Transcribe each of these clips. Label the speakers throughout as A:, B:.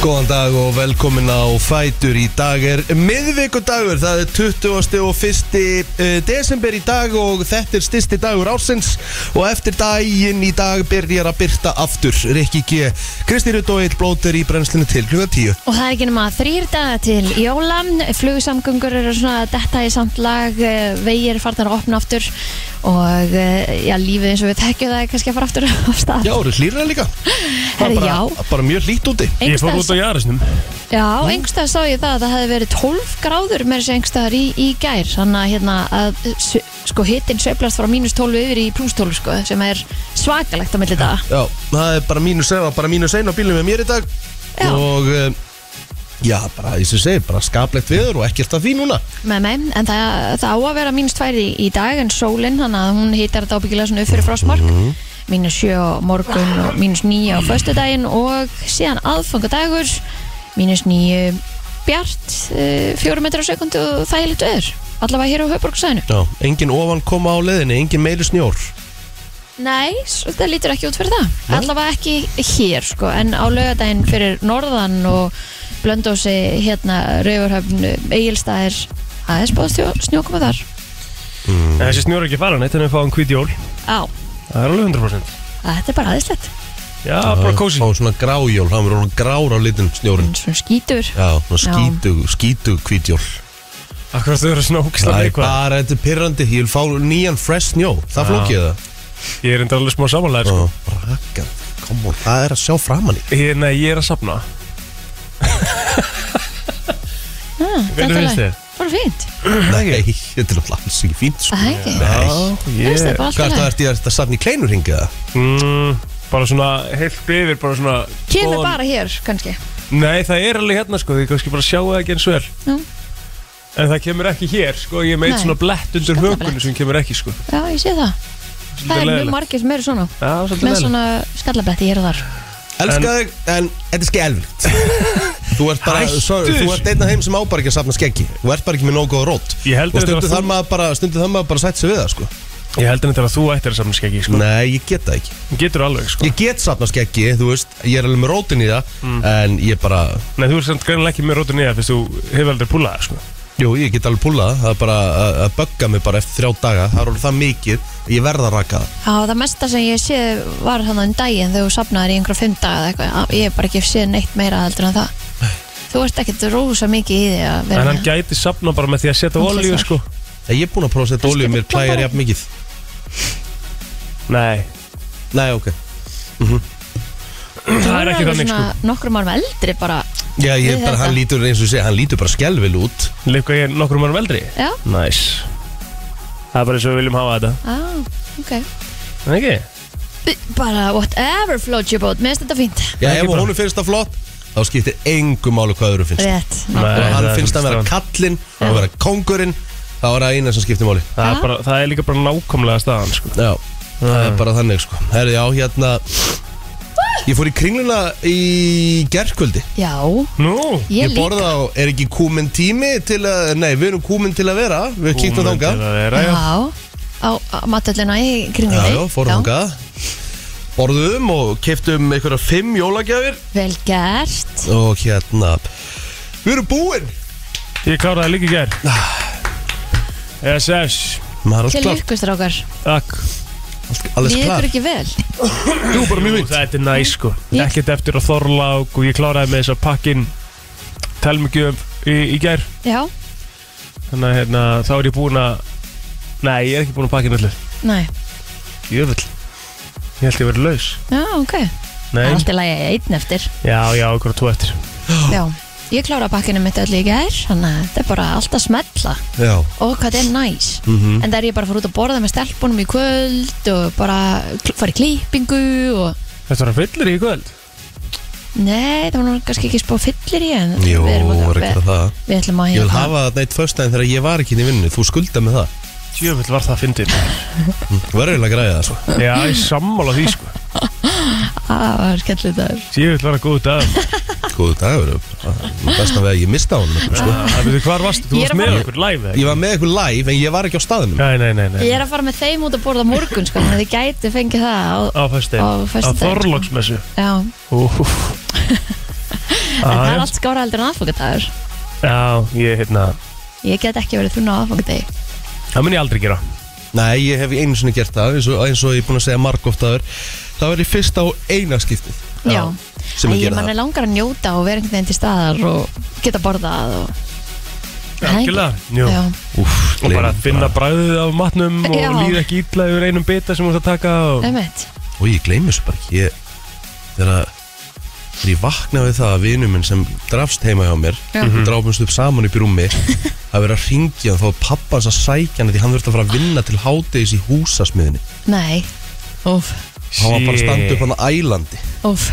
A: Góðan dag og velkomin á Fætur Í dag er miðvikudagur, það er 21. eh, desember í dag og þetta er styrsti dagur ársins og eftir daginn í dag byrjar að byrta aftur Rikki G, Kristi Rutt og Eill Blóter í brennslinu til klukka 10
B: Og það er ekki nema þrýr daga til jóla, flugsamgöngur eru svona að detta í samt lag, eh, vegir farnar að opna aftur og eh, já, lífið eins og við tekjum það er kannski að fara aftur á stað.
A: Já, eru hlýra líka Það er
B: Herri,
A: bara,
B: já.
A: bara mjög hlýtt úti
B: Einhvers
C: Ég fór
B: staðar-
C: út á Jarisnum
B: Já, einhverstað sá ég það að það hefði verið 12 gráður með þessi einhverstaðar í, í gær þannig að, hérna, að s- sko, hittin sveiflast frá mínus 12 yfir í plus 12 sko, sem er svakalegt á milli daga
A: Já, það er bara mínus, það var bara mínus einu á bílum með mér í dag
B: Já.
A: og eh, já, bara eins og segir, bara skaplegt viður og ekkert að því núna
B: með mig, en það, það á að vera mínus 2 í, í dag en sólinn, þannig að hún hittar þetta ábyggilega svona upp fyrir frostmark mínus 7 á morgun og mínus 9 á föstudaginn og síðan aðfangadagur mínus 9 bjart, uh, 4 metrar á sekundu og þægilegt veður, allavega hér á höfborgsæðinu
A: Já, engin ofan koma á leðinni, engin meiri snjór
B: Nei, s- það lítur ekki út fyrir það Allavega ekki hér sko En á laugardaginn fyrir norðan og blöndósi hérna Rauðurhöfn, Egilstaðir Það er spáð snjókoma þar
C: En þessi snjóra ekki fara neitt, þannig að við fáum hvít jól
B: Á,
C: Það er alveg 100%
B: þetta er bara aðeinslegt
C: Já, bara kósi
A: Og svona grájól, það verður svona grár á litin snjórin
B: Svona skítur
A: Já, svona
B: Já.
A: skítug, skítug hvítjól
C: Akkur þau eru svona
A: Það
C: ógislega
A: er
C: neikvæð
A: bara, þetta er pirrandi, ég vil fá nýjan fresh snjó Það
C: Já.
A: flókið það
C: Ég er enda alveg smá samanlega sko.
A: Rakkar, come on, það er að sjá framan í
C: ég, Nei, Hérna, ég er að safna Hvernig finnst þér?
B: Ah, Bara fínt
A: Nei, þetta er alltaf alls ekki fínt sko.
B: Það er ekki
A: Nei.
B: Ég finnst þetta
C: ég
A: Hvað er
B: bara
A: það,
B: alltaf
A: ertu ert að safna í kleinur hingið það?
C: mm, Bara svona heilt yfir Bara svona
B: Kemur
C: góðan-
B: bara hér kannski
C: Nei, það er alveg hérna sko Þið kannski bara sjáu það ekki eins vel
B: Já.
C: En það kemur ekki hér sko Ég meit
B: Nei.
C: svona blett undir
B: Skalla
C: hökunni
B: blett.
C: sem kemur ekki sko
B: Já, ég sé það Það er mjög
C: leiðilegt.
B: margir sem eru svona
C: Já, svolítið
B: Með
C: leiðilegt.
B: svona skallabletti hér og þar
A: Elska þig, en þetta er skelvilt Þú ert bara,
C: Hættu
A: sorry,
C: þessu.
A: þú ert einn af þeim sem á bara ekki að safna skeggi Þú ert bara ekki með nógu góða rót
C: Ég held
A: Og
C: að þetta
A: stundu
C: var
A: þar
C: þú-
A: maður bara, stundu þar maður bara sætt sig við það, sko
C: Ég held að þetta að þú ættir að safna skeggi sko
A: Nei, ég get það ekki
C: Getur alveg sko
A: Ég get safna skeggi, þú veist, ég er alveg með rótin í það En ég bara,
C: Nei, þú ert samt greinilega ekki með rótur niðar fyrst þú hefur aldrei púlað það, sko.
A: jú, ég get alveg púlað það. Það er bara að- að bögga mig bara eftir þrjá daga Það er orðið það mikið, ég verð að raka það
B: Já, það mesta sem ég sé var þannig um daginn þegar þú safnaðir í einhverja fimm daga eða eitthvað. Já, Ég hef bara ekki séð neitt meira heldur en það. Þú ert ekkert rosa mikið í því að
C: En
B: vera
C: hann gæti safna bara með því að setja
B: Hann
C: olíu
B: hlustar.
C: sko.
A: En Ég er búin að prófa að setja
B: Kannski
A: olíu, mér
B: þetta bara-
A: plægir jafn mikið
C: Nei,
A: Nei, ok
C: það er ekki
B: alveg
C: þannig sko.
B: svona Nokkrum árum eldri bara,
A: Já, ég
B: Við
A: bara, hann
B: þetta.
A: lítur eins og sé, hann lítur bara skelvil út
C: Líka ég er nokkrum árum eldri
B: já,
C: Næs Það er bara eins og við viljum hafa þetta
B: á, ok.
C: En ekki?
B: B- Bara whatever float your boat, mér finnst þetta fínt.
A: Já,
C: Ekki
A: ef
C: bara-
A: honum finnst það flott Þá skiptir engum máli hvað öðru finnst
B: Rétt.
A: Ef
C: Nei,
A: hann
C: það er
A: finnst að vera
C: staðan.
A: kallinn og vera kongurinn Þá er það eina sem skiptir máli
C: það
B: Ha?
C: er, bara, það er líka bara nákvæmlega staðan sko.
A: Já, það er bara þannig sko Herri, já, hérna Ég fór í kringluna í gerkvöldi
B: Já,
C: Nú,
B: ég,
A: Ég
B: líka.
A: borða á, er ekki kúminn tími til að Nei, við erum kúminn til að vera Við kíktum
C: Búin
A: þangað
C: til að vera,
B: Já,
C: já.
B: á, á matöllina í
A: Já,
B: kringlunni.
A: já, fórum þangað Borðum og keftum einhverja fimm jólagjafir
B: Vel gert.
A: Og hérna Við erum búin
C: Ég kláraði líka í gær SS
A: Maður er alls
B: Til
A: klart,
B: ykkur strákar.
C: Takk
A: alls
B: Við ykkur
A: klart
B: ekki vel.
C: Jú, bara mjög fint Þetta er næs sko
B: Ég-
C: Ekkert eftir að þorlák og ég kláraði með þess að pakkin Telmugjöf í, í gær
B: Já,
C: Þannig að hérna, þá er ég búinn að Nei, ég er ekki búinn að pakka nöllu
B: næ,
C: Jöfull Ég held ég verið laus
B: já, ok. Það
C: Nei
B: er alltaf lagið einn eftir.
C: Já, já, okkur tvo eftir
B: Já, ég klára pakkinu mitt öll í gær þannig að þetta er bara allt að smetla
A: Já,
B: og hvað þetta er næs
A: Mhm.
B: en það er ég bara að fara út að borða með stelpunum í kvöld og bara kl- fara í klippingu og
C: Þetta var að fyllir í kvöld
B: nei, það var nú kannski ekki spá fyllir í en
A: jú,
B: við erum að,
A: er ekki
B: við,
A: það
B: við ætlum að
A: Ég vil
B: hérna-
A: hafa það neitt föstæðin þegar ég var ekki inn í vinnu Þú skulda með það
C: Jöfull var það að fyndið
A: Þú verður eiginlega að græða það sko
C: Já, ég er sammála því sko
B: Á, það er skemmtilegt þar
C: Jöfull var að sko. góð dag
A: Góðu dagur Það er besta við að ég mista honum sko.
C: Það veitu, hvar varstu?
B: Ég
C: Þú
B: er
C: varst
B: að
C: með
B: fara-
C: okkur live eða?
A: Ég var með eitthvað live en ég var ekki á staðinum
C: Nei, nei, nei, nei
B: ég er að fara með þeim út að borða á morgun sko, þannig að þið gæti fengið það á,
C: Á föstudaginn
B: Á föstudaginn,
C: Á
B: sko.
C: Þorlóksmessu
B: já,
C: Úf
B: En það er
C: já.
B: allt skára heldur en aðfangadagur
C: Já, ég, hérna,
B: Ég get ekki verið þunna á aðfangadegi
C: það mun ég aldrei gera
A: Nei, ég hef einu sinni gert það eins og, eins og ég er búin að segja margóftaður Það var í fyrsta og eina skiptið
B: Já,
C: Já,
A: sem
B: Æ,
A: að
B: ég
A: gera
B: mann
A: það.
B: er langar að njóta og vera einhvern veginn til staðar og geta borðað og Nei.
C: Algjörlega, jú.
B: Já,
A: Úf,
C: Og bara að finna bræðið af matnum og
B: Já.
C: líða ekki illa yfir einum bita sem þú ert að taka og...
B: einmitt
A: Og ég gleymi þessu bara ekki Ég- Þegar að- þegar ég vakna við það að vinur minn sem drafst heima hjá mér
B: Já.
C: Mhm.
A: Dráfumst upp saman upp í rúmi að vera að ringja og þá pappa hans að sækja hann því hann þurfti að fara að vinna til hátegis í húsasmiðinni
B: Nei, óf,
A: Hann var bara að standa
C: Shit.
A: upp hann að ælandi
B: óf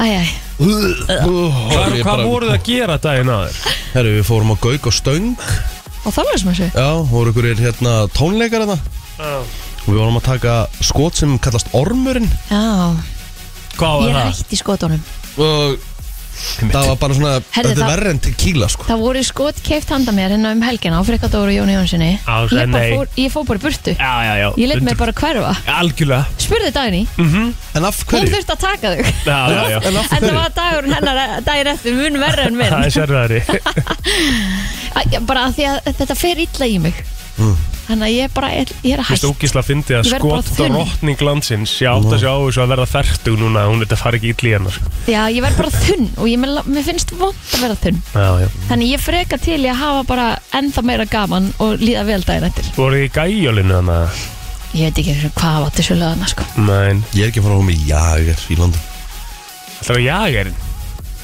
B: Æ, æ,
C: Hvað, hvað
A: Hvað
C: voruð þið að gera daginn aður?
A: Herru, við fórum á Gauk og Stöng
B: og þá verður sem að sé
A: Já, voru ykkur hérna tónleikar þarna Og við vorum að taka skot sem kallast Ormurinn
B: Já,
C: Hvað
B: ég
C: var það?
B: hætti skotunum
A: Og það var bara svona
B: Herðu,
A: Þetta er
B: það-
A: verri en tequila sko
B: Það voru skot keift handa mér hérna um helgina á Frikkadóru og Jóni Jónssoni
C: Á,
B: ég, bara
C: nei.
B: fór, ég fór bara í burtu
C: Já, já, já
B: Ég let mig
C: Undur-
B: bara hverfa
C: Algjörlega
B: Spurði Dagný,
A: En af
B: hún
A: hverju?
B: þurfti að taka þau
C: Já, já, já
A: En af
B: En það
A: hverju?
B: var dagurinn hennar dagir eftir mun verra en minn
C: Það er sérfæðari
B: Æ, ég- Bara af því að þetta fer illa í mig
A: Mm.
B: Þannig að ég bara er, ég er
C: Þú veist,
B: hætt
C: ógísla fyndi að
B: Ég verð bara
C: skotdrottning
B: þunn.
C: landsins Ég átt að sjá þessu að verða fertug núna Hún þetta fari ekki illa í hennar sko.
B: Já, ég verð bara þunn og ég, mér, mér finnst vond að vera þunn
C: Já, já
B: Þannig ég freka til ég að hafa bara ennþá meira gaman og líða vel daginn eftir
C: Voruð þið í gæjólinu þannig?
B: Ég veit ekki einu sinni hvað var til svo löðana sko
C: Nein
A: Ég er ekki að fara á hún í jager í London
C: Það var jagerinn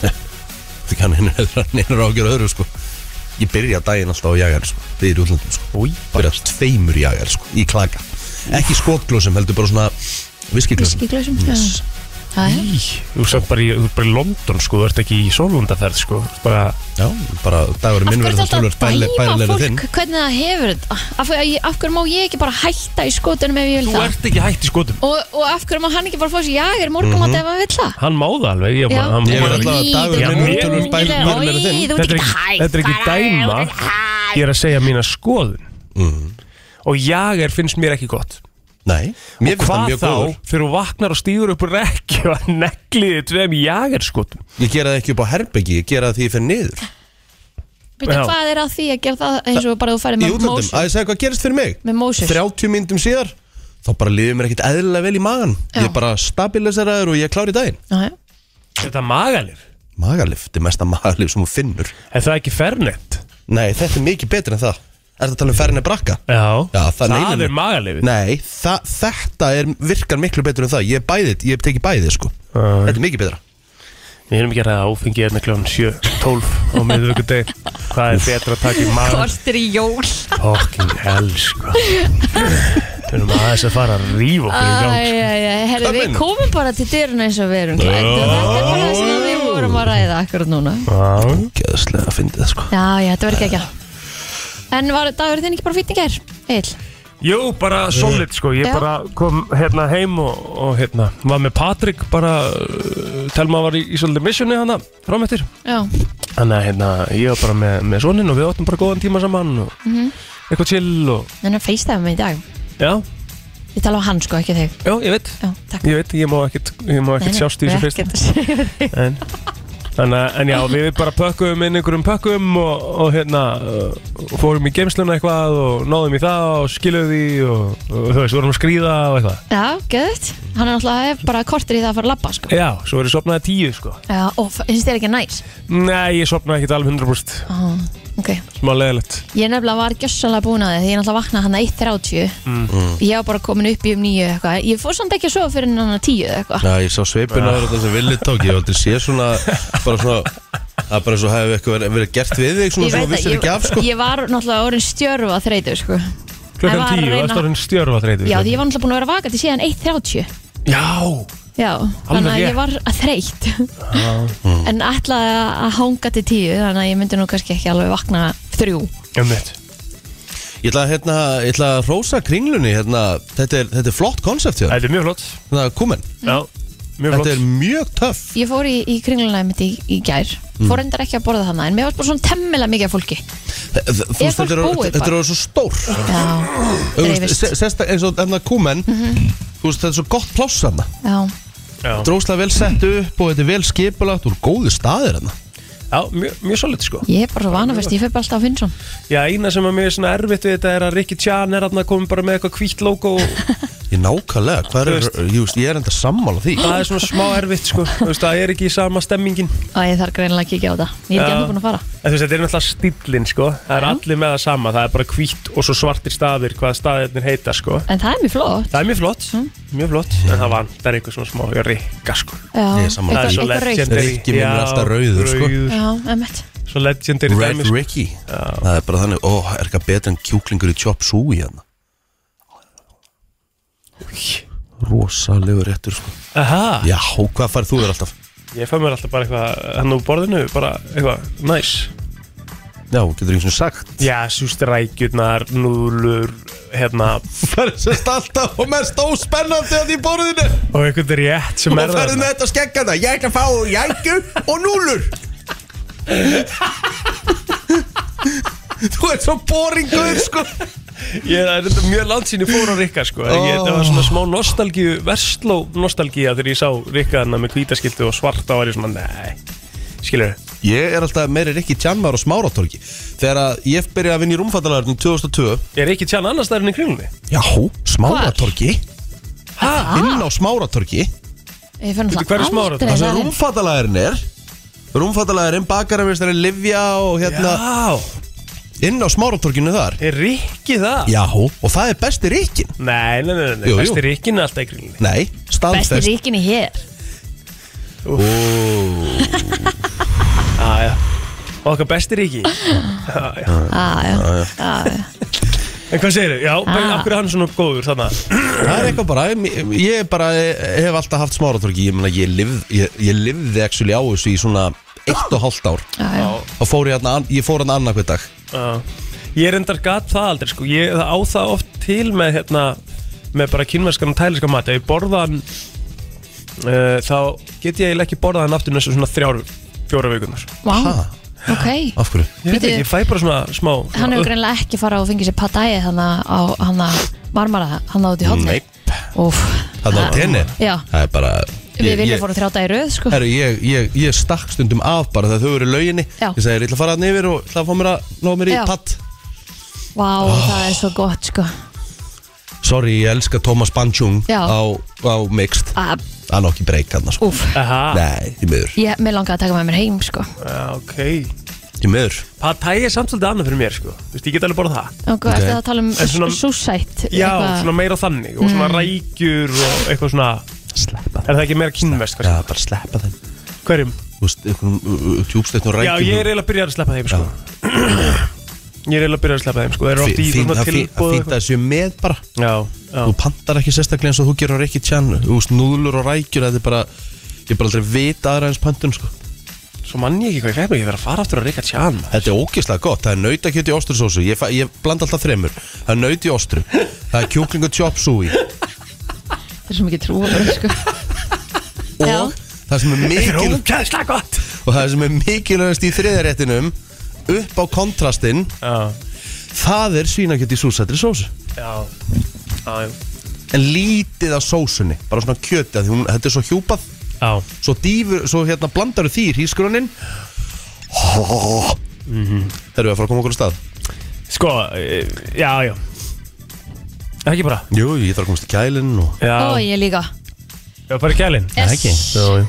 A: Þetta kann henni hefur hann einur ágjör öðru sko Ég byrja daginn alltaf á jager sko Þið eru útlandum sko
C: Új,
A: Byrja tveimur jager sko Í klaka Ekki skotglósum heldur bara svona Viskiglósum
B: Viskiklausum
A: Yes.
B: Það
C: Í, þú satt bara í, þú ert bara í London sko, þú ert ekki í sólundaferð sko, þú ert bara,
A: Já, bara dagurinn minn
B: er
A: verður það
B: alltaf
A: tölvöld
B: að dæma
A: bærilegri þinn
B: fólk hvernig það hefur þetta? Ah, af, hverju- af hverju má ég ekki bara hætta í skotunum ef ég vil
C: þú
B: það?
C: ert ekki hætt í skotum.
B: Og, og af hverju má hann ekki bara fá sér jagir morgumat
A: Mhm.
B: ef hann vil það?
C: Hann má það alveg, ég,
B: Já.
C: bara, hann
A: Ég er
C: má það.
A: alltaf að
C: Já,
A: dagurinn minn
C: mér-
A: verður tölvöld bærilegri þinn
B: Þú ert
C: Þetta
B: ekki
C: er ekki,
B: hætt,
C: þetta er ekki dæma, ég er að segja mína skoðun. Og jager finnst mér ekki gott.
A: Nei, mér finnst það
C: Hvað
A: mjög
C: þá,
A: góður
C: fyrir þú vaknar og stígur upp úr rekki og að negliði tveim jager skotum.
A: Ég gera það ekki upp á herbyggi, ég gera það því ég fyrir niður
B: Býttu,
C: Já.
B: hvað er að því að gera það eins og bara þú færi
A: Í
B: með
A: útlandum,
B: Moses
A: að ég segja hvað gerist fyrir mig
B: Með Moses.
A: 30 myndum síðar Þá bara liðið mér ekkert eðlilega vel í magan
B: Já.
A: Ég bara stabiliseraður og ég klári daginn
B: Já, já.
C: Þetta er magalif,
A: Magalif, þetta er mesta magalif sem hún finnur
C: er það ekki fernett?
A: Nei, þetta er mikið betur en það Er þetta að tala um ferni brakka?
C: Já,
A: Já, það, nei, nei,
C: það
A: nei.
C: er magalifið.
A: Nei, það, þetta er, virkar miklu betur en það Ég, er bæði, ég teki bæði, sko
C: Já.
A: Þetta er mikið betra
C: Við erum ekki að ræða áfengi hérna klón 7.12 á miðvöku deg Hvað er betra að taka í maður?
B: Kortir í jól
C: Fucking hell sko Við erum aðeins að fara að rífa okkur í gang sko.
B: Herri,
A: Hvað
B: við
A: meinar?
B: komum bara til dyrun eins og við erum klætt og þetta er bara það sem við vorum að ræða akkurat núna
C: Já,
A: Gæðslega að fyndi það, sko
B: Já, já, þetta verður ekki ekki En var dagur þinn ekki bara fýtt í gær? Eil,
C: Jú, bara solid sko Ég
B: Já.
C: bara kom hérna heim og, og hérna Var með Patrik bara uh, Telma var í, í svolítið missioni hana Frámættir
B: já,
C: Þannig að hérna, ég var bara með, með sonin og við áttum bara góðan tíma saman og
B: Mhm.
C: Eitthvað chill og
B: þannig að feistæða mig í dag
C: Já,
B: Ég tala á hann sko, ekki þig
C: já, ég veit
B: Já, takk
C: Ég veit, ég má ekkert, ég má ekkert sjást í þessu fyrst
B: fyrst
C: en, þannig, að- en já, við bara pökkum inn einhverjum pökkum og, og hérna uh, fórum í geimsluna eitthvað og náðum í það og skiluðum því og, og þú veist, vorum að skrýða og eitthvað
B: Já, geðut, hann er alltaf bara kortir í það að fara að labba sko
C: Já, svo er ég sopnaði tíu sko
B: Já, og finnst þér ekki næs?
C: Nei, ég sopnaði ekkert alveg 100%
B: Ó, ok
C: smá leðilegt
B: Ég nefnilega var gjössalega búin að þið því ég náttúrulega vaknaði hann að 1.30 Ég var bara komin upp í um 9 eitthvað Ég fór samt ekki að sofa fyrir hann að 10 eitthvað
A: Já, ég sá sveipina og þetta sem villið tók Ég hef aldrei sé svona, bara svona Það er bara svo hefur eitthvað verið, verið gert við þig Svona sem
B: Ég
A: þú
B: veit
A: vissir
B: að
A: ekki af,
B: ég,
A: sko
B: ég var náttúrulega orðin stjörfa þreytu sko En
C: Klukkan
B: var að
C: tíu,
B: reyna-
C: það var hann stjörfa þreytur
B: Já, því ég var náttúrulega búin að vera vakandi síðan 1.30
C: Já,
B: Já, þannig að
C: rétt.
B: ég var að þreytt En ætlaði að að hanga til 10 Þannig að ég myndi nú kannski ekki alveg vakna 3
C: um mitt
A: Ég ætla að, hérna, ég ætla að rósa kringlunni hérna, þetta, er, þetta er flott konsept hjá þér.
C: Þetta er mjög flott
A: Þannig að kúmen,
B: Mm.
C: Já, mjög
A: þetta
C: flott
A: er mjög töff
B: Ég fór í, í kringluna mitt í, í gær Fór endar ekki að borða þannig En mér var bara svona temmilega mikið af fólki
A: Þ- þ- Þú
B: Er
A: veist,
B: fólk
A: þetta er
B: búið
A: þetta er
B: bara?
A: orðið svo stór
B: Já,
A: Þú veist,
B: Dreifist.
A: se- Sesta eins og enna kúmen
B: Mhm.
A: Þú veist, þetta er svo gott pláss hana
B: já
C: Já.
A: Dróslega vel sett upp og þetta er vel skipulagt og góði staðir hana
C: Já, mjög, mjög solid sko
B: Ég er bara svo vanafest, ég fer bara alltaf á Finnsson
C: Já, eina sem að mér er svona erfitt við þetta er að Rikki Tjan er að koma bara með eitthvað hvítt logo og
A: Ég nákvæmlega, hvað
C: Þú
A: er, just, ég er enda sammála því
C: það er svona smá erfitt sko Þú veist, það er ekki í sama stemmingin En
B: Æ, ég þarf greinilega ekki ekki á það Ég er ekki
C: Já.
B: annað búin að fara
C: þú veist, þetta er náttúrulega stíllinn sko Það er allir með það sama, það er bara hvítt og svo svartir staðir Hvað staðirnir heita sko
B: En það er mjög flott
C: Það er mjög flott, mjög flott En það vantar eitthvað svona smá Rikka sko
B: Já,
A: Ég er sammála.
C: Það
B: Mm. eitthvað- eitthvað rautt.
C: er svo legendary
A: Rikki minn er
C: Já,
A: alltaf rauður, sko.
C: rauður.
B: Já, emmitt
C: Svo legendary
A: Red
C: dæmi, sko.
A: Ricky Það er bara þannig, ó, er eitthvað betra en kjúklingur í Chop Suey hérna Rosalegur réttur sko
C: Aha,
A: Já, hvað farið þú þér alltaf?
C: ég fæ mér alltaf bara eitthvað hann úr borðinu, bara eitthvað, næs
A: Já, getur eins og sagt
C: Já, súst rækjurnar, núlur hérna,
A: Það er sérst alltaf og mest óspennandi að því borðinu
C: og einhvern rétt sem er þarna.
A: þetta skeggana Ég ætla að fá jækju og núlur Þú ert svo boringur sko
C: Ég það er þetta mjög langt sinni fór á Rikka sko. ég, það var svona smá nostalgíu versló nostalgíu þegar ég sá Rikka þarna með hvítaskiltu og svarta var ég svona, nei skilur
A: Ég er alltaf meiri Rikki Tjanmar og Smáratorki Þegar að ég byrja að vinna í rúmfattalarinn 2002
C: er ekki tjána annars þær enn í kringlunni?
A: Já, Smáratorki Inn á Smáratorki
B: Ég fer
C: Veitu, hvar er
B: náttúrulega
C: Smára?
B: aldrei
A: Það sem
B: þar inn.
A: rúmfattalarinn er Rúmfattalarinn, bakararverðstarinn, Livja og hérna
C: Já,
A: Inn á Smáratorkinu þar
C: er Rikki það?
A: Já, og það er besti Rikkin
C: Nei, nei, nei, nei,
A: Jú, jú.
C: besti Rikkin er alltaf í kringlunni
A: Nei,
B: Besti
A: staðfest
B: ríkinni hér
C: Ah, Já, já Og okkar besti Rikki Já, já
B: Já, já, já, já.
C: En hvað segir þau? Já, ah. af hverju er hann svona góður þarna?
A: Það er eitthvað bara, ég- ég bara hef alltaf haft smáratorki, ég meina ég, lifð, ég, ég lifði actually á þessu í svona eitt og hálft ár
B: Já, já.
A: og fór ég, hérna, ég fór hann annað hver dag
C: Já. Ég er endar gat það aldrei sko Ég það á það oft til með hérna með bara kynverskan og tæliskan mat Ef ég borða hann uh, þá get ég eiginlega ekki borðað hann aftur næstu svona þrjár, fjóra vikunar
B: Vá,
A: Ha,
B: ok
A: af hverju?
C: Ég veit
B: Bíddu.
C: ekki, ég fæ bara svona smá svona,
B: Hann hefur greinlega ekki farað og fengið sér patæði þannig á hann að marmara hann út í hotni Úf,
A: Það er á tenni
B: Já,
A: Það er bara
B: við viljum
A: ég,
B: fórum þrjá dagi í röð sko
A: Herru, ég, ég, ég stakk stundum af bara þegar þau eru í lauginni
B: Já.
A: Ég sagði, ég ætla að fara hann yfir og ætla að fá mér að ná mér í
B: Já.
A: patt
B: Vá,
A: Ah.
B: það er svo gott sko
A: Sorry, ég elska Thomas Banchung
B: Já.
A: á, á Mixed
B: Að,
A: Hann á ekki breyk hann sko.
B: Úf,
C: Aha,
A: Nei, í miður
B: ég, mér langaði að taka með mér heim sko
C: já, ok
A: Í miður
C: Það tægir samt svolítið annað fyrir mér sko Þú veist, ég get alveg borðað það
B: Og okay. eftir það að tala um
C: En svona-
B: súsætt
C: Já, svona meira þannig og
B: Mm.
C: svona rækjur og eitthvað svona
A: Sleppa
C: Er það ekki meira kynversk?
A: Já,
C: Ja.
A: bara sleppa þeim
C: Hverjum?
A: Þú veist, einhvern tjúbstöðn og
C: Já,
A: rækjum
C: ég er eiginlega að byrja að sleppa þeim sko. Ég er eiginlega að byrja að sleppa þeim sko. Það eru oft í
A: Fínt
C: svona
A: að
C: tilbúð og eitthvað.
A: það séu með bara
C: Já, já,
A: Þú pantar ekki sérstaklega eins og þú gerur ekki tjann Þú veist, núðlur og rækjur Þetta er bara Ég er bara aldrei vita aðra eins pöntun sko.
C: svo mann ég ekki hvað ég fæði mig Ég verð að fara aftur að reyka tján maður.
A: Þetta er ógeðslega gott Það er nautakjöt í ostursósu ég, fa- ég blanda alltaf þremur Það er naut í ostrum Það er kjúklingu chop suey
B: Það er svo mikið trú sko.
A: Og
B: Já.
A: það sem er
C: Þetta er
A: mikil
C: ógæðislega gott
A: Og það sem er mikilvægast í þriðaréttinum Upp á kontrastinn
C: Já,
A: Það er svínakjöt í súsættri sósu
C: já, já,
A: En lítið af sósunni Bara svona kjöti af því hún- Þetta er svo hjúpað
C: já
A: svo, dýfur, svo hérna blandaru því í hrísgrunin Erum við að fara að koma okkur á stað?
C: Sko, e, já, já Ekki bara
A: Jú, ég þarf að komast í kælinn og
B: Ó,
C: Já,
B: ég líka
C: ég var bara í kælinn
B: Yes.
A: Jú, jú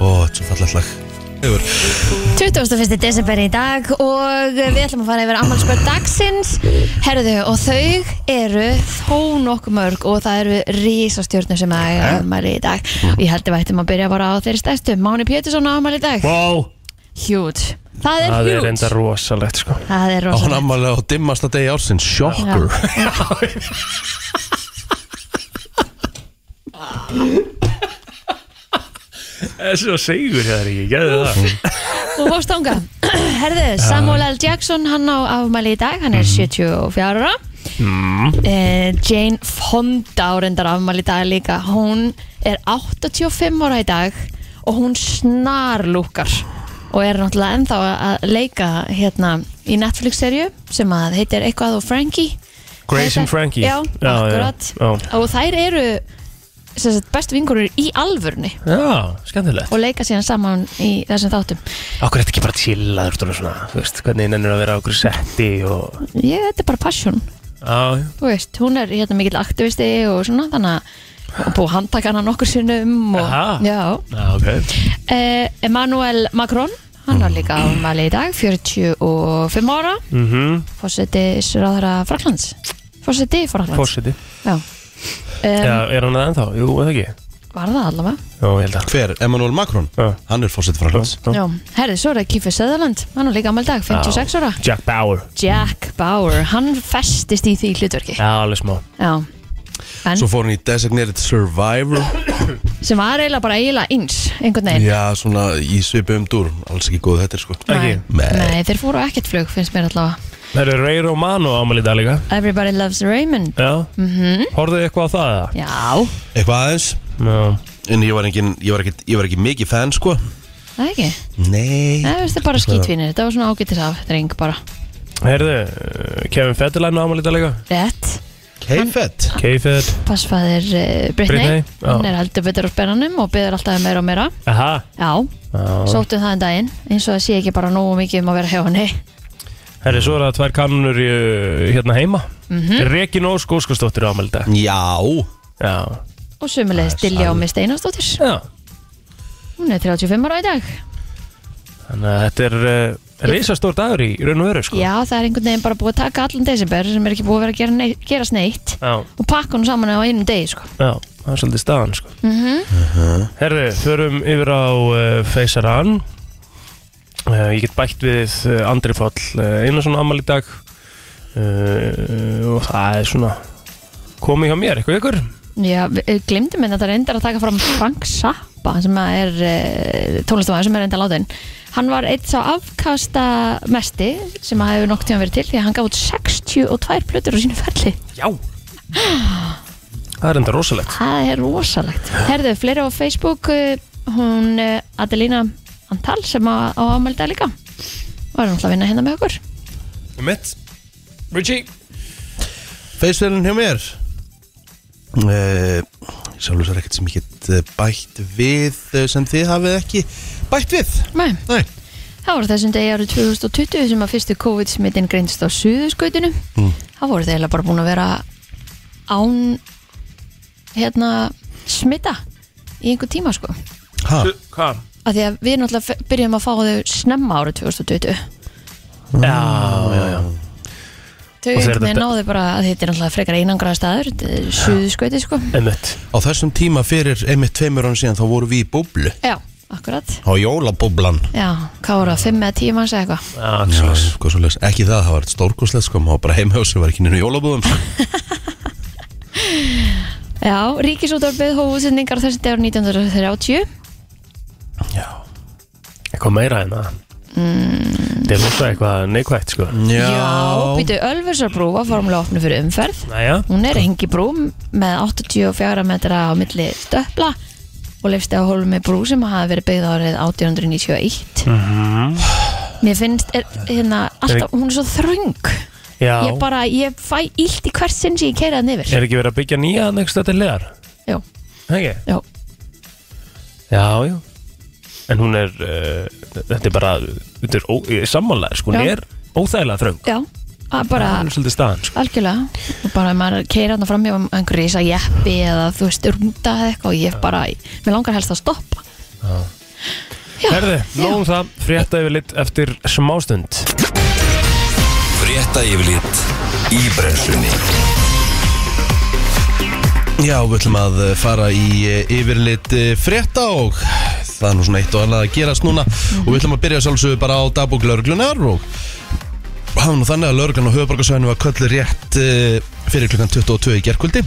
A: Ó, þetta er svo fallegt lag Hefur
B: 21. desember í dag og við ætlum að fara yfir ammalspörð dagsins Herðu, og þau eru þó nokkuð mörg og það eru risastjörnur sem að eiga ammali í dag
C: Hm.
B: og ég held að við ættum að byrja bara á þeirri stærstu Máni Pétursson á ammali í dag
C: Wow,
B: Hjút, það er
C: það er
B: hjút
C: enda rosalegt sko
B: Það er
A: Á hann
B: rosalegt
A: ammalega á dimmasta degi ársins Shocker
C: Þessi var segur hér ekki, gerðu það
B: Þú fórst ánga Herðu, Samuel L. Jackson, hann á afmæli í dag Hann er 74 ára eh, Jane Fonda á reyndar afmæli í dag líka Hún er 85 ára í dag Og hún snarlúkar Og er náttúrulega ennþá að leika hérna í Netflix-serju Sem að heitir eitthvað og Frankie
C: Grace and Frankie
B: Já,
C: já,
B: akkurat
C: já.
B: Og þær eru sem sagt, bestu vingur í alvörni
C: Já, skemmtilegt
B: og leika síðan saman í þessum þáttum
C: Akkur er þetta ekki bara chillaður þú svona, þú veist, hvernig nennir að vera á okkur setti og
B: ég, þetta er bara passion
C: Já, já.
B: þú veist, hún er hérna mikill aktivisti og svona þannig að og búið að handtaka hana nokkur sinnum og,
C: Aha.
B: já,
C: já, ok
B: Eh, Emmanuel Macron hann var líka ámæli í dag 45 ára
C: mm -hmm.
B: fórseti Sráðara Fraklands fórseti Fraklands
C: Fórsiti
B: já. Um,
C: Já, er hann það ennþá? Jú, eða ekki
B: var það allavega
C: Já, ég held að
A: Hver? Emmanuel Macron?
C: Já.
A: Hann er fórsetið frá hluts
B: já. herði, svo er það Kífi Söðaland hann var líka ámæli í dag, 56 ára
C: Jack Bauer
B: Jack Bauer, hann festist í því hlutverki
C: Já, alveg smá
B: já. en
A: Svo fór hann í Designated Survivor
B: sem var eiginlega bara eiginlega eins einhvern veginn
A: Já, svona í svipum dúr Alls ekki góð þetta er sko
C: Ekki.
B: Nei.
A: Nei.
B: Nei, þeir fóru á ekkert flug, finnst mér allavega
C: Það eru Ray Romano ámæli í dag líka
B: Everybody loves Raymond
C: Já mm
B: Mhm.
C: -hmm. Horfðu eitthvað á það eða?
B: Já,
A: Eitthvað aðeins
C: Já
A: En ég var, engin, ég, var ekki, ég var ekki mikið fan sko
B: það er ekki
A: Nei
B: Nei, þetta er bara skítvinir, þetta var svona ágættis af dreng bara
C: Herðu, uh, Kevin Federline ámæli í dag líka
B: Rétt,
A: Keifett
C: K-Fed
B: passfæðir uh, Britney,
C: Britney, já.
B: hún er heldur betur á spennanum og byður alltaf um meira og meira
C: Aha
B: Já, sóttum það en daginn eins og það sé ekki bara nógu mikið um að vera hjá henni
C: Herri, svo er það tvær kanunur í, uh, hérna heima mm -hmm. Rekin Ósk Óskarsdóttir ámæli í dag
A: Já
C: Já
B: og sömulegis Dilja og Mist Einarsdóttir
C: Já
B: hún er 35 ára í dag
C: Þannig að þetta er uh, reysastór dagur í raun og veru sko
B: Já, það er einhvern veginn bara búið að taka allan desember sem er ekki búið að vera að gera neitt, gerast neitt
C: Já,
B: og pakka hún saman á einum degi sko
C: já, það er svolítið staðan sko mm -hmm. Herri, förum yfir á uh, Feysaran uh, Ég get bætt við uh, Andri Fáll uh, Einarsson ámæli í dag uh, og það er svona komið hjá mér, eitthvað ykkur
B: Já, eh, glimtum minn að það reyndar að taka fram Frank Zappa sem að er uh, tónlistamæður sem er reyndar látin hann var eitt sá afkasta mesti sem að hefur nokk tíma verið til því að hann gaf út 62 plötur á sínu ferli
C: Já Það er enda rosalegt
B: það er rosalegt Herðu, fleiri á Facebook uh, hún uh, Adelina Antal sem að, á ámelda líka var hann alltaf að vinna hérna með okkur
C: Mitt Richie
A: Feisvelin hjá mér uh, Sjálfur sér ekkert sem ég get eh, bætt við eh, sem þið hafið ekki bætt við
B: Nei,
A: Nei
B: það voru þessum degi árið 2020 sem að fyrstu COVID-smittin greinst á suðuskautinu mm. það voru þeir eiginlega bara búin að vera án hérna smita í einhver tíma sko af
C: Ah.
A: ha,
C: Hvað?
B: því að við náttúrulega fe- byrjum að fá þau snemma árið 2020
C: Já, já, já
B: þau
C: Og þeir
B: einhvern veginn
C: þetta-
B: náðu bara að þetta er náttúrulega frekar einangraða staður þetta er suðurskauti sko
C: Einmitt
A: Á þessum tíma fyrir einmitt tveimur hann síðan þá vorum við í búblu
B: já, akkurat
A: Á jólabúblan
B: já, hvað voru það, 5 eða 10 manns eða eitthvað
C: Já,
A: Já, hvað svoleiðis. Ekki það, það var stórkoslegt sko maður var bara heima á sig, var ekki nýjum jólabúðum
B: já, Ríkisútarbið hófúsendingar þessi dagur 1930
C: já. Eitthvað meira en það Þetta er rosa eitthvað neikvægt sko
A: Mm.
B: Já, býtu Ölfursorbrú var formulega opnu fyrir umferð
C: Næja
B: Hún er hengi brú með 84 metra á milli stöpla og lefst á hólum með brú sem hafa verið byggð árið 1891 Mér finnst er, hérna, alltaf, hún er svo þröng
C: Já
B: Ég bara, ég fæ illt í hvert sinn sem ég keira hann yfir
C: Er ekki verið að byggja nýja nekst þetta leðar?
B: Jú,
C: Ekki?
B: jú,
C: Já, já En hún er, uh, þetta er bara Þetta er ó, ég er sammála, sko, hún
B: Já.
C: er óþægilega þröng
B: já að bara,
C: Hún er svolítið staðan, sko
B: algjörlega og bara ef maður keira hann framhjá um einhver risa jeppi eða þú veist, rúnda eða eitthvað og ég bara, mér langar helst að stoppa Já,
C: Herði, nóðum það, frétta yfir lit eftir smástund
D: Frétta yfirlit í brennslunni
A: Já, við ætlum að eh, fara í eh, yfirlit eh, frétta og það er nú svona eitt og annað að gerast núna og við ætlum að byrja sjálfsögur bara á dagbók lauruglunar og hafa nú þannig að lauruglan á höfuborgarsvæðinu var köllu rétt eh, fyrir klukkan 22 í gerkvöldi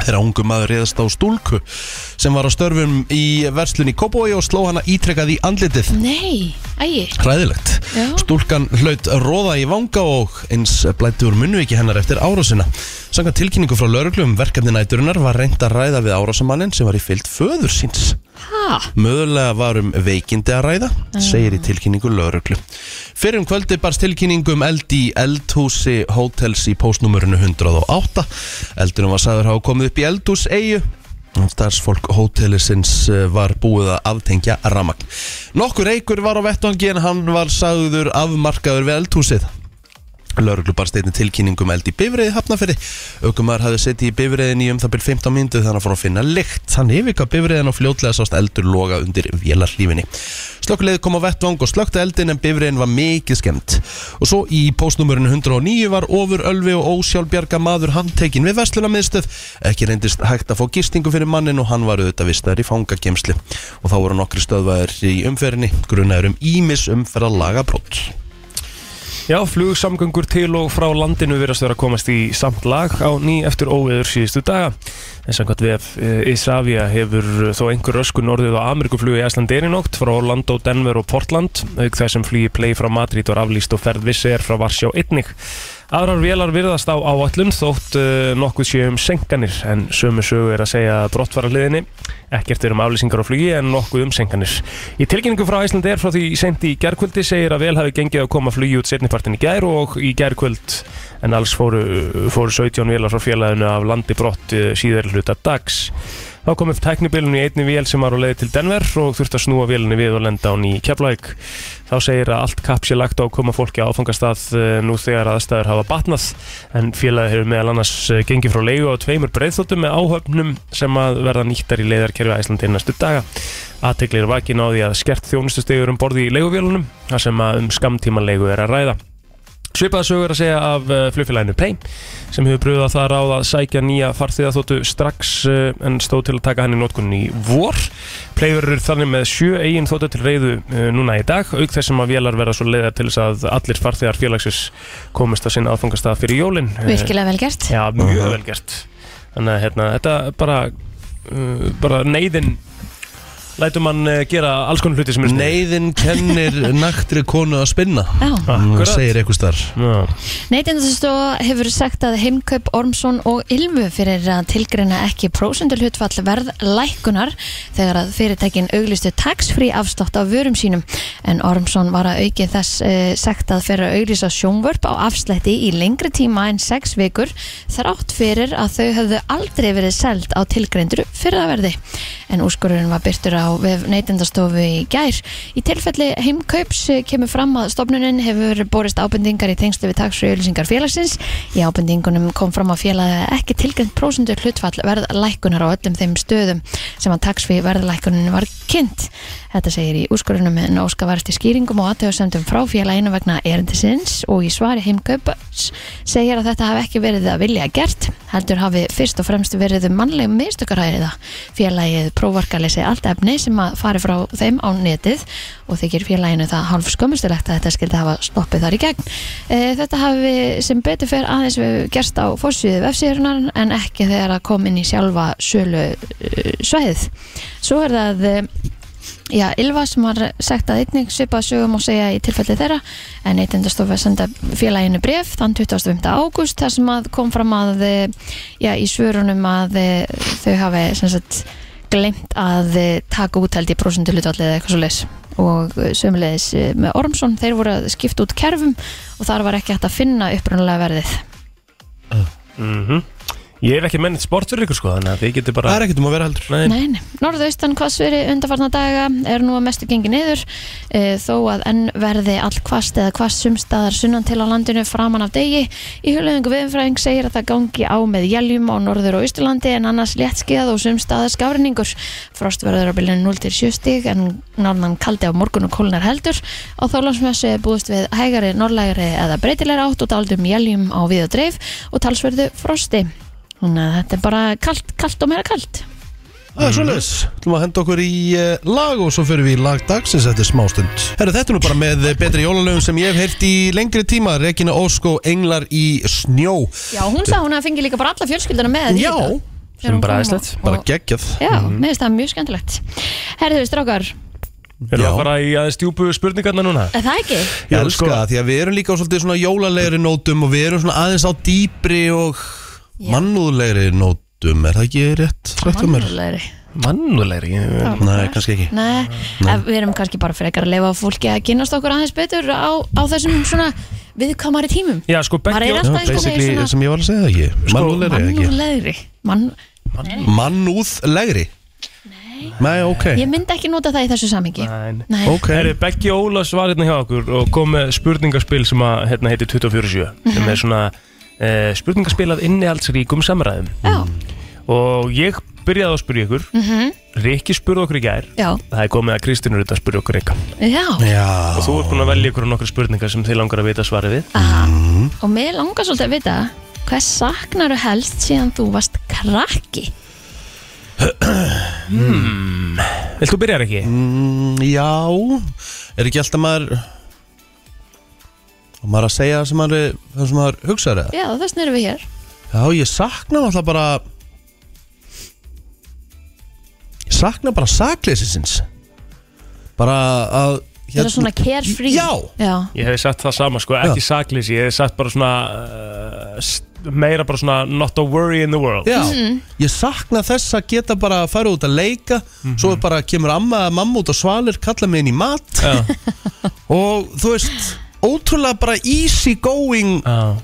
A: þegar ungu maður reyðast á stúlku sem var á störfum í verslun í Kópói og sló hana ítrekkað í andlitið
C: um-
B: Nei, ægi
A: Hræðilegt.
B: Já.
A: Stúlkan hlaut róða í vanga og eins blætti úr munnviki hennar eftir árásina. Sanga tilkynningu frá lauruglu um verkefni næturinnar var reynd að ræða við árásamannin sem var í fyllt föður síns.
B: Hæ?
A: Möðulega var um veikindi að ræða, segir í tilkynningu lauruglu. Fyrir um kvöldi barst tilkynningu um eld í eldhúsi hótels í postnúmerinu 108. Eldurinn var sagður hafa komið upp í eldhús eigu Starfsfólk hótelisins eh, var búið að aftengja ramagn. Nokkur reykur var á vettvangi en hann var sagður afmarkaður við eldhúsið. Lörglu barst einnig tilkynningum eld í bifriði hafnafyrði. Ökumar hafði setið í bifriðin í um það byrj 15 myndu þannig að fór að finna lykt. Hann yfirka bifriðin og fljótlega sást eldur loga undir vélarlífinni. Slökkuleið kom á vettvang og slökta eldin en bifriðin var mikið skemmt. Og svo í postnumurinu 109 var ofur ölvi og ósjálfbjarga maður handtekinn við vestlunamiðstöð. Ekki reyndist hægt að fá gistingu fyrir mannin og hann var auðvitað vistaður í fangakemsli. Og þá voru nokkri stöðvæður í umferðinni grunaður um ímis umferðalaga
C: Já, flugsamgöngur til og frá landinu verðast vera að komast í samt lag á ný eftir óveður síðustu daga. En samkvæmt vef eh, Isavia hefur eh, þó einhver röskun orðið á Amerikuflugi Æslandir í nótt frá Orlando, Denver og Portland, auk þess sem flugi play frá Madrid var aflýst og ferð vissi er frá Varsjá einnig. Aðrar vélar virðast á áallun þótt eh, nokkuð sé um senkanir en sömu sögu er að segja brottfararliðinni ekkert er um aflýsingar á flugi en nokkuð um senkanir. Í tilkynningu frá Æslandi er frá því seint í gerkvöldi segir að vel hafi gengið að koma flugi út setnipartin í gær og í gerkvöld en alls fóru, fóru 17 vélar frá félaginu af landi brott eh, síðar hluta dags. Þá kom upp tæknibilun í einni vél sem var á leið til Denver og þurfti að snúa vélinni við og lenda án í Keflavík. Þá segir að allt kapp sé lagt á að koma fólki á áfangastað eh, nú þegar aðstæður hafa batnað en félagi hefur meðal annars eh, gengið frá leigu á tveimur breyðþóttum með áhöfnum sem að verða nýttar í leiðarkerfi Æslandi næstu daga. Aðteglir vakin á því að skert þjónustustegur um borði í leiguvélunum þar sem að um skamtíma leigu er að ræða. Svipaða sögur að segja af uh, flugfélaginu Pay sem hefur bröðið að það ráð að sækja nýja farþiðaþóttu strax uh, en stóð til að taka hann í nótkunni í vor. Play verður þannig með sjö eigin þóttu til reyðu uh, núna í dag auk þess sem að vélar verða svo leiðar til þess að allir farþiðar félagsins komist að sinna aðfangastað fyrir jólin.
B: Virkilega vel gert
C: Eh, Já, mjög vel gert. Þannig að hérna, þetta er bara, uh, bara neyðin lætur mann uh, gera alls konar hluti sem er sniðugt.
A: Neiðin kennir naktri konu að spinna
B: Já.
A: Hún
C: Akkurat.
A: segir eitthvað starf
C: Já.
B: Neytendastofa hefur sagt að heimkaup Ormsson og Ilmu fyrir að tilgreina ekki prósendulhutfall verð lækunar þegar að fyrirtækin auglistu tax-free afslátt á vörum sínum en Ormsson var að auki þess uh, sagt að fyrir að auglýsa sjónvörp á afslætti í lengri tíma en 6 vikur þrátt fyrir að þau höfðu aldrei verið seld á tilgreindur fyrraverði en úrskurðurinn var byrtur á vef neytendastofu í gær. Í tilfelli heimkaups eh, kemur fram að stofnunin hefur borist ábendingar í tengslu við taksfri auðlýsingar félagsins. Í ábendingunum kom fram að félagi ekki tilgjönd prósundur hlutfall verðlækunar á öllum þeim stöðum sem að taksfri verðlækunin var kynnt. Þetta segir í úrskurðunum en óska varst í skýringum og aðtöðsendum frá félaginu vegna erindisins og í svari heimkaups segir að þetta hafi ekki verið að vilja gert heldur hafi fyrst og fremst verið mannlegum mistökaræriða. Félagið prófarkalesi allt efni sem að fari frá þeim á netið og þykir félaginu það hálf skömmustilegt að þetta skildi hafa stoppið þar í gegn. E, þetta hafi sem betur fer aðeins við gerst á fórsviðu vefsíðunar en ekki þegar að kom inn í sjálfa sölu e, svæðið. Svo er það e, Já, Ylva sem var sagt að einnig svipað sögum og segja í tilfelli þeirra en neytendastofa senda félaginu bref þann 25. ágúst þar sem að kom fram að eh, já, í svörunum að eh, þau hafi sem sagt glemt að eh, taka útheld í prósendulutvalli eða eitthvað svo leis og sömulegis með Ormsson þeir voru að skipta út kerfum og þar var ekki hægt að finna upprunalega verðið
C: Mm Ég hef ekki mennit sport fyrir ykkur sko þannig að þið getur bara
A: Það er ekkert um að vera heldur
C: Nei,
B: Nei, nei. norðaustan hvassveri undarfarna daga er nú að mestu gengi niður e, þó að enn verði all hvast eða hvast sumstaðar sunnan til á landinu framan af degi. Í hulöfingu viðfræðing segir að það gangi á með jæljum á norður og austurlandi en annars léttskíðað og sumstaðar skárinningur. Frost verður á bylunum 0 til 7 stig en norðan kaldi á morgun og kólnar heldur og þá landsmessu er búist við hægari, norðlægari eða breytilegri átt og daldum jæljum á við og dreif og talsverðu frosti. Þannig að þetta er bara kalt, kalt og meira kalt.
A: Það er svoleiðis Þú maður Mm. að henda okkur í eh, lag og svo fyrir við í lag dagsins eftir smástund Herra, þetta er nú bara með eh, betri jólalöfum sem ég hef heyrt í lengri tíma Regina Ósko, Englar í snjó
B: Já, hún sagði hún að fengi líka bara alla fjölskylduna með
A: Já,
B: líka, þegar
C: sem
B: hún
C: bara
B: kom
C: aðeinslegt.
B: og-
A: Bara
B: og-
A: geggjað
B: Já, mér finnst það mjög skemmtilegt Herðu, strákar,
C: erum við
A: Já.
C: að fara í aðeins djúpu spurningarna núna?
B: er það ekki?
A: Ég
C: Já,
A: elska
C: sko.
A: það, því að við erum líka á svolítið svona jólalegri nótum og við erum svona aðeins á dýpri og
B: Já.
A: mannúðlegri nótum Er það ekki rétt? Rétt um mér?
B: Mannúðlegri.
C: Mannulegri Já,
A: Nei, kannski ekki
B: Nei, Nei. við erum kannski bara frekar að leifa fólki að kynast okkur aðeins betur á, á þessum svona viðkvæmari tímum
C: Já sko,
B: Maður
C: Beggi
B: er
C: og
B: alltaf-
A: Já,
B: Það er sko
A: basically,
B: svona-
A: Sko, sem ég var að segja það ekki Mannúðlegri eða ekki
B: Mannúðlegri Mann,
A: Mannúðlegri? Nei Nei, ok
B: Ég myndi ekki nota það í þessu samhengi
C: Nein.
B: Nei.
A: Ok
C: Herri, Beggi Ólafs var hérna hjá okkur og kom með spurningaspil sem að hérna heitir 247 sem er svona uh, spurningaspil af innihaldsríkum samræðum
B: Já,
C: og ég byrjaði að spyrja ykkur mm Rikki spurði okkur í gær
B: já,
C: það er komið að Kristínur þetta spurði okkur eitthvað
B: já
A: Já
C: og þú ert búin að velja ykkur nokkru spurningar sem þið langar að vita svarið við
B: Aha. Ah.
A: Mm.
B: Og mig langar svolítið að vita Hvað saknaru helst síðan þú varst krakki?
C: Vilt þú byrja Rikki?
A: Mm, Já Er ekki alltaf maður Og maður að segja það sem maður, er- það sem maður hugsaður eða?
B: Já, þess vegna erum við hér
A: Já, ég sakna alltaf bara Ég sakna bara sakleysisins Bara að hérna-
B: Þetta
C: Hérna,
B: er svona carefree
A: Já.
B: Já,
C: Ég hefði sagt það sama sko, ekki sakleysi Ég hefði sagt bara svona uh, st- meira bara svona not a worry in the world
A: Já, ég sakna þess að geta bara að fara út að leika
C: Mhm.
A: Svo er bara kemur amma eða mamma út á svalir Kalla mig inn í mat
C: Já.
A: Og þú veist, ótrúlega bara easy going
C: Já.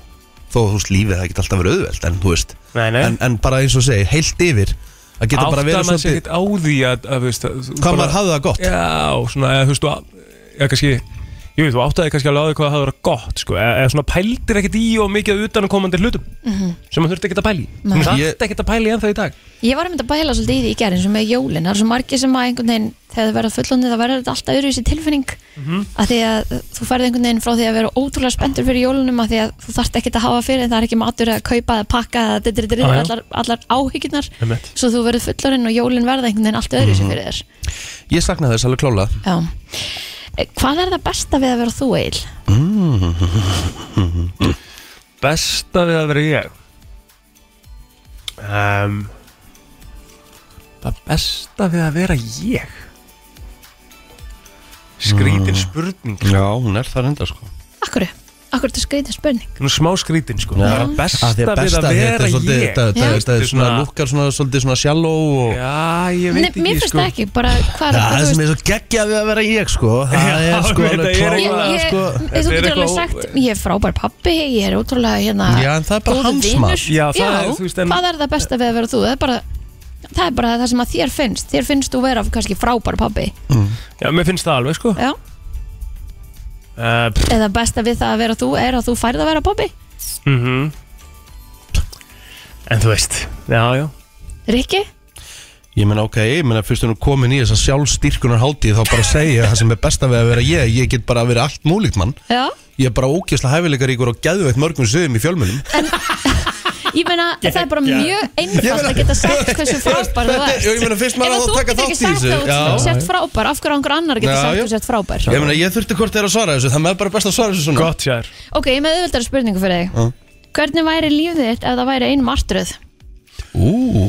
A: Þó þú veist, lífið það geti alltaf verið auðveld En þú veist,
C: Nei, nei
A: en, en bara eins og segi, heilt yfir Að geta bara verið
C: maður
A: svolítið
C: ekkert á því að, að veist, að-
A: Hvað
C: þú bara- Eh.
A: maður hafði það gott
C: Já, svona, eða, þú veist, þú að- eða kannski Jú, þú áttaði kannski alveg á því hvað það hafði verið gott sko, eða, eða svona pældir ekkert í og mikið utanakomandi hlutum sem maður þurfti ekkert að pæli
B: Mhm. Nei.
C: Þú
A: Ég-
C: þarfti ekkert að pæli ennþá í dag
B: ég var einmitt að bæla svolítið í því í gerðin sem með jólin, það er svo margir sem að einhvern veginn þegar það verða fullónið, það verður þetta alltaf öðru í sér tilfinning
C: Mhm.
B: að því að þú færði einhvern veginn frá því að vera ótrúlega spenntur fyrir jólunum að því að þú þarft ekkert að hafa fyrir það er ekki matur að kaupa eða pakka eða dittir, dittir,
C: Ah, Já, já.
B: allar, allar áhyggjurnar
C: Einmitt.
B: svo þú verður fullorinn og jólin verða einhvern veginn alltaf öðru
C: Mhm.
B: í sér fyrir þér
A: Ég sakna þess alveg klála
B: Já. Eh, Hvað er það besta við að vera þú, Eil?
C: Besta við að vera ég um,
A: Ehm,
C: Það besta við að vera ég
A: Mm.
C: Skrítin spurning sko.
A: Já, hún er það enda sko
B: Akkur, akkur þetta skreitir spurning
C: Nú smá skrítin sko
A: Já.
C: Það er besta,
A: Af því að
C: við
A: besta
C: að
A: þetta
C: vera
A: er svolítið-
C: ég
A: þetta-
B: Já.
A: þetta- Þetta er svona
C: Svona-
A: lukkar svona svolítið svona shallow og
C: Já, ég veit
B: Nei,
C: ekki
B: mér finnst
C: sko.
B: það ekki, bara hvað
A: Já,
B: hvað
A: það
B: þú
A: sem
B: veist-
A: er svo geggjað við að vera ég sko Það
C: Já,
A: er sko
C: þetta
A: alveg
C: er
A: klála
B: Ég,
C: eitthvað,
B: ég,
A: sko.
B: ég, þú
C: Þetta er
B: getur alveg
C: eitthvað-
B: sagt, ég er frábær pappi, ég er ótrúlega hérna
A: Já, en það er bara
B: góður
A: hans
B: vinur.
A: mat.
C: Já, það
B: Já,
C: er, þú veist, en-
B: hvað er það besta við að vera þú? Það er bara það, er bara það sem að þér finnst, þér finnst þú vera kannski frábær pappi,
C: Já, mér finnst það alveg sko
B: já
C: uh, pff,
B: eða besta við það að vera þú er að þú færð að vera pappi
C: mm En þú veist Já, já
B: Rikki?
A: Ég meina ok, ég meina fyrst hún er komin í þess að sjálfstyrkunar hátíð þá bara segja ég það sem er besta við að vera ég Ég get bara að vera allt múlíkt mann
B: Já
A: Ég er bara ókjæsla hæfileikaríkur og geðveitt mörgum sögum í fjölmunum
B: Ég meina, það er bara mjög
A: Ég
B: einfalt
A: meina-
B: að geta sagt hversu frábær þú
A: Þetta er-
B: ert
A: ég meina, fyrst maður á
B: Ef
A: að taka þátt
B: þú getur ekki
A: í
B: sagt
A: þessu.
B: að
A: Já.
B: þú sért frábær, af hverju einhver annar getur
A: Já,
B: sagt
A: já.
B: að þú sért frábær
A: Ég meina ég þurfti hvort þeirra að svara þessu Það er bara best að svara þessu svona
C: Gott sér
B: Ok, ég er með auðvöldar spurningu fyrir þig
A: Já.
B: Hvernig væri lífið þitt ef það væri ein martröð?
A: Ú,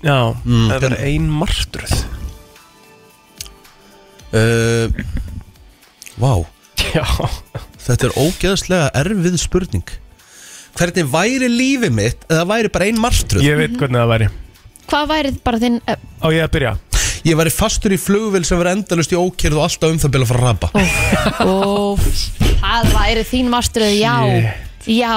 C: Já, það
A: hvernig-
C: er ein martröð
A: uh, Vá
C: Já
A: Þetta er ógeðslega erfið spurning Hvernig væri lífið mitt eða væri bara ein martröð?
C: Ég veit hvernig það væri
B: Hvað væri bara þinn uh,
C: Á ég að byrja
A: Ég væri fastur í flugvél sem verið endalust í ókýrð og alltaf um það byrja að fara að rapa
B: óf, Það væri þín martröð, já Já,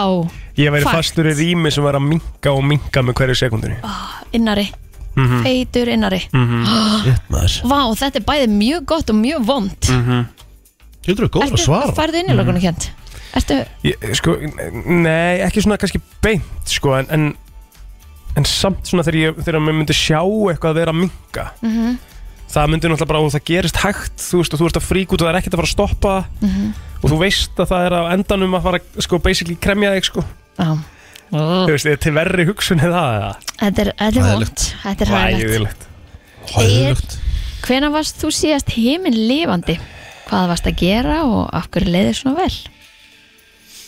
C: Ég væri
B: Fakt.
C: fastur í rými sem var að minka og minka með hverju sekundinu
B: innari
C: Mhm.
B: Feitur innari
A: Maður
B: Vá, þetta er bæði mjög gott og mjög vond
C: Mhm.
B: mm.
A: Getur þú góður að
B: Ertu,
A: svara?
B: færðu innilökunum mm. kjönd? Ertu,
C: ég, Sko, n- nei, ekki svona kannski beint Sko, en, en, en samt svona þegar, ég, þegar mér myndi sjá eitthvað að vera að minka -hmm. Það myndi náttúrulega bara og það gerist hægt Þú veist, og þú ert að frík út og það er ekkert að fara að stoppa mm -hmm. Og þú veist að það er á endanum að fara Sko, basically kremja þig, sko
B: á
C: Þú veist, er til verri hugsun eða það eða?
B: Þetta er, þetta er
A: Hræðilegt.
B: vond, þetta er hægilegt
C: Hræðilegt.
A: Hræðilegt.
B: Hvenær varst þú síðast heiminn lifandi? Hvað varst að gera og af hverju leiðir svona vel?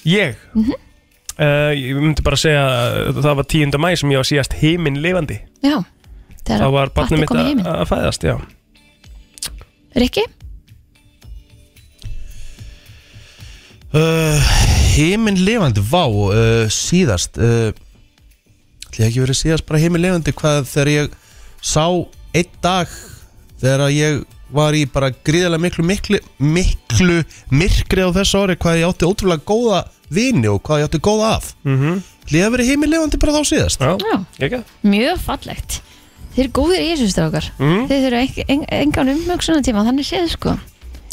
C: Ég? Mm ég myndi bara segja að það var 10. mæ sem ég var síðast heiminn lifandi
B: Já, þegar
C: Það var barnið
B: barnið
C: mitt
B: kom í
C: að
B: heiminn.
C: að fæðast, já
B: Rikki?
A: Uh, Heiminn levandi, vá, uh, síðast uh, ætli ég ekki verið síðast bara heiminn levandi hvað þegar ég sá einn dag þegar að ég var í bara gríðilega miklu, miklu, miklu myrkri á þessu ári hvað ég átti ótrúlega góða vini og hvað ég átti góða af mm -hmm. Líða verið heimilefandi bara þá síðast
C: Mhm.
B: Ah.
C: Já, ekki
B: Mjög fallegt Þeir eru góðir í þessu strákar
C: Mhm.
B: Þeir þurfa ekki- en- engan umhugsunatíma Þannig séð sko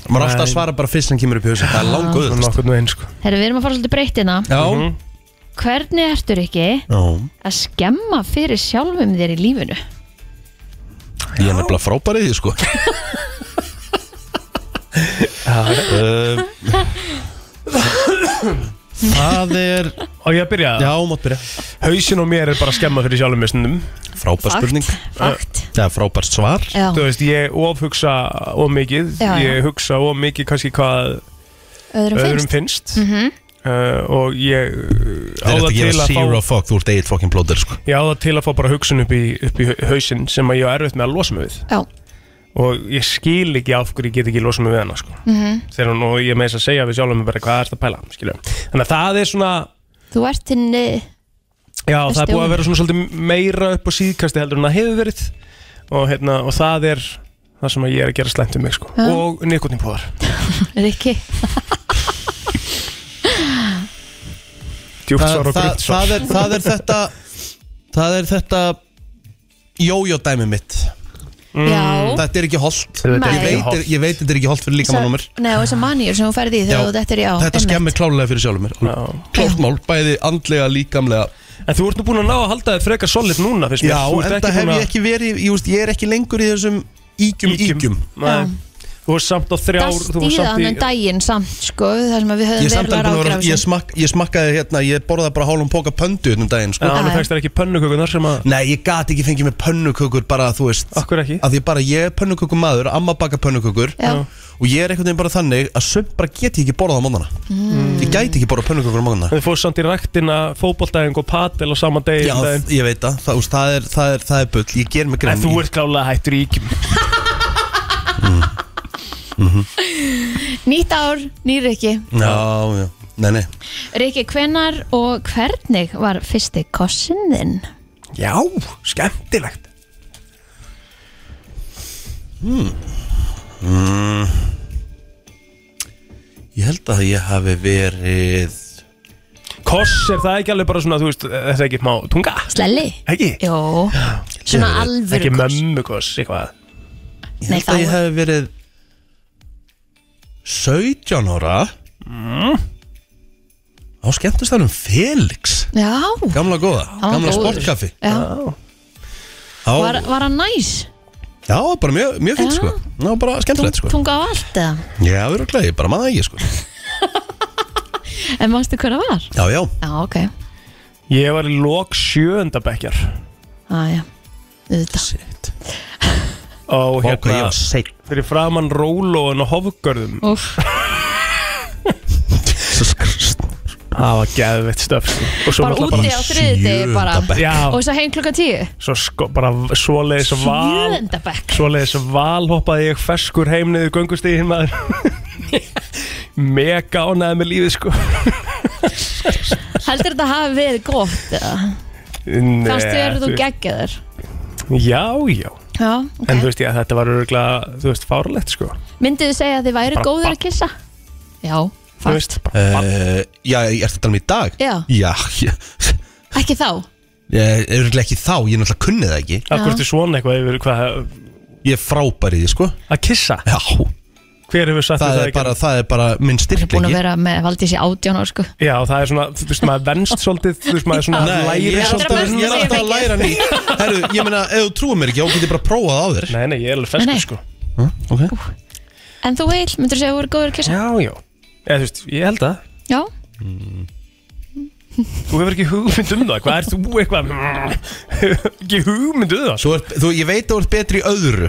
A: Maður er alltaf að svara bara fyrst sem kemur upp í hausin Það er langu
C: Það er nokkur nú eins sko
B: Herra, við erum að fara svolítið breytina
A: Já
B: Hvernig ertur ekki að skemma fyrir sjálfum þér í lífinu?
A: Ég er nefnilega frábærið því sko uh, Það er
C: Og ég að byrja
A: Já, mátt byrja
C: Hauðsinn og mér er bara að skemma fyrir sjálfum mér stundum
A: Frábær spurning
B: Fakt
A: Það er frábært svar
B: Já,
C: Þú veist, ég ofhugsa of mikið
B: Já, já.
C: Ég hugsa of mikið kannski hvað
B: öðrum
C: öðrum
B: finnst Mhm.
C: finnst uh, Og ég uh, á
A: Það er eftir að
C: það til
A: gera
C: að
A: zero
C: fá
A: fuck Þú ert eigið fucking blóðir sko
C: Ég á það til að fá bara hugsun upp í, upp í hausinn sem að ég á erfitt með að losa mig við
B: Já,
C: og ég skil ekki af hverju ég get ekki losa mig við hana sko.
B: Mhm.
C: þegar hún og ég með þess að segja við sjálfum mig bara hvað er þetta að pæla skilurðu. þannig að það er svona
B: þú ert hinn eh,
C: já,
B: Veistu
C: það er búið
B: hún?
C: að vera svona svolítið meira upp á síðkasti heldur en það hefur verið og, hérna, og það er það sem að ég er að gera slæmt um mig sko.
B: Já.
C: og nikotinpóðar
B: Rikki
C: djúpt
A: það,
C: svar og
A: það, það,
C: grútt svar
A: er, það er þetta Það er þetta Jójó dæmi mitt
B: Já
A: Þetta Mm, er ekki holdt
C: Þetta
B: er
A: ég,
B: ekki
A: veit-
C: hollt.
A: ég veit þetta er ekki holdt fyrir
B: Þessa-
A: líkamannúmer
B: Nei, og þessar manýjur sem þú ferði í
A: Já,
B: þegar þú þetta er já
A: Þetta
B: einmitt.
A: skemmir klálega fyrir sjálfur mér
C: Já.
A: Klárt mál, bæði andlega, líkamlega
C: en þú ert nú búin að ná að halda þið frekar solid núna fyrst
A: Já,
C: þú ert
A: en
C: ekki
A: það hef
C: búin
A: ég ekki verið Ég, veist, ég er ekki lengur í þessum ígjum ígjum,
C: Nei. þú ert samt á þrjár
B: Dast
C: þú
B: í
C: ert
B: það
C: samt
B: annan
C: í
B: daginn samt sko þar sem að við
A: Ég,
B: höfum
A: er samt alveg
B: verulega
A: búin að
B: rákir
A: vera-
B: af
A: ég,
B: þessu
A: smak, ég smakkaði hérna Ég borðaði bara hálfum póka pöndu utan daginn sko.
C: Já, en
B: Nei.
C: þú fækst þér ekki pönnukökunar sem að
A: Nei, ég gat ekki fengið með pönnukökur bara þú veist
C: Akkur ekki?
A: Af því bara ég er pönnukökur maður, amma baka pönnukökur
B: Já.
A: Og ég er einhvern veginn bara þannig að söm bara get ég ekki borðað á móðana Ég gæti ekki borðað pönnukökur á móðana
C: En þið fóðu samt í ræktina fótboltæðing og patel á sama degi um
A: Já,
C: daginn.
A: ég veit það, það, þú veist, það, er, það, er, það er bull, ég ger mig grein
C: En þú ert klálega hættur í íkjum
B: Nýtt ár, nýr Rikki
A: Já, já, nei, nei
B: Rikki, hvenar og hvernig var fyrsti kossinn þinn?
C: Já, skemmtilegt
A: Ég held að ég hafi verið
C: Koss er það ekki alveg bara svona, þú veist, þetta er ekki má tunga
B: Slelli?
C: Ekki?
B: Jó, svona
A: ég veit.
B: alvöru
C: Ekki
B: koss
C: mömmukoss, eitthvað
A: Ég
B: Nei,
A: held að
B: þá-
A: ég hef verið 17 ára Á skemmtist það um Felix
B: Já,
A: Gamla góða,
B: var
A: gamla
B: góður.
A: sportkaffi
B: já.
A: Já,
B: Var, var hann næs?
A: já bara mjög, mjög fint
B: Já.
A: sko Já, bara skemmtilegt sko
B: Tunga á allt eða?
A: Já, við erum glæði, bara maður ekki sko
B: En mástu hvernig var?
A: Já, já,
B: Já, ok
C: Ég var í lok sjöundabekjar
B: Æja, Ah, auðvitað
A: sitt Vá,
C: Og
A: hvað ég
C: hérna,
A: var seinn
C: fyrir framann rólóin og hofgörðum
B: Úf,
A: Jesus Christ
C: Það var geðveitt stöf Og svo
B: bara
C: náttúrulega
B: úti á þriðið degi bara
A: Sjöunda bekk.
C: Já,
B: Og svo heim klukka tíu
C: svo sko, bara svoleiðis val
B: Sjöunda bekk
C: Svoleiðis valhoppaði ég ferskur heim niður göngustíðin maður Mega ánæði með lífið sko
B: Heldur þetta hafi verið gott eða? Fannst þú
C: Nei,
B: eru þú
C: veist-
B: geggjaður?
C: Já, já
B: Já,
C: En þú
B: ok
C: veist ég að þetta var örgulega, þú veist, fárlegt sko
B: Myndið þið segja að þið væri
C: Bara
B: góður
C: barn.
B: að kissa? Já,
C: Þú
B: fakt
C: veist, bara barn.
A: uh, Já, ég ert að tala um í dag
B: Já,
A: Já, ég
B: ekki þá
A: Ég er örugglega ekki þá, ég er náttúrulega kunni það ekki
C: Af hverju ertu svona eitthvað yfir hvað
A: Ég er frábær í því sko
C: Að kissa,
A: Já,
C: hver hefur sagt
A: það
C: þér
A: er
C: að
A: bara,
C: gera?
A: það er bara minn
B: Ég er búin að
A: styrklegi
B: vera með Valdís í átján ár sko
C: Já, það er svona, þú veist, maður venst svolítið Þú veist, maður er svona
A: Nei, ég
C: læri
A: er alltaf,
B: svolítið- Þetta er
A: ég er alltaf að læra ný Herru, ég meina, ef þú trúir mér ekki, þá get ég bara prófað á þér
C: Nei, nei, ég er alveg
B: Nei, nei.
C: feskur sko
A: okay.
B: En þú Eil, myndir þú segja að þú eru góður að kissa?
C: Já, já Eða þú veist, ég held að
B: Já,
C: Þú hefur ekki hugmynd um það, hvað er þú eitthvað Ekki hugmynd um það sko.
A: Svo ert, þú, ég veit að þú ert betri í öðru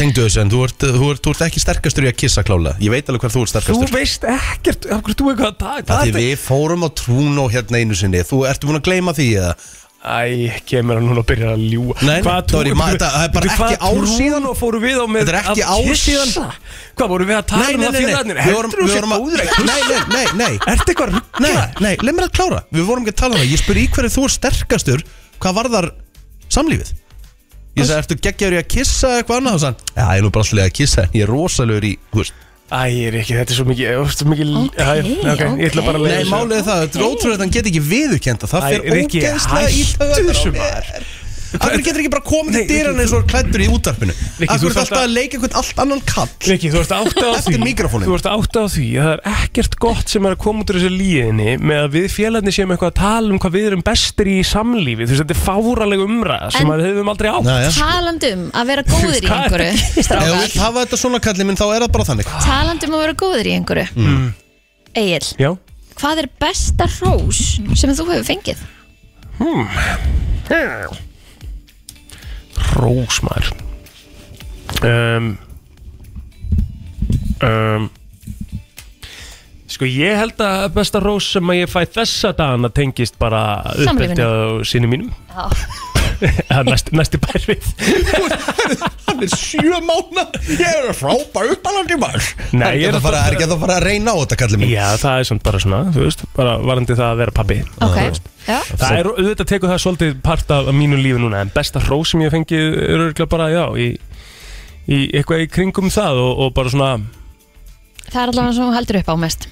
A: Tengdu þessu en þú ert, þú, ert, þú ert ekki sterkastur í að kissa klála Ég veit alveg hvað þú ert
C: Þú
A: sterkastur
C: veist ekkert, af hverju þú eitthvað að dag
A: Það því við fórum á trúnó hérna einu sinni Þú ert búin að gleyma því eða
C: Æ, kemur hann núna og byrjar að ljúa
A: Nei, nei,
C: Hvaða
A: það var í
C: trú-
A: maður- það- það er bara
C: Bíddu, hvaða
A: ekki ár
C: trú-
A: síðan.
C: og fóru við á með
A: Þetta er ekki
C: að
A: ár
C: kissa?
A: síðan.
C: Hvað voru við að tala um það fjöðarnir?
A: við vorum,
C: Heldur þú
A: við
C: sér
A: vorum að
C: góður að
A: Nei,
C: kissa?
A: nei, nei, nei,
C: Ertu eitthvað
A: nei,
C: ruggla?
A: nei Leif mér að klára Við vorum ekki að tala um það Ég spyr í hverju þú ert sterkastur Hvað var þar samlífið? Ég sagði, ertu geggjaður í að kissa eða eitthvað annað? Og sann, já, ég er nú bara alltaf að kissa en Ég er rosalegur í, hú veist
C: Æ, ég er ekki, þetta er svo mikið, þú veist, svo mikið
B: Ok,
C: Æ, ok, ég ætla bara að leiða
A: Nei, málið er það, þetta er ótrúlega að hann get ekki viðurkenda Það
C: Æ,
A: fer
C: Rikki,
A: ógeðslega í
C: hættu þessu, maður.
A: Akkur getur ekki bara komið til
C: Nei,
A: dyrann eins og er klættur í útarpinu
C: Rikki, þú
A: Akkur er
C: ert
A: alltaf
C: alltaf-
A: að leika eitthvað allt annan kall
C: Riki, þú ert átta á því
A: Eftir míkrofóninn.
C: Þú ert átta á því að það er ekkert gott sem er að koma út úr þessu líðinni með að við félagarnir séum eitthvað að tala um hvað við erum bestir í samlífi þú veist, þetta er fáraleg umræða
B: En-
C: sem að við höfum aldrei átt
A: Næja
B: Talandum um að vera góður í
C: Hvað er
B: einhverju
A: Ef þú vilt
B: Strákar
A: hafa þetta svona kallið minn þá er það bara þannig
B: Talandum að vera góður í einhverju mm. Egil,
C: Já,
B: hvað er besta hrós sem þú hefur fengið?
C: rósmar um, um, Sko, ég held að besta rós sem að ég fæ þessa dagana tengist bara
B: Samlífinu.
C: uppeldi á sinni mínum
B: Já.
C: Eða næsti, næsti bærfið
A: Hann er sjö mánu Ég er frábær utanandi maður
C: Nei, ég
A: Er
C: er
A: það bara- er ekki að það fara að reyna á þetta kallið minn?
C: Já, það er samt bara svona, þú veist, bara varandi það að vera pabbi
B: Ok, já,
C: Það er, auðvitað tekur það svolítið part af af mínu lífi núna En besta hró sem ég hef fengið er örgulega bara, já, í, í eitthvað í kringum það og, og bara svona,
B: það er allavega sem þú heldur upp á mest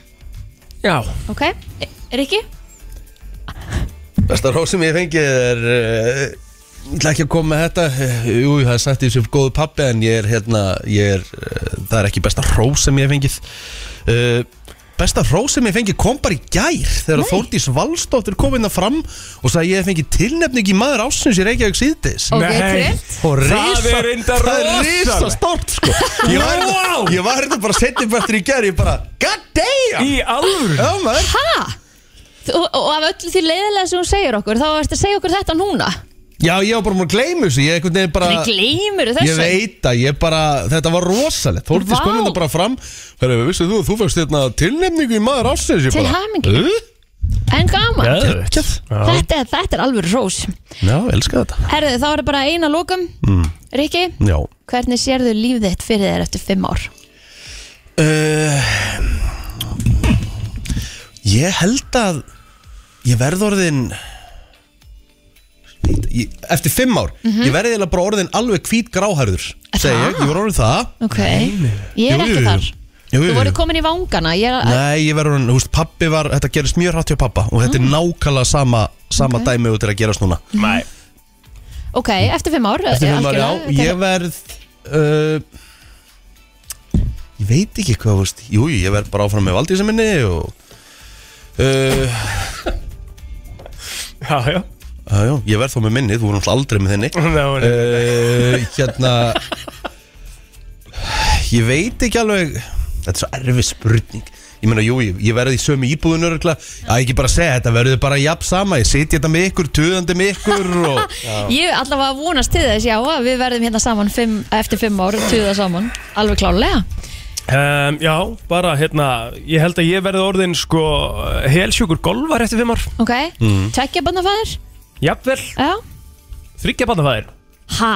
C: já
B: Ok, er ekki?
A: Besta ráð sem ég fengið er uh, Ég ætla ekki að koma með þetta eh, Jú, það er sagt í þessu góðu pappi En ég er hérna ég er, uh, Það er ekki besta ráð sem ég hef fengið uh, Besta ráð sem ég hef fengið kom bara í gær Þegar Þórdís Valstóttir kom hérna fram Og sagði að ég hef fengið tilnefning í maður ásins Í Reykjavík síðdís
B: Ok,
C: Nei.
B: trillt
A: Og risa,
C: er reyndar
A: það er
C: rosalegt.
A: risa stort sko Ég var hérna,
C: Wow.
A: ég var hérna bara setjum eftir í gær Ég bara, god damn
C: Í alvöru
A: Já maður
B: Ha? Þú- Og, og af öllu því leiðilega sem hún segir okkur þá ertu að segja okkur þetta núna
A: Já, ég var bara múin að gleyma þessu Ég einhvern veginn bara
B: Við gleymur þessu
A: Ég veit að ég bara, þetta var rosalegt Þórdís
B: Vá.
A: kom þetta bara fram Hörru, vissið þú, að þú fækst hérna tilnefningu í maður ásins
B: Til hamingju. En gaman
A: Gekkjað
C: Já,
B: þetta, er- þetta er alveg rós
A: Já, elska þetta
B: Herðu, þá er bara eina lókum mm. Riki,
A: Já
B: hvernig sérðu líf þitt fyrir þér eftir fimm ár?
A: uh, Ég held að Ég verð orðin ég, Eftir fimm ár
B: Mhm.
A: Ég verði eiginlega bara orðin alveg hvít gráhærður Segja ég, ég var orðin það
B: Ok, ég er
A: Jú,
B: ekki
A: jú,
B: þar
A: jú. Jú,
B: Þú
A: jú,
B: voru
A: jú.
B: komin í vangana ég er, að-
A: Nei, ég verður hann, þú veist, pappi var, þetta gerist mjög hratt hjá pappa og þetta er nákvæmlega sama, sama okay. dæmi út er að gerast núna
C: Nei.
B: Ok, eftir fimm ár
A: Eftir fimm ár, já,
B: algjörlega,
A: ég verð uh, Ég veit ekki hvað, þú veist Jú, jú, ég verð bara áfram með valdísa minni og uh,
C: já, já
A: já, já, Ég verð þó með minni, þú voru náttúrulega aldrei með þinni
C: Ná, nei.
A: uh, Hérna Ég veit ekki alveg Þetta er svo erfið spurning Ég meina, jú, ég, ég verði í sömu íbúðun örgla Að ekki bara segja, þetta verður bara jafn sama Ég sitja þetta með ykkur, töðandi með ykkur og...
B: Ég allavega vonast til þess, já, að við verðum hérna saman fimm, eftir fimm ár, tuða saman Alveg klálega
C: Um, já, bara hérna, ég held að ég verði orðin sko helsjúkur golvar eftir fimm ár
B: Ok, mm. tvekja bannafæðir
C: Jafnvel,
B: Já,
C: þryggja bandafæðir
B: ha,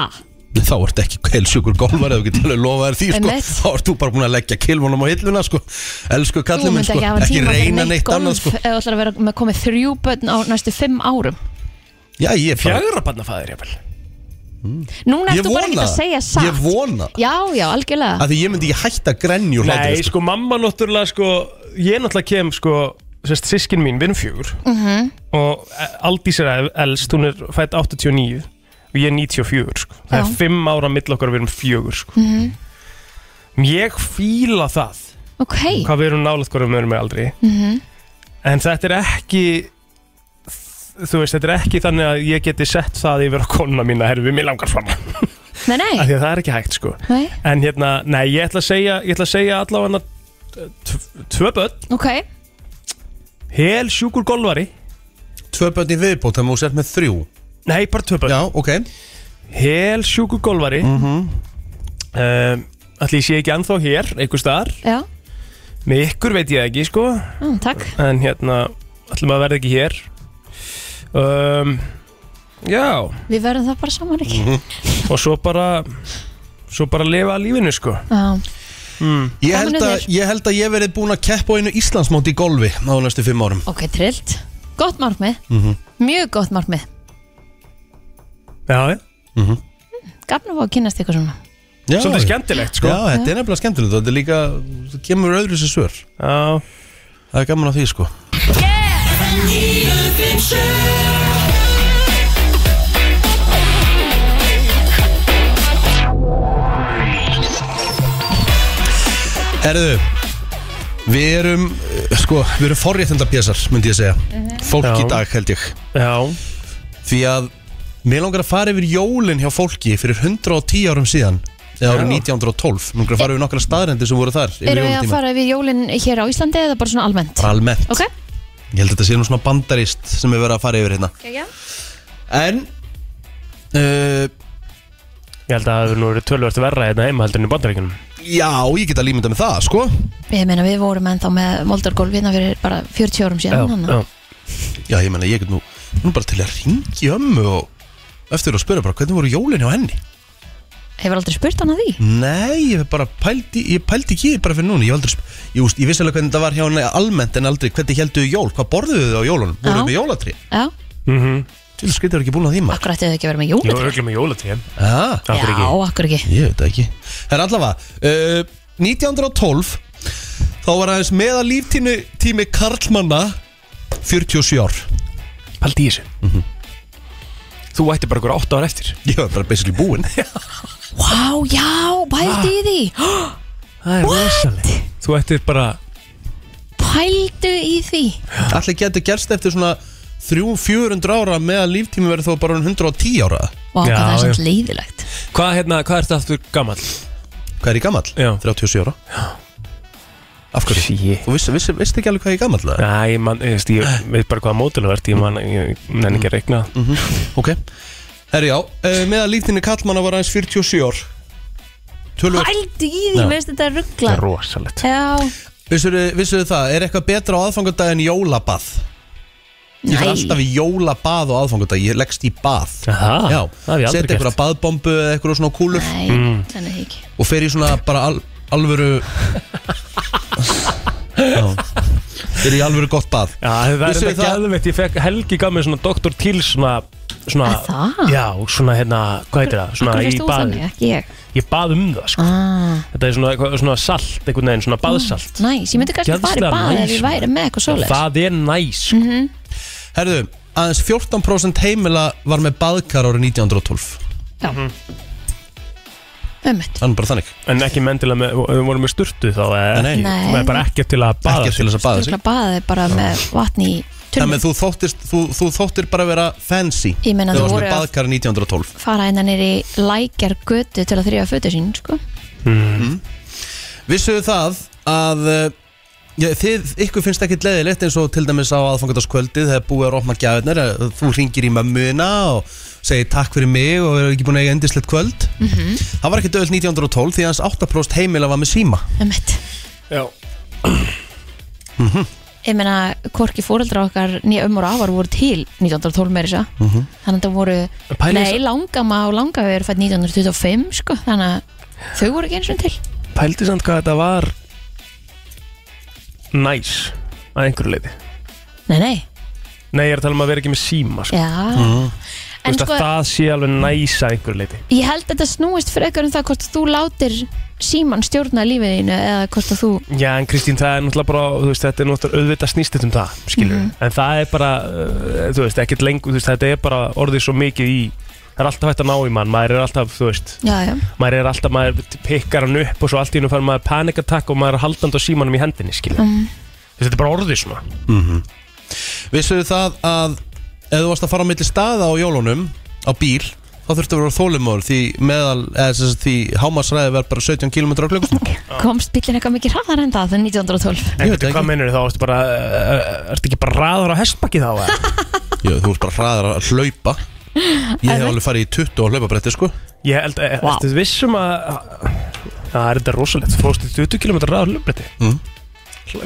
A: Nei, Þá ert ekki heilsjúkur golfari ef þú getur alveg lofað þér því sko.
B: Einmitt.
A: Þá ert þú bara búin að leggja kilvunum á hilluna sko. Elsku
B: þú
A: kallum minn
B: myndi
A: sko.
B: ekki hafa
A: Ekki
B: tíma
A: reyna
B: fyrir neitt
A: neitt annað
B: golf
A: sko.
B: ef þú ætlar að vera með komið þrjú börn á næstu fimm árum
A: Já, ég, er bara,
C: Fjagra bandafæðir, jafnvel
B: Núna
A: ég
B: ertu bara ekki
A: vona
B: að segja
A: það.
B: satt
A: Ég vona það.
B: Já, já, algjörlega
A: Af Því ég myndi ekki hætta að grenja úr
C: Nei,
A: hlátur
C: sko, mamma náttúrulega, sko, ég náttúrulega kem, sko, sérst, sískin mín, við erum fjögur og eh, Aldís er elst, hún er fætt 89 og ég er 94, sko. Það
B: Já.
C: er fimm ára mill okkar og við erum fjögur, sko. Ég fíla það,
B: Ok, Mhm.
C: hvað við erum nálægt hvað við erum með aldrei. En þetta er ekki, þú veist, þetta er ekki þannig að ég geti sett það yfir á konuna mína, herru, við mér langar fram.
B: nei, nei,
C: Af því að það er ekki hægt, sko.
B: nei.
C: En hérna, nei, ég ætla að segja, ég ætla að segja allavega tvö börn
B: Ok,
C: Hel sjúkur golvari
A: Tvö börn í viðbót, þannig að þú sért með þrjú
C: Nei, sko. bara tvö börn
A: Já, ok
C: Hel sjúkur golvari mm -hmm.
A: Mhm.
C: um, Ætli ég sé ekki anþá hér, einhver staðar
B: já,
C: Með ykkur veit ég ekki, sko
B: mm, takk
C: En hérna, ætlum að verða ekki hér um, Já
B: Við verðum það bara saman ekki
A: Mhm.
C: Og svo bara Svo bara lifa lífinu, sko
B: Já,
A: Ég
B: Gaman
A: held,
B: að
A: að,
B: þér.
A: ég held að ég verið búin að keppa á einu Íslandsmóti í golfi á næstu fimm árum
B: ok, trillt Gott
A: Mhm.
B: markmið, mjög gott markmið
C: Já, já
B: samt gafn að fá að kynast eitthvað svona
A: Já,
C: Svolítið skemmtilegt, sko.
A: Já, þetta er nefnilega skemmtilegt og Þetta er líka, það kemur öðru sér svör
C: Já,
A: Það er gaman að því sko Herðu Við erum, eh, sko, við erum forréttenda pjæsar, myndi ég segja
B: Mhm.
A: Fólk
C: Já.
A: í dag, held ég
C: já,
A: Því að mér langar að fara yfir jólin hjá fólki fyrir 110 árum síðan eða árið 1912, mér langar að fara yfir nokkra staðrendir sem voru þar yfir
B: Erum við að
A: jólatímann.
B: fara við jólin hér á Íslandi eða bara svona almennt?
A: Bara almennt,
B: Ok,
A: ég held að þetta sé nú svona bandarist sem við verðum að fara yfir hérna
B: gegja
A: En uh,
C: ég held að það hefur nú verið tölvöld verra hérna heima heldur en í bandaríkunum
A: Já, ég get að límynda með það, sko
B: Ég meina við vorum ennþá með moldargólf hérna fyrir bara 40 árum síðan þannig að-
A: Já, ég menna, ég get nú, nú bara til að ringi ömmu og eftir að spura bara hvernig voru jólin hjá henni
B: Hefur aldrei spurt hann að því?
A: Nei, ég hef bara pældi, ég pældi ekki bara fyrir núna Ég, hef aldrei, sp- ég, úst, ég vissi alveg hvernig þetta var hjá henni almennt en aldrei hvernig heldur þau jól, hvað borðuðu þau á jólunum
B: Já.
A: Voruðu með jólatri?
B: Já,
C: Mhm.
A: Til skritur ekki búin að því maður
B: akkur ætti þau ekki að vera með
C: Jú,
B: jólatri?
C: auðvitað með jólatíð
A: ah,
C: Akkur
B: Já,
C: ekki
B: akkur ekki
A: Ég veit það ekki Það er allavega uh, 1912 þá var aðeins meða líftími tími Karlmanna 47 ár
C: Paldi í þessu
A: Mhm.
C: Þú ætti bara okkur 8 ára eftir
A: Ég var bara basically búinn
B: Vá, já, pældu í því
C: Það er rosaleg Þú ættir bara
B: Pældu í því
A: Allir getur gerst eftir svona 300-400 ára meða líftími verður þó bara orðinn 110 ára
B: Vá, hvað
C: Já,
B: það er
C: já.
B: samt leiðilegt
C: Hvað hérna, hvað ertu aftur gammal?
A: Hvað er ég gamall?
C: Já.
A: 37 ára Já Af hverju?
C: Shit.
A: Þú vissi, vissi, vissi ekki alveg hvað ég er gamall eða?
C: Næ, man, ég, veist,
A: Eh.
C: ég veit bara hvaða mótil þú ert Ég man, ég
A: Mm.
C: nenni ekki að regna
A: Ok Herri já, uh, meða líftími Karlmanna var aðeins 47 ár Tölvöld
B: Pældu í því,
A: Já.
B: veist þetta er
C: Það
B: ruggla
C: er rosalegt
B: Já,
A: Vissuðu vissu það, er eitthvað betra á aðfangadag en jólabað? Ég fyrir alltaf í jólabað á aðfangadag, ég leggst í bað
C: Aha,
A: Já,
C: það hef ég aldrei
A: setja einhverja
C: gert
A: baðbombu eða einhverja svona kúlur
B: Nei, þannig ekki
A: og fer í svona bara al, alvöru Já, er í alvöru gott bað
C: Já, það er
A: Vissuð
C: þetta
A: það-
C: gæðveitt Ég fekk Helgi gaf mér svona Dr. Till svona Svona,
B: Er það?
C: já, svona hérna, hvað heitir það? Svona
B: Akkur
C: í
B: veist þú
C: baði
B: þannig, ekki ég
C: Ég bað um það, sko
B: ah.
C: Þetta er svona, eitthvað- svona salt, einhvern veginn, svona baðsalt
B: Næs, ég myndi kannski fara í
C: Geðslega
B: bað ef
C: næs,
B: ég væri með eitthvað svoleiðis
C: Það er næs, sko
A: Herðu, aðeins 14% heimila var með baðkar árið 1912
B: Ömmit
A: Þannig bara þannig,
C: En ekki menn til að með, við vorum með sturtu þá eða
A: Nei, nei.
C: ekki,
B: Nei.
C: maður er bara ekkert til að baða
A: ekkert til þess að baða sig
B: Ruggla baði bara með vatni í tunnu
A: Þannig að þú þóttir, þú, þú þóttir bara vera fancy
B: Ég meina,
A: Þegar
B: þú
A: varst með
B: voru að-
A: baðkar 1912
B: fara hérna nýri lækjar götu til að þrýja fötu sín sko.
A: Vissuðu það að uh, já, þið, ykkur finnst ekkit leðilegt eins og til dæmis á aðfangadagskvöldið þegar búið að opna gjafirnar eh, þú ringir í mömmuna og segir takk fyrir mig og er ekki búin að eiga endislegt kvöld Það var ekki döðl 1912 því að hans 8% heimila var með síma
B: Ömmit
C: Já,
B: Ég meina, hvorki fóreldra okkar nýja ömmur og afar voru til 1912 meira þess að
A: Mhm.
B: Þannig að það voru,
C: En pælið
B: nei,
C: þess-
B: langama og langama eru fætt 1925 sko, þannig að þau voru ekki eins og til
C: pældi samt hvað þetta var næs að einhverju leiti
B: Nei, nei,
C: Nei, ég er að tala um að vera ekki með síma sko.
B: já
C: Þú
B: En
C: veist
B: sko,
C: að það sé alveg næs að einhverju leiti
B: ég held að þetta snúist frekar um það hvort þú látir síman stjórna lífið þínu eða hvort að þú
C: Já, en Kristín, það er náttúrulega bara þú veist, þetta er náttúrulega auðvitað snýstitt um það skilur,
B: Mhm.
C: en það er bara uh, þú veist, ekkert lengur, þú veist, þetta er bara orðið svo mikið í, það er alltaf hægt að ná í mann maður er alltaf, þú veist,
B: Já, já,
C: maður er alltaf, maður pikkar hann upp og svo allt í hennu fær maður panikattack og maður er haldandi á símanum í hendinni, skilja
A: Mm.
B: Mhm.
C: þetta er bara orðið svona
A: Vissuðu Mhm. það að ef þú varst að fara á milli staða á jólunum á bíl þá þurftu að vera þólumóður því meðal eða sem sagt, því hámarsræði verð bara 17 km á klukkustund
B: komst bíllinn eitthvað mikið hraðar en það þannig 1912
A: Ég
C: en
A: veit
C: veitu,
A: ekki.
C: hvað mennur þá, ertu bara uh, ertu ekki bara raður á hestbakki þá eða?
A: Jú, þú ert bara hraðar að hlaupa Ég hef alveg farið í 20 á hlaupabretti sko
C: ég held, er,
B: Vá.
C: ertu vissum að það er þetta rosalegt, þú fórstu 20 km raður löfbretti
A: Mhm.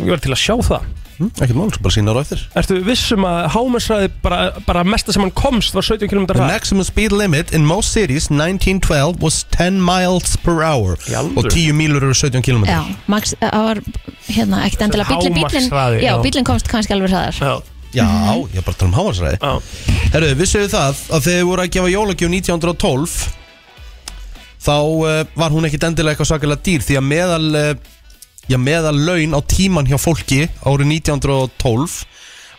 C: ég var til að sjá það
A: Mm, ekkert mál, svo bara sína á eftir
C: ertu vissum að hámessraði bara, bara mesta sem hann komst var 17 km
A: The
C: raður
A: maximum speed limit in most cities 1912 was 10 miles per hour
C: Í alvöru?
A: og 10 mílur eru 17 km
B: Já, Max, eh, það var hérna ekkert endilega bíllinn, bíllinn,
C: Hámarkshraði,
B: já,
C: já.
B: bíllinn komst kannski alveg hraðar
C: já,
A: Já, ég er bara að tala um hávarsræði
C: já,
A: Herru, vissuðu það að þegar þið voru að gefa jólagjöf 1912 þá uh, var hún ekkit endilega eitthvað svakalega dýr því að meðal uh, já, meðal laun á tíman hjá fólki árið 1912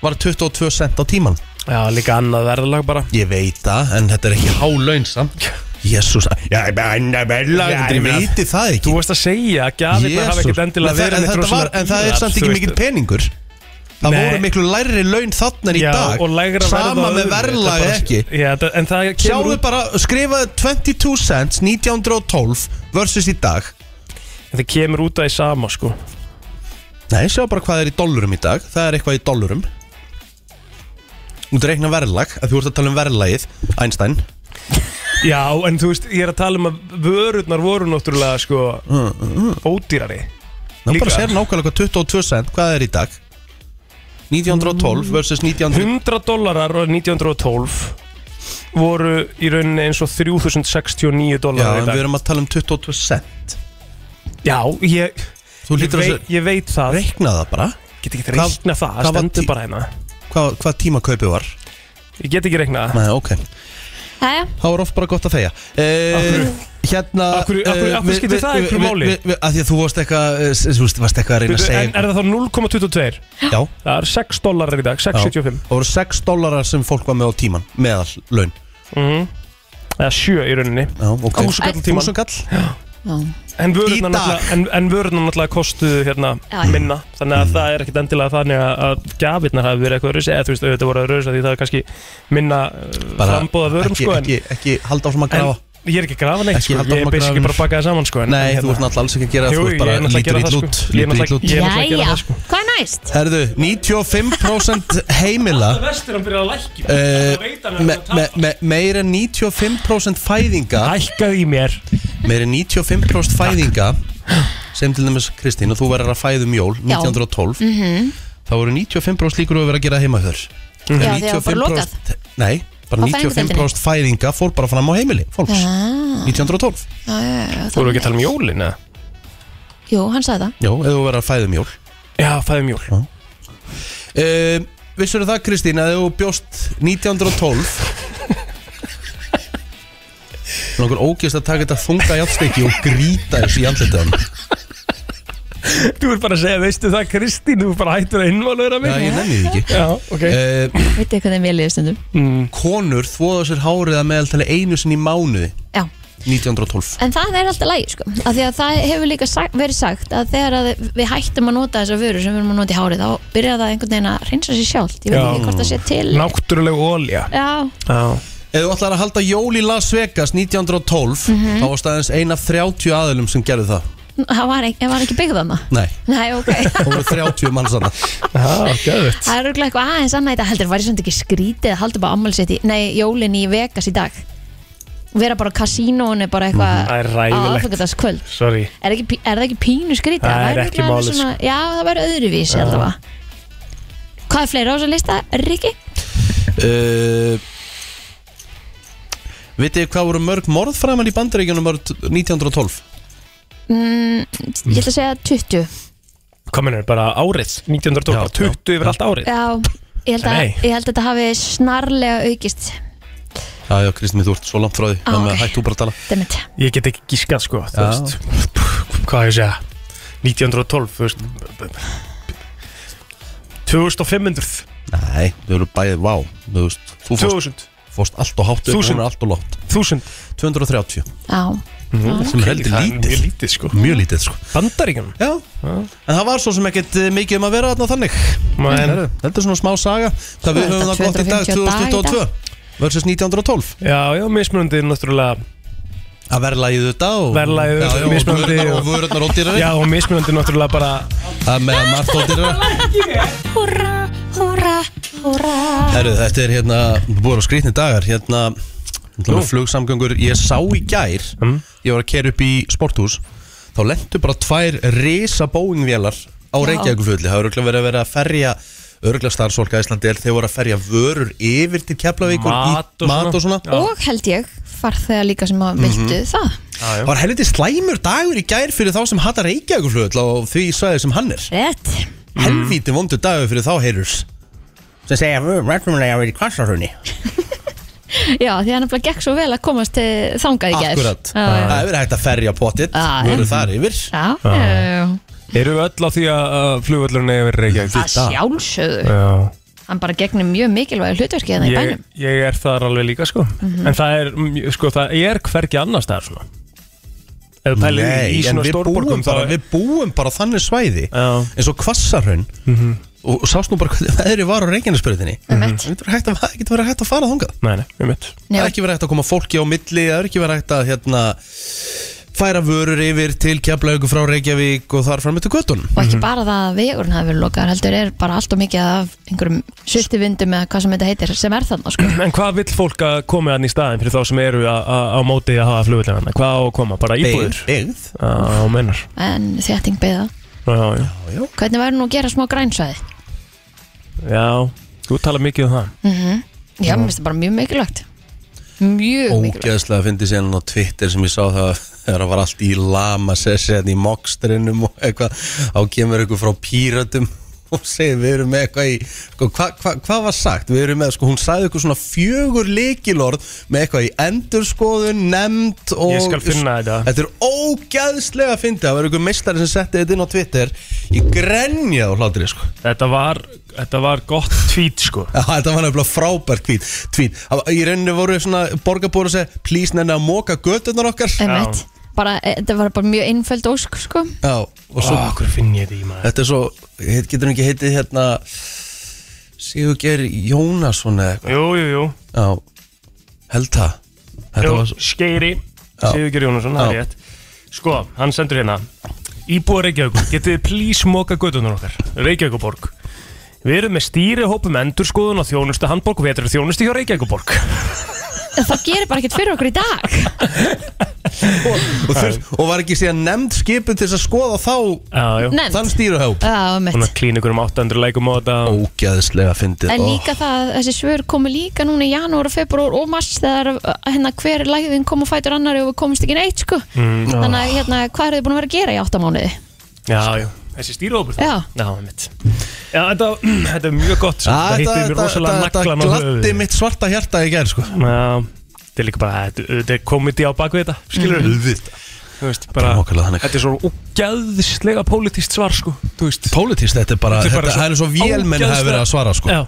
A: var 22 cent á tíman
C: Já, líka annað verðalag bara
A: Ég veit það, en þetta er ekki hálaun samt Jésús, já, ég meina, annað verðlag,
C: Já, ég
A: ég
C: meina-
A: veit það ekki
C: Þú veist að segja að gjafirnar hafa ekkert
A: Jesús.
C: endilega
A: en, það-
C: verið
A: en,
C: neitt
A: þetta var,
C: rosalega
A: en það er
C: dýrar,
A: samt
C: þú
A: ekki
C: veist.
A: mikill peningur Það
C: Nei.
A: voru miklu læri laun þarna en í
C: Já,
A: dag
C: og lægra verð
A: Sama
C: á
A: með
C: öðru,
A: verðlag
C: þetta er
A: ekki
C: bara- Já, þetta- en það kemur
A: Sjáðu
C: út
A: bara, skrifaðu 22 cents 1912 versus í dag
C: Það kemur út að í sama sko
A: Nei, sjáðu bara hvað er í dollurum í dag Það er eitthvað í dollurum Þú ert að reikna verðlag að Þú ert að tala um verðlagið, Einstein
C: Já, en þú veist, ég er að tala um að vörurnar voru náttúrulega sko ódýrari
A: Ná
C: Líka.
A: bara sér nákvæmlega hvað 22 cent, hvað er í dag 1912 versus 1912
C: 100 dólarar árið 1912 voru í rauninni eins og 3069
A: Já,
C: dólarar
A: en
C: í
A: við
C: dag
A: erum að tala um 22 cent
C: Já, ég,
A: Þú
C: ég,
A: lítur að
C: veit, ég veit það
A: reikna það bara
C: Get ekki
A: Hvað-
C: reikna það,
A: hvað
C: það
A: var tí-
C: stendur bara hérna
A: Hvað, hvað tíma kaupið var
C: Ég get ekki reikna það
A: Nei, ok
B: Jæja,
A: Þá er oft bara gott að þegja
C: Af
A: uh,
C: hverju?
A: Hérna
C: Af hverju- af hverju- af hverju skiptir það einhverju máli?
A: Af því að þú varst eitthvað eh, Þú veist, varst eitthvað að reyna að
C: Bíddu,
A: segja
C: En er það þá 0,22?
A: Já,
C: Það er 6 dólarar í dag,
A: já
C: 6,75
A: Það voru 6 dólarar sem fólk var með á tíman Meðal laun
C: Eða 7 í rauninni
A: Já, ok
C: Þúsund kall á tímann.
A: Þúsund kall?
B: já,
C: En
A: Í
C: vörurnar
A: dag.
C: náttúrulega, en, en vörurnar náttúrulega kostuðu hérna
B: Já, já.
C: minna Þannig að það er ekkit endilega þannig að- að gjafirnar hafi verið eitthvað rauðs Eða þú veist, auðvitað voru að rauðs Því það er kannski minna
A: Bara
C: frambóða vörum
A: ekki,
C: sko en,
A: ekki, ekki halda áfram að
C: en
A: grafa
C: ég er ekki að grafa neitt
A: Ekki
C: sko
A: halda áfram
C: Ég er
A: að
C: basically
A: grafa.
C: bara að baka það saman sko en,
A: Nei,
C: hérna,
A: þú ert náttúrulega alls ekki að gera
C: Jú,
A: það Þú
C: ég
A: ert bara
C: er náttúrulega að
A: lítur
C: gera
A: í
C: það sko
A: lút
C: Ég er
A: Lítur í lút
C: náttúrulega ég er náttúrulega að gera
B: jæja
C: það sko
B: Hvað er næst?
A: Herðu, 95% heimila
C: Vestur hann byrjaði að lækki
A: eh, me, me, me, Meir en 95% fæðinga
C: Hækkaði í mér
A: Meir en 95% fæðinga sem til dæmis Kristín og þú verður að fæðum jól 1912 þá voru 95% líkur á að vera að gera heima þurr
B: Mhm. Já, því að það var bara lokað.
A: Nei, bara
B: Á
A: 95% fæðinga fór bara fram á heimili fólks 1912
B: Ah, Já, já, já,
C: Þú
B: það-
C: voru ekki að tala um jólin eða?
B: Jú, hann sagði það
A: Jó, ef þú verður að fæðum jól
C: Já, fæðum jól
A: uh, Vissur það Kristín að ef þú bjóst 1912 Nókur ógjast að taka þetta þunga játstykki og grýta þessu í andlitið á honum.
C: Þú ert bara að segja, veistu það Kristín Þú ert bara hættur að innvalöra
A: Já,
C: mig
A: ég nenni því ekki
C: Já, ok
A: uh,
B: Veit þið hvernig mér liðið stundum?
A: konur þvoða sér hárið að meðaltali einu sinni í mánuði
B: Já,
A: 1912
B: en það er alltaf lægi sko af því að það hefur líka sagt, verið sagt að þegar að við hættum að nota þessar vörur sem við erum að nota í hárið þá byrjar það einhvern veginn að reynsa sér sjálft ég veit
C: Já.
B: ekki hvort það sé til
C: Náttúruleg ólja
B: Já,
C: Já
A: Ef þú ætlar að halda jól í Las Vegas 1912 þá var staðins ein af 30 aðilum sem gerðu það
B: það var ekki, var ekki byggð þarna
A: Nei,
B: Nei, ok
A: það voru 30 mann sann
C: Já, gæðut
B: Það er auðvitað eitthvað aðeins annað í dag heldur Var ég samt ekki skrítið að halda bara ammálsett í Nei, jólin í Vegas í dag Vera bara á kasínónu bara eitthvað
C: Það er
B: Á
C: ræðilegt.
B: aðfangadagskvöld
C: Sorry
B: er, ekki pí- er það ekki pínu skrítið?
C: Það er
B: væri
C: ekki
B: örugglega
C: málið, sko.
B: svona- Já, það væri öðruvísi allavega Hvað er fleira á þessum lista, Rikki?
A: uh, Vitið þið hvað voru mörg morð framan í bandaríkjunum árið 1912?
B: Mm, Ég ætla að segja 20
C: Hvað mennur, bara árið 1912,
A: Já,
C: bara 20 yfir allt árið
B: Já, ég held að,
C: Nei.
B: ég held að þetta hafi snarlega aukist
A: Já, já, Kristmi, þú ert svo langt frá því
B: Á,
A: ah, okay.
B: ok.
A: Hættu bara að tala
B: Dammit.
C: Ég get ekki gískað sko, þú
A: Já.
C: veist Hvað á ég að segja 1912, þú veist 2500
A: Nei, þau eru bæðið, vá Þú, veist, þú fórst,
C: 2000,
A: fóst allt og hátt upp,
C: Þúsund.
A: hún er allt og látt
C: 1000
A: 230,
B: Já,
A: sem er heldur
C: Mhm. Það er
A: lítið
C: Mjög lítið sko
A: Mjög lítið, sko
C: Bandaríkjum
A: Já, en það var svo sem ekkert eh, mikið um að vera þarna þannig
C: Men,
A: Þetta er svona smá saga Hvað við
B: Þetta
A: höfum það gott í dag
B: 250 daga í dag.
A: 2022 versus 1912
C: Já, já, mismunandi náttúrulega
A: Að verðlægið þetta og
C: Verðlagið,
A: Já, já, og
C: mismunandi
A: vörurnar-
C: og-
A: og vörurnar ódýrari
C: Já, og mismunandi náttúrulega bara
A: Það með margt ódýrari
B: húrra, húrra, húrra
A: Herru, þetta er hérna, við búum á skrýtni dagar hérna, hérna flugsamgöngur ég sá í gær
C: Mm.
A: ég var að kera upp í sporthús þá lendu bara tvær risa bóingvélar á
B: Já.
A: Reykjavíkflöðli það eru verið að vera að ferja örgla starfsólka Íslandi þeir voru að ferja vörur yfir til Keflavíkur
C: Mat
A: í,
C: og
A: mat og svona
C: svona. Já.
B: Og held ég farþega líka sem að vildu
C: Mhm.
B: það
A: Það var helviti slæmur dagur í gær fyrir þá sem hata Reykjavíkflöðl og því svæði sem hann er
B: Rétt
C: Mm.
A: helviti vondur dagur fyrir þá heyrurs sem segja, við verðum að vera í kvassarhraunni
B: Já, því hann nefnilega gekk svo vel að komast til þangað í gær
A: Akkurat
B: Já,
A: Það
B: já.
A: hefur hægt að ferja pottit
B: Já,
A: Við erum
B: já.
A: þar yfir
B: Já, já, já, já.
C: Eru við öll á því að að flugvöllurinn eigi að vera reykja
B: að sjálfsögðu
C: Já
B: Hann bara gegnir mjög mikilvæg hlutverki þannig í
C: ég,
B: bænum Mhm.
C: ég er þar alveg líka sko En það er, mm, sko, það er hvergi annars það er svona Ef þú pælir í- í
A: Nei, en
C: svona
A: við búum,
C: stórborgum þá
A: bara,
C: er-
A: við búum bara á þannig svæði
C: Já. Mhm.
A: eins og kvassarhraun og, og sást nú bara hvernig veðri var á reikinarsbyrðinni
B: Mm
A: Mhm. Það getur verið hægt að- það getur verið hægt að fara þangað
C: Nei, nei, um mitt
A: Það er ekki verið hægt að koma fólki á milli Það er ekki verið hægt að hérna, færa vörur yfir til Keflavíku frá Reykjavík og þar fram eftir göttunum
B: Og ekki bara það að vegurinn hafi verið lokaðar heldur er bara allt og mikið af einhverjum sultivindum eða hvað sem þetta heitir sem er þarna sko
C: En hvað vill fólk að koma hann í staðin fyrir þá sem eru a- a- á móti að hafa flugvöllurinn hann? Hvað á að koma? Bara íbúður?
A: Byggð
C: Já, mennar
B: en þétting beða
C: Já, já,
B: Hvernig væri nú að gera smá grænsvæði?
C: já Þú tala mikið um það
B: Já, mér finnst það bara mjög mikilvægt Mjög mikilvægt
A: Ógeðslega fyndi síðan á Twitter sem ég sá það þegar það var allt í lama sessi hérna í mokstrinum og eitthvað á kemur eitthvað frá pírötum og segir við erum með eitthvað í sko, hvað hva, hva var sagt, við erum með sko, hún sagði eitthvað svona fjögur leikilorð með eitthvað í endurskoðun, nefnd og
C: Ég skal finna þetta.
A: Þetta er ógeðslega fyndi, það var eitthvað meistari sem setti þetta inn á Twitter í grenjað og hlátri sko
C: Þetta var, þetta var gott tweet sko
A: Já, þetta var nefnilega frábært hvít, tvít. Í rauninni voru svona borgarbúru að segja, please nenni að móka götunar okkar.
B: Einmitt. bara, e, Þetta var bara mjög einföld ósk sko
A: Já, og svo,
C: Svo, hver finn ég þetta í maður?
A: þetta er svo, heit- getur hann ekki heitið hérna, Sigurger Jónasson eða eitthvað.
C: Jú, jú, jú,
A: Já, held það. Þetta
C: jú
A: var svo,
C: Skeiri,
A: Já.
C: Sigurður Jónasson,
A: Já.
C: það er rétt Sko, hann sendur hérna Íbúa Reykjavíkur, getið þið please móka gödunar okkar Reykjavíkuborg Við erum með stýri hópum endurskoðun og þjónustu handborg og við erum þjónustu hjá Reykjavíkuborg
B: Það gerir bara ekkert fyrir okkur í dag
A: og, þurft, og var ekki síðan nefnd skipið til þess að skoða þá
C: Já, já,
B: Nefnd
A: þann stýruhóp.
B: Já,
C: svona
B: einmitt.
C: klín ykkur um 800 leikum á þetta og
A: Ógæðislega fyndið.
B: En
A: ó.
B: líka það, að þessi svör komu líka núna í janúar og februar og mars þegar uh, hérna hver læðin kom og fætur annar og við komumst ekki neitt sko
D: Mm,
B: Þannig að hérna, hvað eru þið búin að vera að gera í áttamánuði?
C: Já, já, þessi stýrihópur það
B: Já.
C: Já, mitt Já, þetta, þetta er mjög gott sko.
A: Ah,
C: Það hittir
A: þetta-
C: mér
A: þetta-
C: rosalega
A: þetta-
C: naglan á
A: Þetta glatti
C: höfuðið.
A: mitt svarta hjarta í gerð, sko.
C: Já, þetta er líka bara þetta- Þetta er komedi á bakvið þetta, skilur við
A: Þetta.
C: Þú veist, bara
A: Það er nákvæmlega þannig.
C: Þetta er svo ógæðslega pólitískt svar, sko Þú veist
A: Pólitist, þetta er bara, þetta,
C: Þetta er bara svo
A: það er eins og vélmenn hafi verið að svara, sko.
C: Já,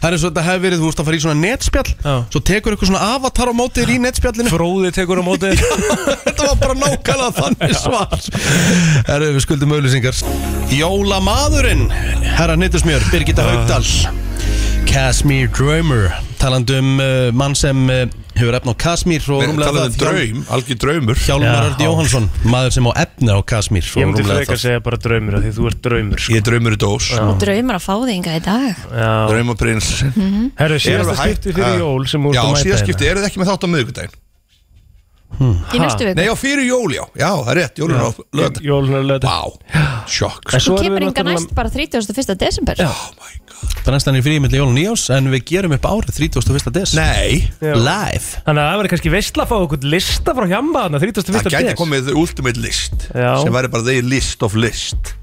A: Það er eins og þetta hefur verið, þú veist að fara í svona netspjall
C: Já.
A: Svo tekur eitthvað svona avatar á mótið þér í netspjallinu
C: fróði tekur á móti
A: Þetta var bara nákvæmlega þannig svar Herru, við skuldum auðlýsingar Jólamadurinn Herra Nýttusmjör, Birgitta Haugdal Kasmir Ah. Drömer Talandi um uh, mann sem uh, hefur efna á Kasmir og rúmlega
D: Talaðu um
A: það Hjál-
D: draum, algjör draumur
A: Hjálmar
C: Já.
A: Örd Jóhansson, maður sem á efna á Kasmir
C: Ég myndi frekar segja bara draumur af Því þú ert draumur, sko
D: Ég er draumur í dós
B: Þú draumar að fá þig inga í dag
C: Já.
D: Draumaprins
C: Herru, síðasta skipti fyrir jól sem úr
D: Já, síðasta skipti, eru þið ekki með þátt á miðvikudaginn?
B: Í næstu viku
D: Nei, já, fyrir jól, já, já, það er rétt, jólun á lögðan
C: Jólun er lögð
D: Vá, sjokk
B: Þú kemur inga næst bara 31. desember
D: Oh my god
A: Það er næstan í fríi milli Jólun Nýjós En við gerum upp árið 31. des
D: Nei,
A: Live
C: Þannig að það verður kannski veistla að fá okkur lista frá hjamba þarna 31.
D: það gæti
C: des.
D: komið the ultimate list
C: Já.
D: sem væri bara the list of list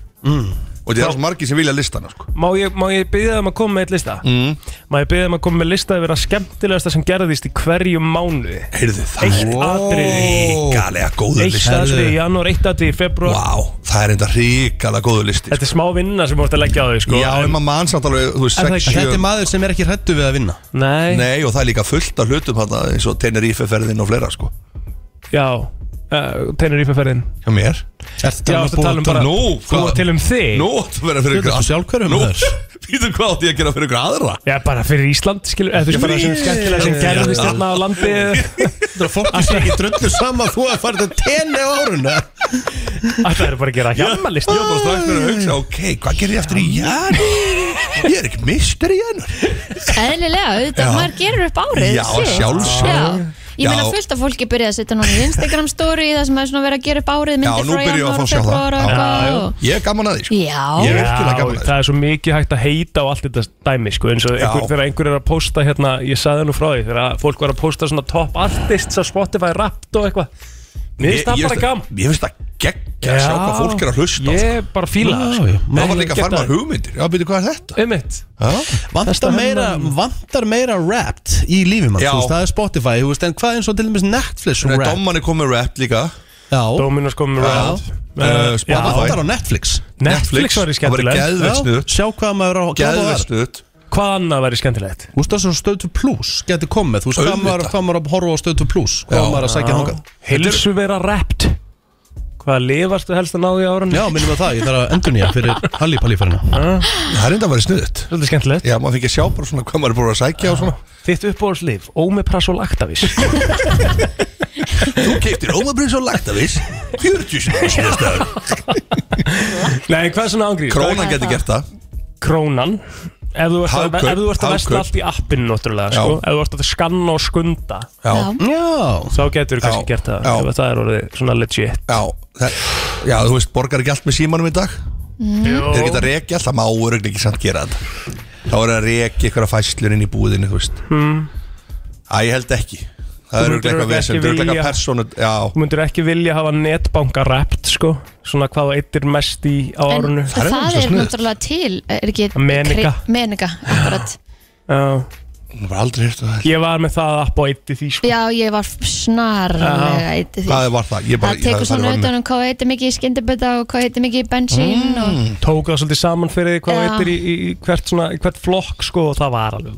D: og það er svo margir sem vilja listana sko.
C: Má ég, má ég byggja það um að koma með eitt lista? Mm. Má ég byggja það um að koma með lista yfir að skemmtilegasta sem gerðist í hverjum mánuði?
D: Heyrðu, það
C: Eitt atriði
D: ríkalega góður
C: Eitt
D: listi
C: atriði í janúar, eitt atriði í
D: Vá,
C: februar
D: það er enda ríkalega góður listi sko.
C: Þetta er smá vinna sem þú ert að leggja á þau sko
D: Já, en maður mann samt alveg, þú veist,
C: En það-
D: 6,
A: Þetta er
D: 7
A: maður sem er ekki hrættu við að vinna
C: Nei,
D: Nei, og það er líka fullt af hlutum hana, eins og Tenerife-ferðin og fleira, sko
C: já uh, Tennur íferferðin
D: Hjá mér
A: Ertu
C: Já, þú tala um bara
D: Nú,
C: Búa
D: hvað?
C: til um þig
D: Nú, þú verður fyrir
A: Þetta er svo sjálfhverfum
D: Nú,
A: maður.
D: býtum hvað átti ég að gera fyrir ykkur aðra
C: Já, bara fyrir Ísland, skilur Eða þú veist bara sem skemmtilega sem gerðist hérna á landi
A: Þetta fólki sé ekki drullu saman Þú hefði farið að tenni á árun
C: Það er bara að gera hjálma list
D: Ég var bara strax fyrir að hugsa, ok, hvað gerir ég eftir í janúar? Ég er ekki mistur í janúar
B: Eðlilega, auðvitað,
D: Já.
B: maður gerur upp árið
D: Já,
B: shit.
D: sjálfsögðu.
B: Já. Ég
D: Já.
B: meina fullt af fólki byrjaði að setja núna í Instagram story það sem er svona verið að gera upp árið
D: Já,
B: myndir
D: nú
B: frá
D: byrjum við að
B: janúar
D: fá
B: og
D: að sjá það
B: februar og
D: Já.
B: eitthvað og-
D: Ég er gaman að því, sko Ég
B: Já,
D: er virkilega
C: Já,
D: gaman að
C: það er svo mikið hægt að heita á allt þetta dæmi sko, eins og
D: Já.
C: einhver, þegar einhver er að posta hérna, ég sagði nú frá því, þegar fólk var að posta svona top artists á Spotify rapt og eitthvað Mér finnst það
D: Ég- ég
C: bara gaman
D: Ég finnst það geggja að sjá hvað fólk er að hlusta á, sko.
C: Ég bara fíla það sko.
D: Það var líka að fara maður hugmyndir Já, byrju, hvað er þetta?
C: Ummitt
D: Já,
A: Vantar meira, vantar meira rapt í lífi mann,
D: Já.
A: þú veist, það er Spotify, þú veist, en hvað eins og til dæmis Netflix um
D: Nei,
A: rap?
D: Domman er komið rap líka
A: Já,
C: Dominos komið með
D: Já.
C: ráð.
D: Eh,
C: Eh,
D: Spotify.
A: það
C: já.
A: vantar á Netflix
C: Netflix væri
D: Það var
C: skemmtilegt
A: Já,
D: geðveikt snuðt
A: sjá hvað maður á hvað maður
D: Geðveikt
A: er.
D: snuðt
C: Hvað annað væri skemmtilegt?
A: Þú veist það sem stöðtu pluss getur komið Þú veist hvað
D: Auðvitað.
A: maður, hvað maður að horfa á stöðtu pluss Hvað
D: Já.
A: maður að sækja hangað
C: Hilsu vera rappt Hvað lifastu helst að náðu í árun?
A: Já, minnum að það, ég þarf að endur nýja fyrir Halli Pallíferina
D: Það er enda að vera snuðt
C: Ah, Svolítið skemmtilegt
D: Já, maður fengi að sjá bara svona hvað maður er búin að sækja og svona
C: Þitt uppbóðslíf, Ómiprasol Actavis
D: Þú keiptir ómabrins og lagtavis 40 sinni síðast dag
C: Nei, hvað er svona ángrið?
D: Krónan getur gert það
C: Krónan Ef þú ert að,
D: Hagkaup,
C: ef þú ert að
D: hagkaup.
C: vestla allt í appinu náttúrulega sko.
D: Já.
C: Ef þú ert að skanna og skunda
D: Já,
A: Já,
C: Þá getur þú kannski
D: Já.
C: gert það
D: Já.
C: Ef Það er orðið svona legit
D: já það, Já, þú veist, borgar ekki allt með símanum í dag
C: Mm.
D: Þeir geta að rekja allt, það má öruglega ekki samt gera þetta Þá er að rekja ykkur að fæslur inn í búðinu, þú veist mm. Æ, ég held ekki Það er
C: myndir
D: öruglega
C: örugglega
D: eitthvað vesend,
C: ekki
D: öruglega
C: vilja-
D: eitthvað persónu Já,
C: Þú myndir ekki vilja hafa netbanka rappt sko Svona hvað það eittir mest í á
B: En
C: árunu
B: það er,
D: Það er svo sniðugt.
B: náttúrulega til er ekki,
C: Menninga.
B: kri- Menninga, akkurat
C: Já.
D: hún var aldrei hérstu það
C: Ég var með það app og eitti því sko
B: Já, ég var snarlega eitt því
D: Hvað var það? Ég bara-
B: Það
D: það-
B: tekur
D: það er
B: svona
D: orðið-
B: utan um hvað heitir mikið í skyndibita og hvað heitir mikið í bensín og
C: Tók það svolítið saman fyrir því hvað
B: Já.
C: það eittir í, í, í hvert, svona, í hvert flokk sko Og það var alveg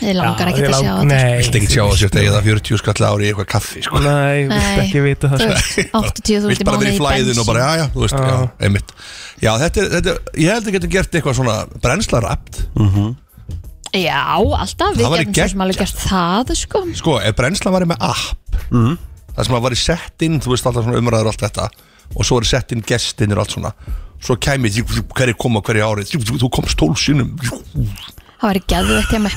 B: þið langar
C: Já,
B: ekki
C: ég
B: að
C: lang-
B: sjá þetta
C: Nei,
D: Vilt ekki sjá að sér degið að 40 skall ári í eitthvað kaffi sko.
C: Nei, vilt
B: Nei.
C: ekki vita það
B: Þú
C: sko.
B: veist, 80
D: Vilt
B: þúsund í
D: bara vera
B: mánuði
D: í
B: í
D: flæðin
B: bensín
D: og bara, já, já, þú veist, já, einmitt Já, þetta er, þetta er, ég held að getum gert eitthvað svona brennslarapt
B: Já, alltaf, við
D: Það væri
B: getum svo sem alveg
D: geggjað.
B: gert það sko.
D: Sko, ef brennslan væri með app
C: Mhm.
D: Það sem að væri sett inn, þú veist alltaf svona umræður og allt þetta Og svo er sett inn gestinir og allt svona Svo kæmi því hverju koma hverju ári Þú, þú, þú komst tól sinum
B: Það væri geðvegt hjá mig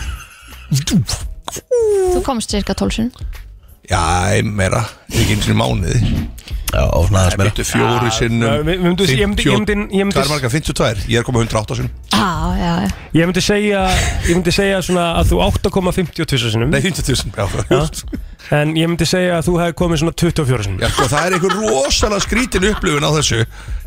B: Þú komst cirka 12 sinn
D: Já, ég meira, ekki eins og mánuði
A: já, svona aðeins meira
D: Þetta er fjóri
C: Nei,
D: sinum
C: við- við myndum- ég myndi- ég myndi- ég myndi-
D: Hvað er marga? 52? Ég er komið 108 sinum
B: Já, já, já
C: Ég myndi segja, ég myndi segja svona að þú 8,52 sinum
D: Nei, 50 sinum, já, já.
C: En ég myndi segja að þú hefði komið svona 24 sinum
D: Já, sko, það er einhver rosalega skrítin upplifun á þessu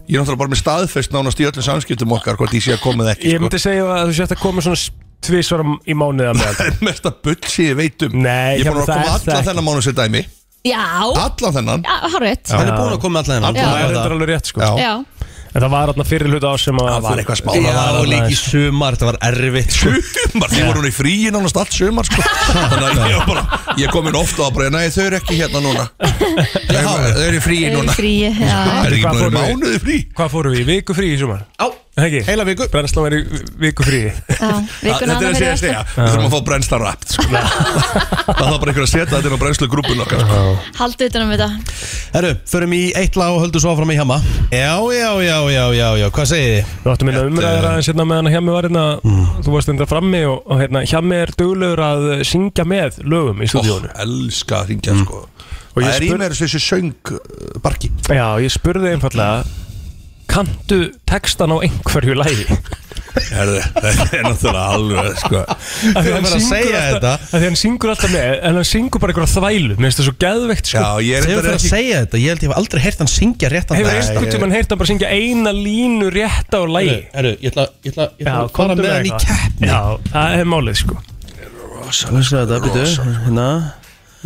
D: Ég er náttúrulega bara með staðfest nánast í öllum samskiptum okkar hvort ég sé að koma eða ekki sko.
C: Ég myndi segja að þú sett að koma svona tvisvar í mánuða með
D: Það er mesta bull sem ég veit um
C: Nei,
D: Ég er búin að
C: hérna,
D: koma
C: það er það
D: allan
C: ekki.
D: þennan mánu sér dæmi
B: Já,
D: Allan þennan
B: já harrið
A: Hann er búin að koma hérna. allan
D: Já.
C: Það er þetta
A: hennan
C: alveg rétt sko
D: Já,
B: Já,
C: En það var þarna fyrir hluta á sem að
D: það var eitthvað smá
A: Já,
D: það
A: og
D: var
A: líka í sumar, þetta var erfitt sko.
D: Sumar, því voru hún í fríi nánast allt sumar sko. Þannig að ég var bara Ég kom inn ofta og bara, nei þau eru ekki hérna núna Þau eru- þau eru í fríi
B: er
D: núna
B: frí já.
D: Það er ekki búin
C: Hvað
D: að vera
C: fóru-
D: mánuði frí
C: Hvað fórum við? Viku frí í sumar?
A: Á,
C: Ekki?
A: heila viku
C: Brennslan var í viku frí
B: Já, vikuna
D: Þetta er
B: annað
D: að
B: fyrir
D: segja að
B: vestan.
D: segja Við þurfum að fá brennsla rapt sko. Það þarf bara einhver að setja þetta inn á brennslu grúpun okkar sko.
B: Haldið utan um þetta
A: Herru, förum í eitt lag og höldum svo áfram í hjama Já, já, já, já, já, já, hvað segið þið?
C: Við áttum minna umræðir aðeins hérna meðan að Hjami var hérna
D: Mm.
C: Þú varst enda frammi og, og hérna Hjami er duglegur að syngja með lögum í
D: Ó,
C: stúdíónu
D: elska að ringja sko Það
C: Og ég
D: er í
C: spur-
D: mér þessu söngbarki
C: Já, ég spurði einfallega Kanntu textan á einhverju lægi?
D: Herðu, það er náttúrulega alveg sko
C: Af því
A: Þú
C: hann
A: verður að
C: syngur
A: segja
C: alltaf-
A: þetta.
C: af Því hann syngur alltaf með En hann syngur bara einhverja þvælu Mér finnst það svo geðveikt sko
D: Já, ég er
A: Þegar fyrir
D: reyndar
A: að
D: ekki
A: segja þetta, ég held ég hef aldrei heyrt hann syngja rétt
C: Hefur einhvern tímann heyrt hann bara syngja eina línu rétt á lægi
A: Herru, ég ætla, ég ætla, ég ætla
C: Já,
A: að fara
C: komdu
A: með hann í
C: eitthvað.
A: keppni
C: Já, það er málið sko
A: Hvað er þetta, býtu? Hérna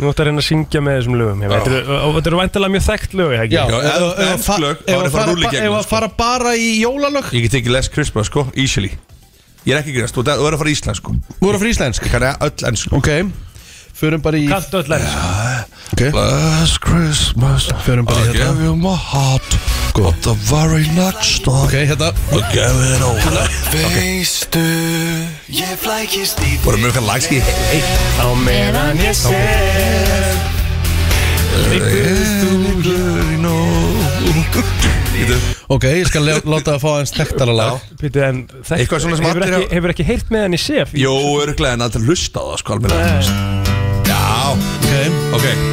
C: Nú ætti að reyna að syngja með þessum lögum hérna. Þetta eru- og Þetta eru væntalega mjög þekkt lög, ekki?
A: Já,
D: Já,
A: ef- ef-
D: en-
A: ef- fa-
D: lög,
A: ef
D: þá er það
A: að
D: bara
A: fara
D: rúlla í
A: ba-
D: gegnum,
A: ef að
D: sko.
A: fara bara í jólalög
D: Ég get ekki less Christmas sko, easily Ég er ekki grænst, þú þú er að fara í Ísland sko
A: Þú eru frá íslensk
D: Ég kann öll ennsku
A: Ok, förum bara í
C: Kanntu öll enn
A: Ok,
D: Last Christmas
A: Förum bara í
D: I
A: hérna. þetta.
D: gave you my heart But the very next
A: ok,
D: time
A: hérna
D: I gave it all
E: Veistu, ég flækist í
D: Voru mjög sko, fyrir lagski
C: Á meðan ég sef
D: Þú í nóg
A: Ok, ég skal le- láta það fá eins tektara lag
C: Býtu, en þekkt-
D: Eitthvað svona sem
C: hefur
D: allir
C: ekki,
D: hafa-
C: hefur ekki heyrt meðan ég sef
D: Jó, örglega en aldrei hlusta á það sko alveg Já,
A: Ok,
D: ok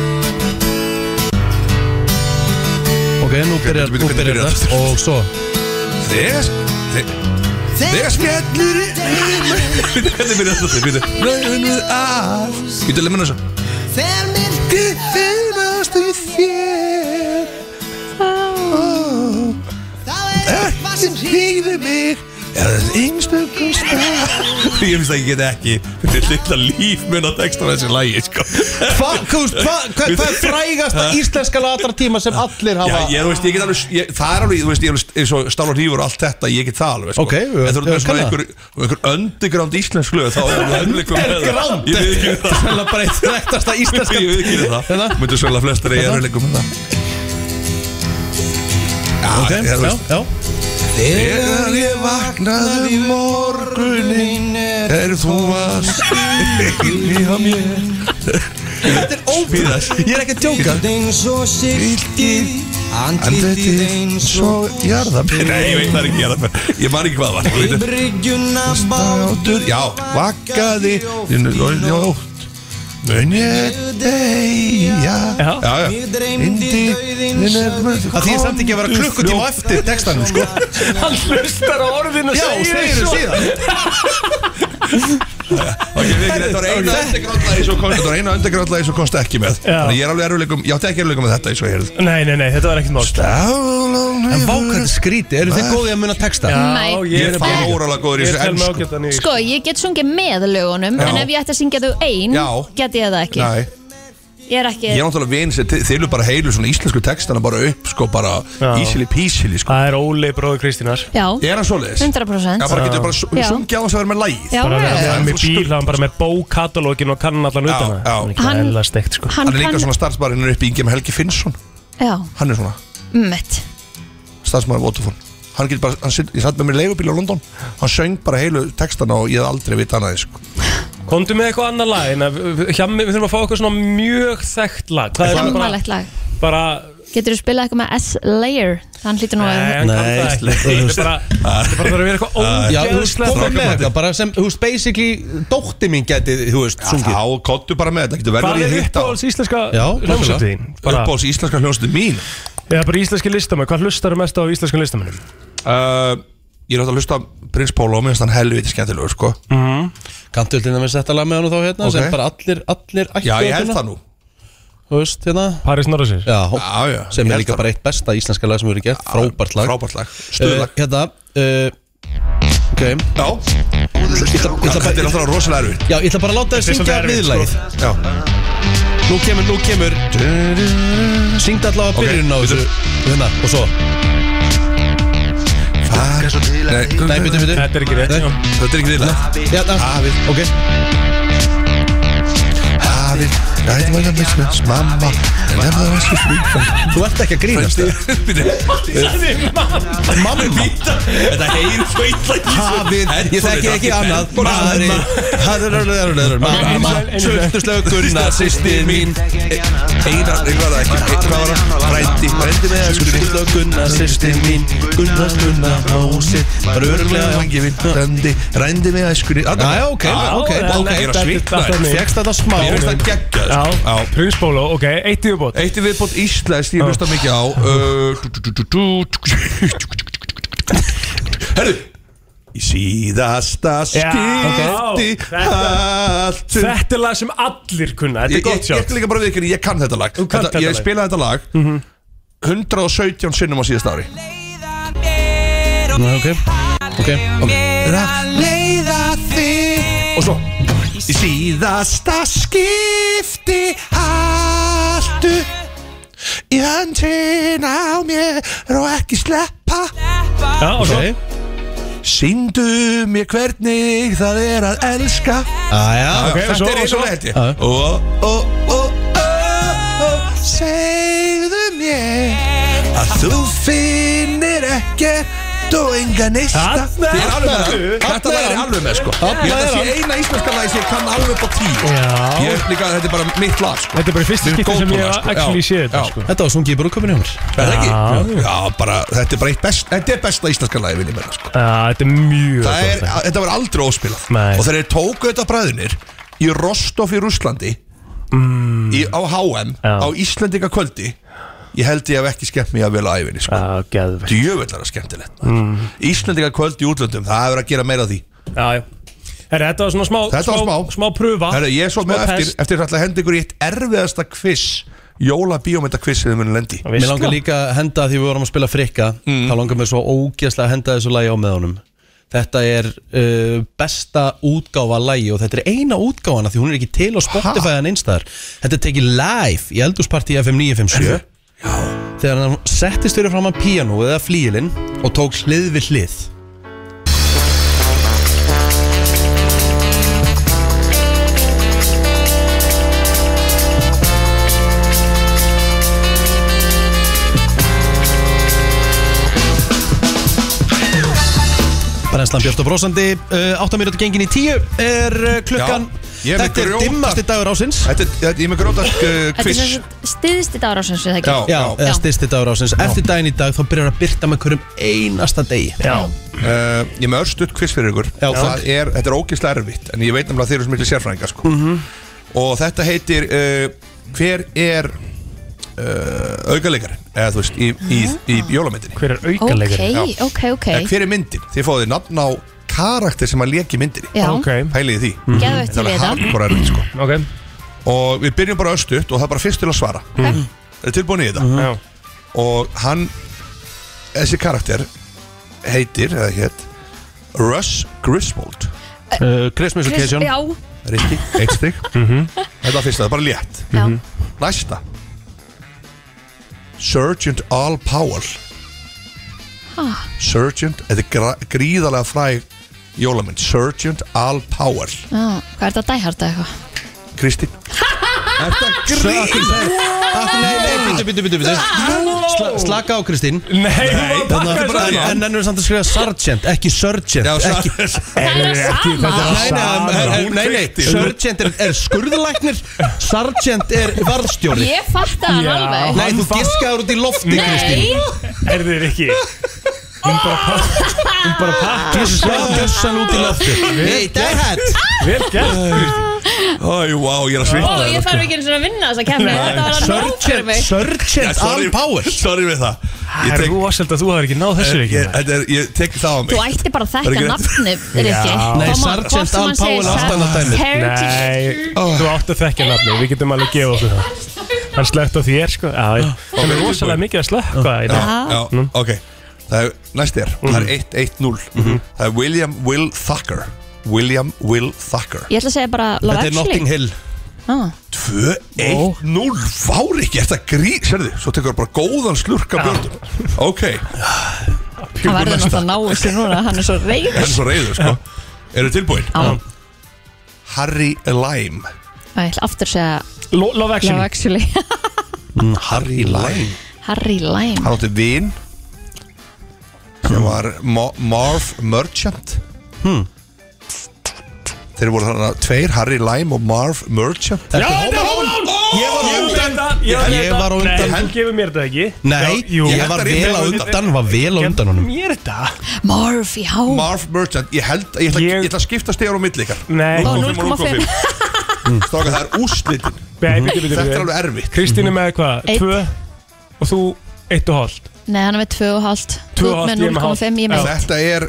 A: ok, nú byrjar,
D: bíddu,
A: nú
D: bíddu,
A: byrjar
D: bíddu,
A: þetta
D: bíddu.
A: Og svo
D: Þegar þe- Þegar skellur í Hvernig byrja þetta til? Býtu Rauðin við af Býtu, lemur þessu Þegar myrkri finnast í þér sem hrýði mig Er það einstökum stað Ég finnst að ég get ekki Þetta er lilla líf mun á textan þessi lægi sko.
A: Hva, hvað, hvað, hvað, hvað er frægasta íslenska latartíma sem allir
D: Já,
A: hafa
D: ég, þú veist, ég get alveg, ég, það er alveg, þú veist, ég er alveg eins og stála hrífur og allt þetta, ég get það alveg, sko.
A: Ok, við-
D: en þú
A: við
D: veist, svona
A: kann það.
D: einhver, einhver underground íslensk lög, þá er það önnleikum með það.
A: Underground?
D: Ég veit ekki það.
A: Það er bara eitt þekktasta íslenska
D: Ég veit ekki
A: Hérna?
D: það. Möndu svolítið flestir að ég er önnleikum með það. Já,
A: Ok,
D: okay, ég,
A: já,
D: veist,
A: já
D: Þegar ég vaknaði í morgunin er þú varst í að mér
A: Þetta er óbúðast, ég er ekki að djóka
F: eins og silkið Andlitið
D: Andlitið
F: eins
D: svo
F: og
D: jarðabir Nei, ég veit það er ekki jarðabir Ég man ekki hvað það var þú veit.
F: Bryggjuna bátur
D: Bátur, já, vakkaði Ljótt Mun ég deyja
C: Já.
D: já, já
F: Ég dreymdi dauðinn
A: Það því ég samt ekki að vera klukkutíma eftir textanum sko
C: Hann hlustar á orðinu
A: Já, og segir þau síðan
D: Ok, við ekki, þetta var eina undirgráðlega eins og komst Þetta var eina undirgráðlega eins og komst ekki með
C: Já.
D: Þannig ég er alveg erfilegum, ég átti ekki erfilegum með þetta eins og ég
C: Nei, nei, nei, þetta var ekkert mál
A: En
D: hefði
A: vákvæmt skríti, eru þið góðið að muna texta?
B: Nei.
C: Já, ég
D: Ég
C: er
D: er
C: bara
D: fáralega góður í
C: Ég
D: þessu
C: tel með
D: ensku
C: ágættan í
B: Sko, ég get sungið með lögunum En ef ég ætti að syngja þau ein
D: Já.
B: Get ég það ekki
D: Nei,
B: Ég er ekki
D: ég er náttúrulega vinn sem þi- þylur bara heilu svona íslensku textana bara upp sko bara
C: Já.
D: ísili písili sko
C: Það er Óli bróður Kristínar
B: Já,
D: Er hann svoleiðis?
B: 100%
D: Já, bara getur bara
B: Já.
D: sungja á þess að vera með lægið
B: Já,
C: Bara
B: já.
C: með-
D: já.
C: með bíl, hann bara með bókatalógin og kannan allan
D: já.
C: utan það
B: Hann-
C: Hann er stegt sko
B: Hann
D: Hann er líka
B: kann
D: svona starfsmæðurinn upp í Ingemar Helgi Finnsson
B: Já, um
D: Hann er svona
B: mitt
D: starfsmæður Votafón Hann getur bara, hann sitt, ég satt með mér leigubíl á London Hann söng bara heilu textana og ég hef aldrei vita hana sko.
C: Komdu með eitthvað annað lag en að- Hjammi, við þurfum að fá eitthvað svona mjög þekkt lag Hvað er bara,
B: Sammalegt lag
C: bara
B: Getur þú spilað eitthvað með S-Layer Hann hlýtur nú
C: Nei,
D: Eh,
B: að
C: hann kann
A: Nei,
C: það
A: slepp-
C: ekki Það er bara, það er bara þarf að vera eitthvað
A: Já, þú veist,
C: ógeðslega
A: komið með eitthvað, bara sem, þú veist, basically, dótti mín getið, þú veist, sungið
D: Þá kottu bara með þetta, getur
C: Hvað
D: verður
C: er
D: í hitt á
C: uppáhalds íslenska
A: Já, náttúrulega.
C: hljómsöndin? Bara,
D: Uppáhalds íslenska hljónstu mín
C: já, bara íslenski listamenn, hvað hlustar mest á íslenskan listamennum?
D: uh, Ég er átt að hlusta á Prins Pólo Mér finnst hann helviti skemmtilegur sko.
A: Kanntu til dæmis þetta lag með hann þá hérna
D: Ok.
A: sem bara allir, allir ættu
D: Já,
A: að
D: ég held
A: kunna,
D: það nú
A: Þú veist, hérna
C: Paris Norrisir?
A: Já,
D: Já, já,
A: sem
D: ég
A: er
D: held
A: líka
D: það.
A: bara eitt besta íslenska lag sem við erum gert, frábært lag
D: Frábært lag, stuðlag
A: Eh, Hérna, uh, ok
D: Já,
A: ég ætla
D: þetta er
A: bara-
D: náttúrulega rosalega erfitt
A: Já, ég ætla bara að láta þér
C: Þetta er
A: syngja
C: svolítið erfitt, sko.
A: viðlagið
D: Já
A: Nú kemur, nú kemur Syngd allavega
D: Ok,
A: byrjun á
D: bíddu.
A: þessu Hérna, og svo
D: Far- Nei,
A: Nei, byrju, byrju
C: Þetta er ekki rétt,
A: Nei.
C: já.
D: Þetta er ekki þýðlega
A: Já, það
D: Hafið.
A: Ok
D: Hafið Ræðum að hjá mismunns mamma En ef það var svo flýtt
A: Þú ert ekki að grínast Mamma
D: Þetta heyr svo illa í þessu.
A: Hafið, ég þekki ekki annað Maðurinn Maðurinn Mamma Svölduslegu Gunna Sýsti mín
D: Einar, ég var það ekki Eitt- Hvað var það? Rændi Rændi með
A: Svölduslegu Gunna Sýsti mín Gunna Gunna Rósi Var örglega
D: vangi minn Rændi Rændi með æskunni
A: Já, ok, ok.
D: Ok, ég er að svitna
C: Þetta er mig.
A: Fjækst þetta smá
D: Ég veist að gegja
C: Já,
D: sko. Já
C: Prins Bólo, ok, eitt í viðbót
D: Eitt er viðbótt Íslands Ég hlusta mikið á uh, dú, dú, dú, dú, dú. Herru Í síðasta
C: Já,
D: skipti
C: ok.
D: Allt um-
C: Þetta er lag sem allir kunna, þetta
D: Ég
C: er gott
D: ég- ég
C: sjátt
D: ætla líka bara við ykkur Ég kann þetta lag
C: kannt
D: Þetta-
C: þetta
D: Ég
C: lag. Mhm.
D: spilaði þetta lag 117 sinnum á síðast ári
A: Nei, ok Ok
D: Leiða þig Og svo Í síðasta skipti Haltu Í höndin á mér Og ekki sleppa
C: Já, og svo
A: Ok
D: Sýndu mér hvernig það er að elska
A: Æja
C: Ok,
D: Þetta
C: svo-
D: er eins og þetta
C: svo-
D: held ég.
A: Já.
D: Ó, ó, ó, ó, ó, Segðu mér Að þú finnir ekkert og enga neista
C: Þarna-
D: Ég er alveg með það.
C: Þarna-
D: Þetta lag er ég alveg með sko Ég held að sé eina íslenska lag sem ég kann alveg upp á tí
C: Já.
D: Ég er líka, þetta er bara mitt lag sko
C: Þetta er bara í fyrsta
D: Þetta er
C: skipti sem
D: góð
C: ég
D: tónlist, sko.
C: actually
D: Já.
C: sé þetta
D: Já.
C: sko
A: Þetta var svongið í brúkabinu hjá mér
D: Er það ekki?
C: Já.
D: Já, bara, þetta er bara eitt best Þetta er besta íslenska lagi vinni með það sko
C: Já, Þetta er mjög
D: Það er,
C: gott lag.
D: þetta var aldrei óspilað
C: Nei.
D: Og þegar þeir tóku þetta bræðinir Í Rostov í Rússlandi í, Á HM
C: Já.
D: Á Íslendinga kvöldi Ég held ég hef ekki skemmt mér að vel á æfinni sko.
C: Já, geðvegt
D: Djöfellar að skemmtilegt mm. Íslendinga kvöld í útlöndum Það hefur að gera meira af því
C: Já, já Herra, Þetta var svona smá
D: Þetta var smá.
C: Smá prufa
D: Herra, Ég er svo
B: Sko,
C: Smá
D: með eftir
C: test.
D: Eftir að ætla að henda ykkur í eitt erfiðasta quiz jóla bíómyndakviss sem þið munum lendi í.
A: Mér langar líka að henda því við vorum að spila frikka þá langar mér svo ógeðslega að henda þessu lagi á með honum Þetta er uh, besta útgáfa lagi og þetta er eina útgáfana því hún er ekki til á Spotify en einstæðar Þetta er tekið live í eldúsparti FM 957 Þegar hann settist fyrir fram að píanó eða flíilinn og tók hlið við hlið Brennslan Björn og Brósandi, uh, 8 minúti gengin í 10 er uh, klukkan
D: Já, ég er með
A: Þetta er
D: grjóta-
A: dimmasti dagur ásins
D: Þetta er, þetta- ég er með grótak uh,
B: Þetta er
D: kviss
B: sem sagt stiðsti dárásins við
D: Já,
B: það ekki
A: Já,
D: já,
A: eða styrsti dagur ásins Eftir daginn í dag þá byrjar að byrta með hverjum einasta degi
C: Já,
D: Uh, ég er með örstutt quiz fyrir ykkur
A: Já,
D: það
A: takk.
D: er, Þetta er ógeðslega erfitt En ég veit nefnilega að þeir eru svo miklu sérfræðinga sko. Og þetta heitir uh, Hver er uh, Augaleikarinn Eða þú veist Í, í, í jólamyndinni
C: hver er
B: Ok,
C: aukalegur?
D: Já.
B: ok, ok
D: Eða Hver er myndin? Þið fóðið nafn á karakter sem að leki myndinni
B: Já, Mhm.
C: Ok,
D: Pæliði því
B: geðvægt til
D: Það er
B: þetta
D: hardcore erfitt sko.
C: ok
D: Og við byrjum bara örstutt Og það er bara fyrst til að svara
B: Ok.
D: Það er tilbúin í þetta
C: Já,
D: Og hann Þessi karakter heitir Eða hétt Russ Griswold
A: uh, Christmas
B: Chris-
A: occasion
B: Já,
D: Rikki, eitt stygg Þetta var fyrsta, það er bara létt
B: já
D: Næsta Sergeant Al Powell Sergeant, þetta er gra- gríðarlega fræg jólamynd Sergeant Al Powell
B: Já, Hvað er þetta dæhart eða eitthvað?
D: Kristín Er þetta grín?
A: Nei, nei, byttu, byttu, byttu, byttu Sla, Slaka á Kristín
C: Nei,
A: Þannig að-
C: það
A: En en ennur er samt að skrifa sergeant, ekki surgeon
D: Já,
A: Ekki-
D: ekki
B: Það er það sama
A: Nei, nei,
D: sama.
A: nei, nei, nei,
D: Kristín.
A: sergeant er, er skurðlæknir Sergeant er varðstjóri
B: Ég fatt að hann
C: Já.
B: alveg
A: Nei, þú giskaður út í lofti, Kristín
B: Nei,
C: er þið ekki Hún bara, hún bara pakka
A: Giskaður bjössan út í lofti Nei, dæhat
C: Vel gert
D: Æ, vá, ég er að
B: ó, ég
D: svitna
B: þarf ekki einu sinni að vinna þessa kemni Þetta var að nóg fyrir
A: Sergeant,
B: mig
D: Já,
A: sergeant Al
D: sorry-
A: Powell
D: Sorry við það Ég
C: Það er
D: tek,
C: rosalega að þú hafði ekki náð þessu
D: ég, Eh,
C: ekki
D: ég, þetta er- ég tek það á mig
B: Þú ætti bara að
D: Er
B: þekka
D: ekki rétt?
B: nafni, Rikki
A: Nei,
B: Þá má-
A: Sergeant
B: hvort sem
A: Al
B: hann segir
A: Powell átti annað dæmi.
B: Heritage
C: Nei, þú átt að þekkja nafni, við getum alveg að gefa okkur það Hann slögt á þér sko Já, já. Það er rosalega mikið að slökka í dag
D: Já, já, ok Það er, næst er, það er 1-1-0 Það er William Will Thacker William Will Thacker
B: Ég ætla að segja bara Love
A: Þetta er
B: Actually Ah.
A: Notting Hill
D: 2-1-0, fári ekki, er það grí Sérðu, svo tekur bara góðan slurk af björnum Ok,
B: Hann verður náttúrulega að ná þessu núna, hann er svo reyður
D: það er svo reyður, sko Eru tilbúin? Harry Lime
B: Æ, ég ætla aftur að segja
C: Lo- Love
B: Love
C: Action
B: Actually
D: Harry Lime
B: Harry Lime
D: Hann átti vin sem var Mo Marv Merchant Þeir voru þarna tveir, Harry Lime og Marv Merchant
A: Þetta
C: Já,
A: er
C: þetta er
A: Home
C: hún
A: Ég var á undan. Ég var á
C: Nei,
A: undan.
C: hann gefur mér þetta ekki
A: Nei,
C: Já, jú.
A: ég var vel á undan Var vel á undan honum
C: Mér þetta
B: Marv, já
D: Marv Merchant, ég held að ég ætla,
C: Ég-
D: ég ætla að skipta stegar á milli ykkar
C: Nei,
B: Ó,
D: 0,5 Stráka, það er úrslitin
C: Nei, bíddu, bíddu,
D: Þetta er
C: bíddu.
D: alveg erfitt
C: Kristín er með hvað?
B: Einn.
C: Tvö og þú eitt og hálft
B: Nei, hann er með 2,5
C: Tvö
B: Þú ert
C: og hálft,
B: með
C: ég er með hálft.
B: 0,5, ég er með
D: Þetta er,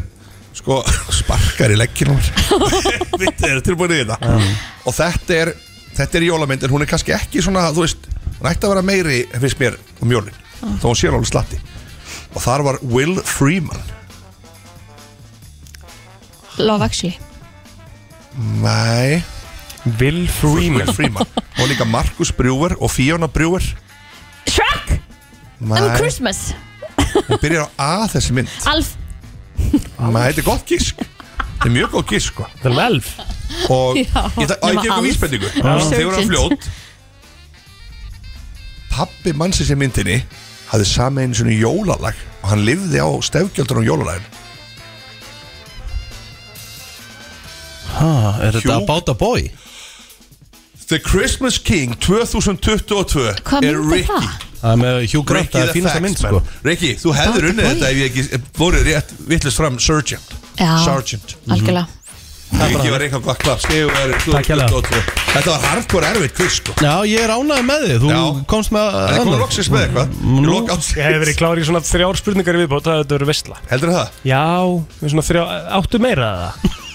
D: sko, sparkar í legginum Þetta er tilbúin í þetta Og þetta er, þetta er jólamynd En hún er kannski ekki svona, þú veist Hún ætti að vera meiri, finnst mér, um jólin Þó hún sé alveg slatti Og þar var Will Freeman
B: Love Actually
D: Nei,
C: Will
D: Will
C: Freeman
D: Freeman Og líka Markus Brewer og Fiona Brewer
B: Shrek, I'm
D: Nei,
B: Christmas
D: hún byrjar á að þessi mynd
B: Alf,
D: Nei, þetta er gott gísk Þetta er mjög gott gísk sko.
C: Það er með elf
D: Og
B: Já,
D: ég ætla að
B: nema
D: gefa ykkur
B: Alf.
D: vísbendingu
B: Alf.
D: Þegar hann
B: Surgeon.
D: fljótt Pappi mannsins í myndinni hafði sami einu svona jólalag og hann lifði á stefgjöldur á jólalagin
A: Ha, Er þetta
D: Hugh-
A: about a boy?
D: The Christmas King 2022
B: hvað
D: er
B: myndi
D: Ricky
B: það?
A: Það er með Hugh Grant,
D: Ricky
A: það er
D: the
A: fínasta
D: Fax
A: mynd
D: Man.
A: sko
D: Ricky, þú hefðir
B: About
D: unnið
B: the
D: þetta ef ég ekki voru rétt vittlust fram Sergeant
B: Já.
D: Sergeant
B: Algjörlega
D: Ég var einhvern veginn klapp Skrifu er
A: Takk hérlega.
D: 2022. Þetta var hardcore erfitt quiz sko
A: Já, ég er ánægð með þig, þú
D: Já.
A: komst með
D: Það er komið
A: annað.
D: loksins með eitthvað Í
A: Nú-
D: lok ársins.
C: Ég hef verið klár í svona þrjár spurningar í viðbót Það þetta verið veistla
D: Heldur það?
C: Já, með svona þrjá Áttu meira að það?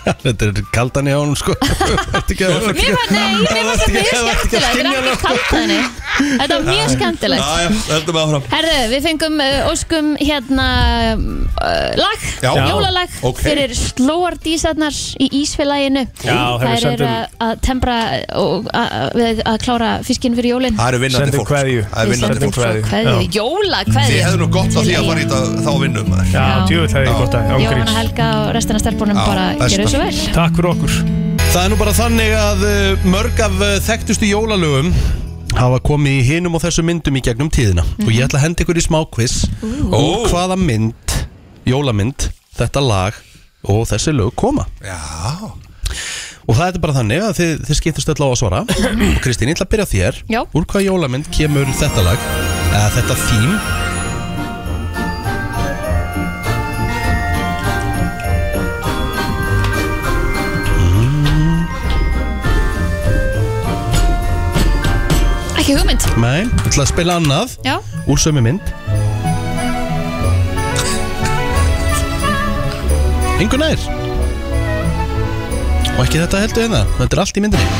A: Þetta er kaldan í ánum sko Ertu ekki að-
B: Mér var, nei, mér var þetta mjög skemmtilega Þetta er ekki kalt að henni Þetta var mjög skemmtilegt
D: já, heldur með áfram
B: Herðu, við fengum uh, óskum hérna uh, lag,
D: Já.
B: jólalag
D: Ok.
B: fyrir slóar dísarnar í Ísfélaginu
C: Já, þeir
B: Þær
C: eru
B: eru
C: sendum-
B: að- að tempra og að, að, að klára fiskinn fyrir jólin
D: Það eru vinnandi
C: Sendum
D: fólk sko.
C: kveðju.
D: Það eru
B: Við
D: vinnandi
B: sendum
D: fólk
B: svo
C: kveðju.
B: kveðju, jóla
D: Þið
B: kveðju
D: hefðu nú gott á því að fara í þetta þá vinnum maður
C: Já,
B: Já.
C: djúvill hefði ég gott að
B: Jóhanna
C: ángríns
B: Helga og restina stelpunum
D: Já,
B: bara
D: besta.
B: gera þessu vel
C: Takk fyrir okkur
A: Það er nú bara þannig að uh, mörg af uh, þekktustu jólalögum hafa komið í hinum og þessum myndum í gegnum tíðina og ég ætla að henda ykkur í smá quiz
D: Ó.
A: og hvaða mynd, jólamynd, þetta lag og þessi lög koma
D: Já,
A: og það er bara þannig að þið, þið skiptist öll á að svara Kristín, ég ætla að byrja á þér
B: Já.
A: Úr hvaða jólamynd kemur þetta lag, eða þetta þím
B: Ekki hugmynd,
A: Nei, ég ætla að spila annað
B: já,
A: úr sömu mynd Engu nær Og ekki þetta heldur hérna Þetta er allt í myndinni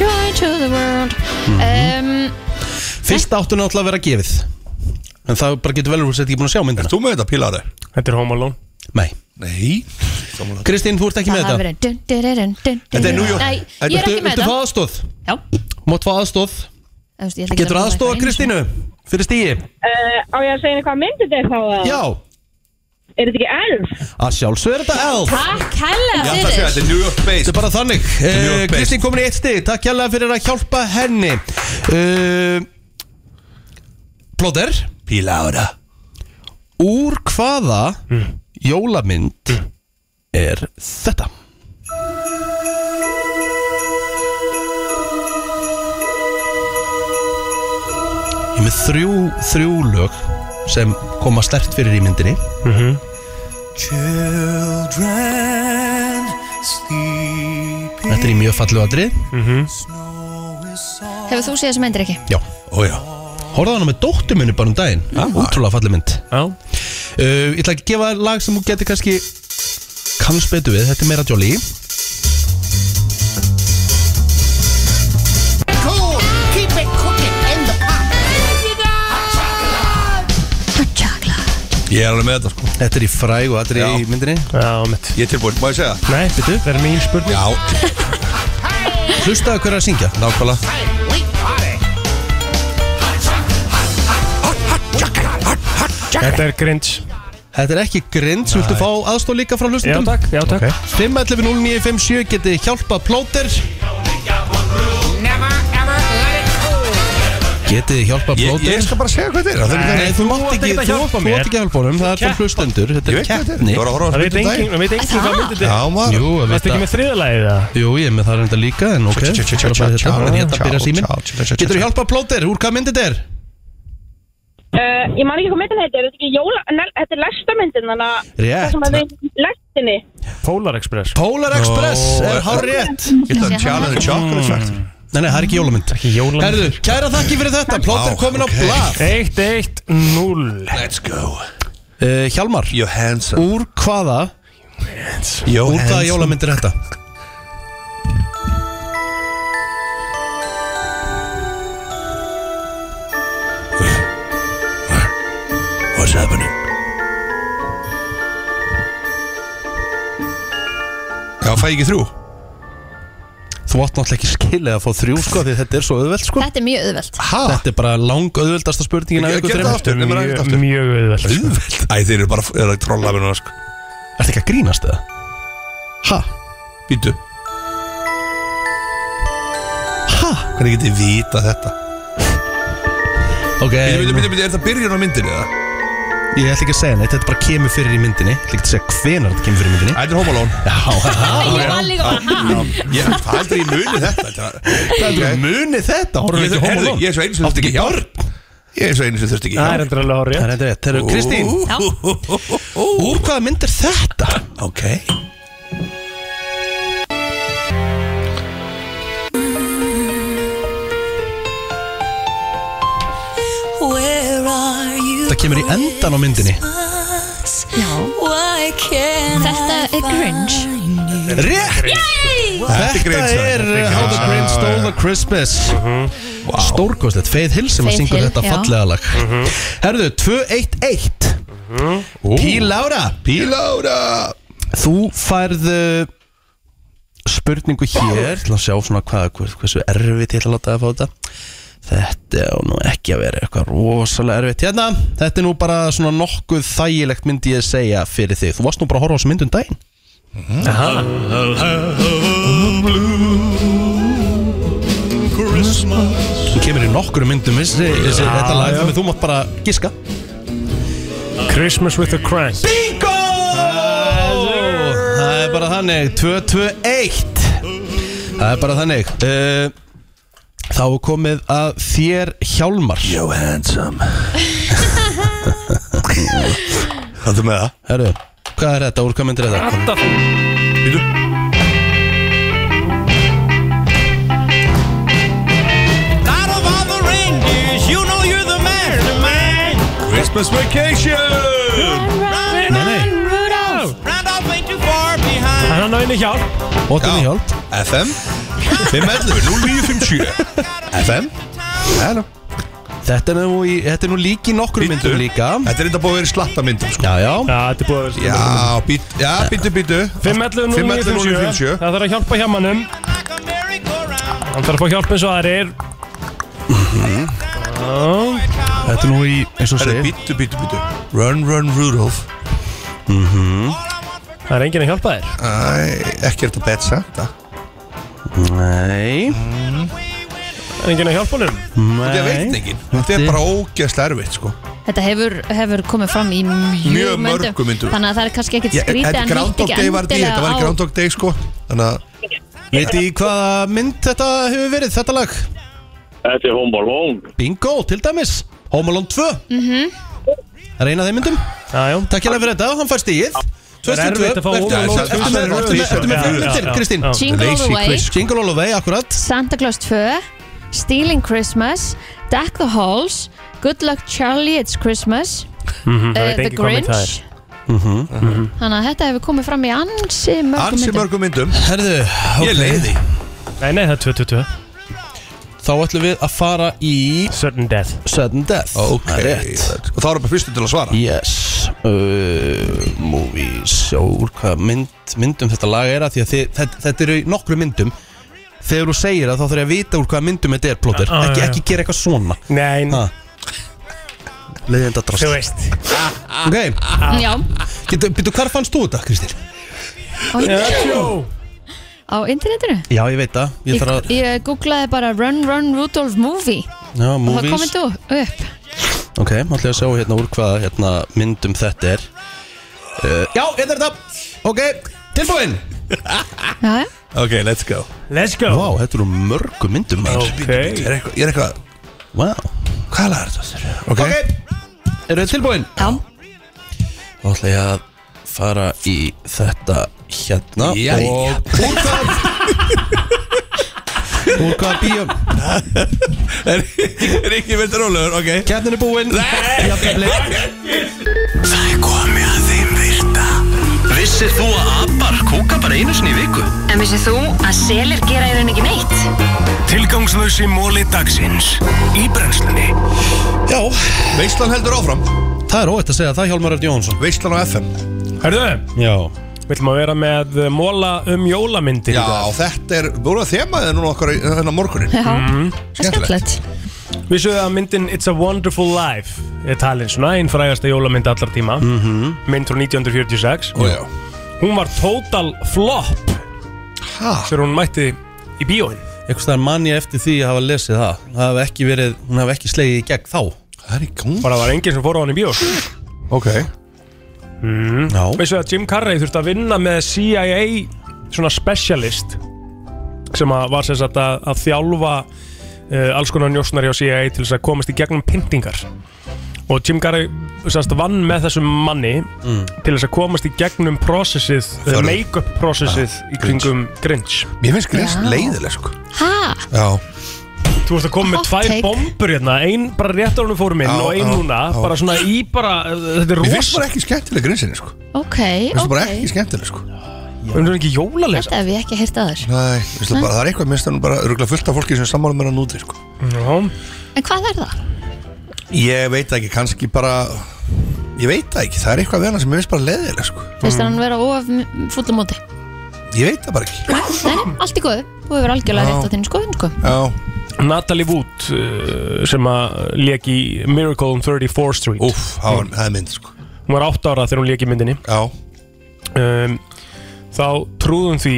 B: Joy to the world
D: Mhm.
B: um,
A: Fyrst áttu náttúrulega að vera gefið En það bara getur vel úr þess að ekki búin að sjá myndina
D: þú með þetta pílari
C: Þetta er Home Alone
A: Nei
D: Nei
A: Kristín, þú ert ekki með
B: Það hafa
A: þetta
B: verið dun, dun, dun, dun, dun, dun.
D: Þetta er New York.
B: Nei, ég er ekki með
A: Viltu fá
B: þetta
A: aðstóð?
B: Já,
A: Mátt fá aðstóð?
B: Þú veist, ég ætla ekki
A: Getur
B: að koma
A: aðstóða
B: eitthvað inn í svona.
A: Kristínu? Fyrir stíi?
G: Uh, á ég að segja henni hvað myndið þið þá? eða?
A: Já
G: Er þetta ekki elf?
A: Að sjálfsögur þetta elf
B: Takk hella
D: Ég ætla að
B: fyrir
D: segja, þetta er New York
A: Þetta
D: based
A: er bara þannig
D: New
A: Eh,
D: York based.
A: Kristín komin í eitt stig Takk hjálpa fyrir að hjálpa henni uh, Plóter
D: Pílari
A: Úr hvaða jólamynd er þetta? Ég er með þrjú, þrjú lög sem koma stert fyrir í myndinni
E: Children sleep
A: Þetta er í mjög fallu aðrið
B: Hefur þú séð þessu myndir ekki?
A: Já,
D: Ó já
A: horfða hana með dóttur minni bara um daginn Útrúlega fallu mynd
C: Já,
A: Uh, ég ætla að gefa þér lag sem þú getur kannski kannast betur við, þetta er meira Jolie
B: Hot chocolate
D: Ég er alveg með þetta sko
A: Þetta er í fræg og þetta er
D: Já.
A: í myndinni
C: já, mitt
D: Ég er tilbúin, má ég segja?
C: Nei, betur, það er mín spurning
D: Já,
A: Hlustaðu hver er að syngja
D: nákvæmlega
C: Þetta er Grinch
A: Þetta er ekki grind, viltu fá aðstóð líka frá
C: Já,
A: hlustundum?
C: takk, já, takk
A: 511957 geti hjálpa plóter Getið þið hjálpa
D: Ég,
A: plóter
D: ég skal bara segja hvað þetta er það er ekki
A: Nei,
D: þannig.
A: þú mátt ekki,
C: ekkert að
A: þú
C: hjálpa
A: þú
C: mér.
A: mátt ekki hjálpa honum, það er fyrir
C: Keppa.
A: hlustendur
D: Ég
A: Þetta er
D: veit hvað þetta er
A: keppni
D: Ég var að horfa á
C: Það veit
D: spytum
C: engin,
D: daginn
C: það veit engin hvað myndið
D: Já,
C: þetta
D: maður
A: Jú, að
C: Það er ekki
A: vita
C: með þriðalagið það
A: Jú, ég er með það reynda líka, en ok
D: Tjá, tjá, tjá, tjá,
A: Bara
D: tjá, tjá,
A: bara þetta, en Hérna
D: tjá,
A: byrja
D: tjá,
A: síminn
D: tjá, tjá, tjá, tjá,
A: Getur þú
D: tjá.
A: hjálpa plóter, úr hvað myndið þetta er?
G: Uh, ég man ekki hvað myndin heitir, er þetta ekki jóla... Nei, þetta er lestamyndin, þannig að...
A: Rétt.
G: Það sem að við lestinni.
C: Polar Express
A: Polar Express
D: Ó,
A: er
D: er-
A: hár rétt
D: Þetta er Challenge Chocolate Factory
A: Nei, nei, það er ekki jólamynd
C: Ekki jólamynd.
A: Herðu, kæra þakki fyrir þetta Plóter
D: Vá,
A: komin á
D: ok.
A: blað
C: 1-1-0
D: Let's go
A: uh, Hjalmar,
D: You're handsome
A: úr hvaða
D: You're
A: Úr hvaða
D: handsome.
A: jólamynd er þetta?
D: What's happening? Já, fæ ég ekki þrjú?
A: Þú átt náttúrulega ekki skilið að fá þrjú sko Því þetta er svo auðvelt sko
B: Þetta er mjög auðvelt
D: Ha?
A: Þetta er bara lang auðveldasta spurningin af
D: Ég- ég
A: ykkur
D: get
A: þreimur.
D: það
C: Hérna
D: aftur. nema ræðið
C: Mjög, mjög auðvelt
D: Auðveld Æ, þeir eru bara er að trolla mér núna sko
A: Ertu ekki að grínast það? Ha?
D: Býtu
A: Ha?
D: Hvernig getið þið vita þetta?
A: Ok,
D: Býtu, býtu, býtu, býtu, er það byrjun á myndinni eða?
A: ég ætla ekki að segja neitt Þetta bara kemur fyrir í myndinni Ég ætla ekki að segja hvenar þetta kemur fyrir í myndinni
D: Æ, Þetta er Home Alone
A: Já,
B: Ég var líka bara ha
D: Ég það aldrei í muni þetta Þetta
A: það
D: er
A: er muni þetta Horfum
D: Ég
A: við ekki Home
D: heyrðu,
A: Alone?
D: ég er svo einu sem þurfti ekki hjálp Ég er svo einu sem þurfti ekki
C: Það er
D: hjálp
C: endur alveg hár
A: Það er
C: rétt
A: þetta rétt. Herru, Kristín,
D: Kristín
A: úr hvaða mynd er þetta?
D: Ok
A: Þetta kemur í endan á myndinni
B: Já. Þetta er Grinch
A: Rétt!
D: Þetta er
A: Þetta
D: Grinch,
A: er
D: þetta er
A: How
D: Grinch.
A: the Grinch
D: Ah,
A: Stole the Christmas
D: Mhm.
A: Stórkostlegt, Faith Hill sem að
B: Faith
A: syngur
B: Hill,
A: þetta
B: já.
A: fallega lag
D: Mhm.
A: Herðu, 2-1-1 Pí Lára
D: Pílára
A: Þú færð uh, spurningu hér til að sjá svona hvað, hvers- hversu erfitt ég ætla að láta það að fá þetta Þetta á nú ekki að vera eitthvað rosalega erfitt hérna Þetta er nú bara svona nokkuð þægilegt myndi ég segja fyrir þig Þú varst nú bara að horfa á þessu myndum daginn Þú kemur í nokkru myndum þessi, þessi, þetta lag þannig að þú mátt bara giska
C: Christmas with a Crank
A: Bingo! Það er bara þannig 2-2-1 Það er bara þannig uh, Þá er komið að þér Hjálmar
D: Yo handsome Haldur með það
A: Herru, hvað er þetta? Úr hvað myndir þetta?
D: Býtu
E: Out of all the reindeers, you know you're the mastermind.
D: Christmas vacation
A: Nei, nei,
E: Randolph ain't too far behind.
C: Hann er náinn í hjálp
A: óttunni hjálp
D: FM 511 0957 FM Hello.
A: Þetta er nú, í, þetta er nú líki nokkru
D: Bíddu.
A: myndum líka
D: Þetta er þetta búið að vera í slatta myndum sko.
A: Já, já
C: Já, þetta er búið að vera
D: Já, být, já, býtu, býtu
C: 511
D: 511-0957.
C: 0957 Það þarf að hjálpa hjá mannum
E: Like a merry-go-round.
C: Hann þarf að fá hjálp eins og aðrir
A: Þetta er nú í, eins og
D: Herri,
A: segir
D: býtu, býtu, býtu Run, run, Rudolph
C: Það er enginn að hjálpa þér
D: Æ, ekki er þetta bett santa
A: Nei,
C: Það er enginn að hjálpa honum
D: Þetta er
A: nei
D: veitningin Þetta er bara ógeðslega erfitt, sko
B: Þetta hefur, hefur komið fram í mjög,
D: Mjög mörgum myndum.
B: Þannig að það er kannski ekkert
D: Ég-
B: skrítið
D: Þetta
B: en
D: er
B: hitt
D: Groundhog
B: ekki
D: Day var þetta í, þetta var í
B: endilega á
D: Groundhog Day, sko Þannig að
A: Veit í hvaða mynd þetta hefur verið, þetta lag?
H: Þetta er Home Alone
A: Bingo, til dæmis Home Alone 2 mm -hmm. Það er eina af þeim myndum
C: Jájá
A: Takk hérna fyrir þetta, hann fær stíð
C: Það er erfitt að fá
A: Ertu ertu- ertu
C: Home Alone
A: með ertu með- ertu með fleiri myndir, Kristín?
B: Jingle All
D: Lazy
B: The Way,
D: Christmas.
A: Jingle All The Way, akkurat
B: Santa Claus 2 Stealing Christmas Deck the Halls Good Luck Charlie It's Christmas
C: Mhm,
B: uh, The Grinch
A: Mhm.
B: Þannig að þetta hefur komið fram í ansi
D: Mhm.
B: mörgum
D: ansi
B: myndum
D: mörgum myndum
A: Herðu,
D: Ég leiði því
C: Nei, nei, það er 222
A: Þá ætlum við að fara í
C: Certain Death
A: Sudden Death
D: Ok,
A: Það er rétt
D: og þá erum við fyrstu til að svara
A: Yes uh, Movies Já, úr hvaða mynd, myndum þetta lag er að Því að þið, þetta, þetta eru nokkru myndum Þegar þú segir það þá þarf ég að vita úr hvaða myndum þetta er plóter
C: Ah,
A: ekki,
C: já, já.
A: ekki gera eitthvað svona
C: Nei,
A: Ha. Leðenda drast
C: þú veist
A: Ok,
B: Já,
A: getur, byrju, hvar fannst þú þetta, Kristín?
B: á internetinu
A: Já, ég veit það, ég
B: Ég,
A: þarf að
B: ég googlaði bara Run Run Rudolph Movie
A: Já,
B: og það
A: movies
B: komið þú upp
A: Ok, ætlum ég að sjá hérna úr hvaða hérna, myndum þetta er uh, Já, hérna er þetta Ok, tilbúin
B: Já, já.
D: Ok, let's go
C: Let's
A: Vá,
C: go
A: þetta eru mörgu myndum maður
D: Ég
C: Ok
D: er eitthvað, ég er eitthvað
A: Vá
D: Hvað lag er þetta? þér? Ok, okay.
A: eru þið tilbúin?
B: Já.
A: Þá ætlum ég að fara í þetta hérna
D: Jæja.
A: og úr hvaða Úr hvaða bíum
D: er ekki verið rólegur, ok
A: Kjarnin er búin Jafntefli.
E: Það er komið að þeim virta.
I: Vissir þú að abar kúka bara einu sinni í viku?
J: En vissið þú að selir gera í raun ekki neitt?
E: Tilgangslösi móli dagsins. Í brennslunni.
A: Já,
D: Veislan heldur áfram,
A: það er óætt að segja það Hjálmar Örn Jónsson
D: Veislan á FM
C: Herðu,
A: Já
C: viljum að vera með uh, móla um jólamyndir í
D: Já,
C: dag.
D: þetta er, voru að þemaðið núna okkar í- þennan morgunin
B: Já, það er
D: skemmtilegt.
B: skemmtilegt
C: Vissu þið að myndin It's a Wonderful Life er talin svona einn frægasta jólamynd allar tíma mynd frá 1946
D: Ó, Oh, já.
C: Hún var total flop
D: Ha?
C: þegar hún mætti í bíóin
A: Eitthvað staðar man ég eftir því að hafa lesið það Það hafi ekki verið, hún hafi ekki slegið í gegn þá
D: Það er í gang
C: bara var enginn sem fór á hann í bíó
D: Ok
A: Já
C: Vissu þið að Jim Carrey þurfti að vinna með CIA svona specialist sem að var sem sagt að, að þjálfa uh, alls konar njósnar hjá CIA til þess að komast í gegnum pyntingar og Jim Carrey sem sagt, vann með þessum manni til þess að komast í gegnum processið, eh,
D: Mm. Þörf. Ah,
C: make-up processið í kringum Grinch
D: Mér finnst grist
B: Já.
D: leiðileg, sko
B: Hæ?
D: Já
C: Þú ert að koma með
B: Hot
C: tvær
B: take.
C: bombur hérna Einn bara rétt á húnum fórum inn
D: Já,
C: og einn
D: já,
C: núna
D: já.
C: Bara svona í bara, eh, þetta er
D: Mér finnst
C: rosa
D: bara ekki skemmtileg grinsinni sko Mér
B: Ok,
D: finnst bara
B: ok
D: ekki skemmtileg sko
C: Við erum ekki jólalesa
B: Þetta hef ég ekki heyrt að þér
D: Nei, veistu bara, það er eitthvað, minnst hann bara örgulega fullt af fólki sem sammála mér að núti, sko.
C: Já,
B: En hvað er það?
D: Ég veit það ekki, kannski bara, ég veit það ekki, það er eitthvað við hana sem mér finnst bara leðilega, sko.
B: Finnst þér hann vera of fullum móti?
D: Ég veit það bara ekki.
B: Nei, nei, allt í góðu Þú hefur algjörlega rétt á þinn skoðun sko
D: Já,
C: Natalie Wood uh, sem að lék í Miracle on 34th Street
D: úf, það var- það er mynd, sko.
C: Hún var 8 ára þegar hún lék í myndinni
D: Já,
C: um, Þá trúðum því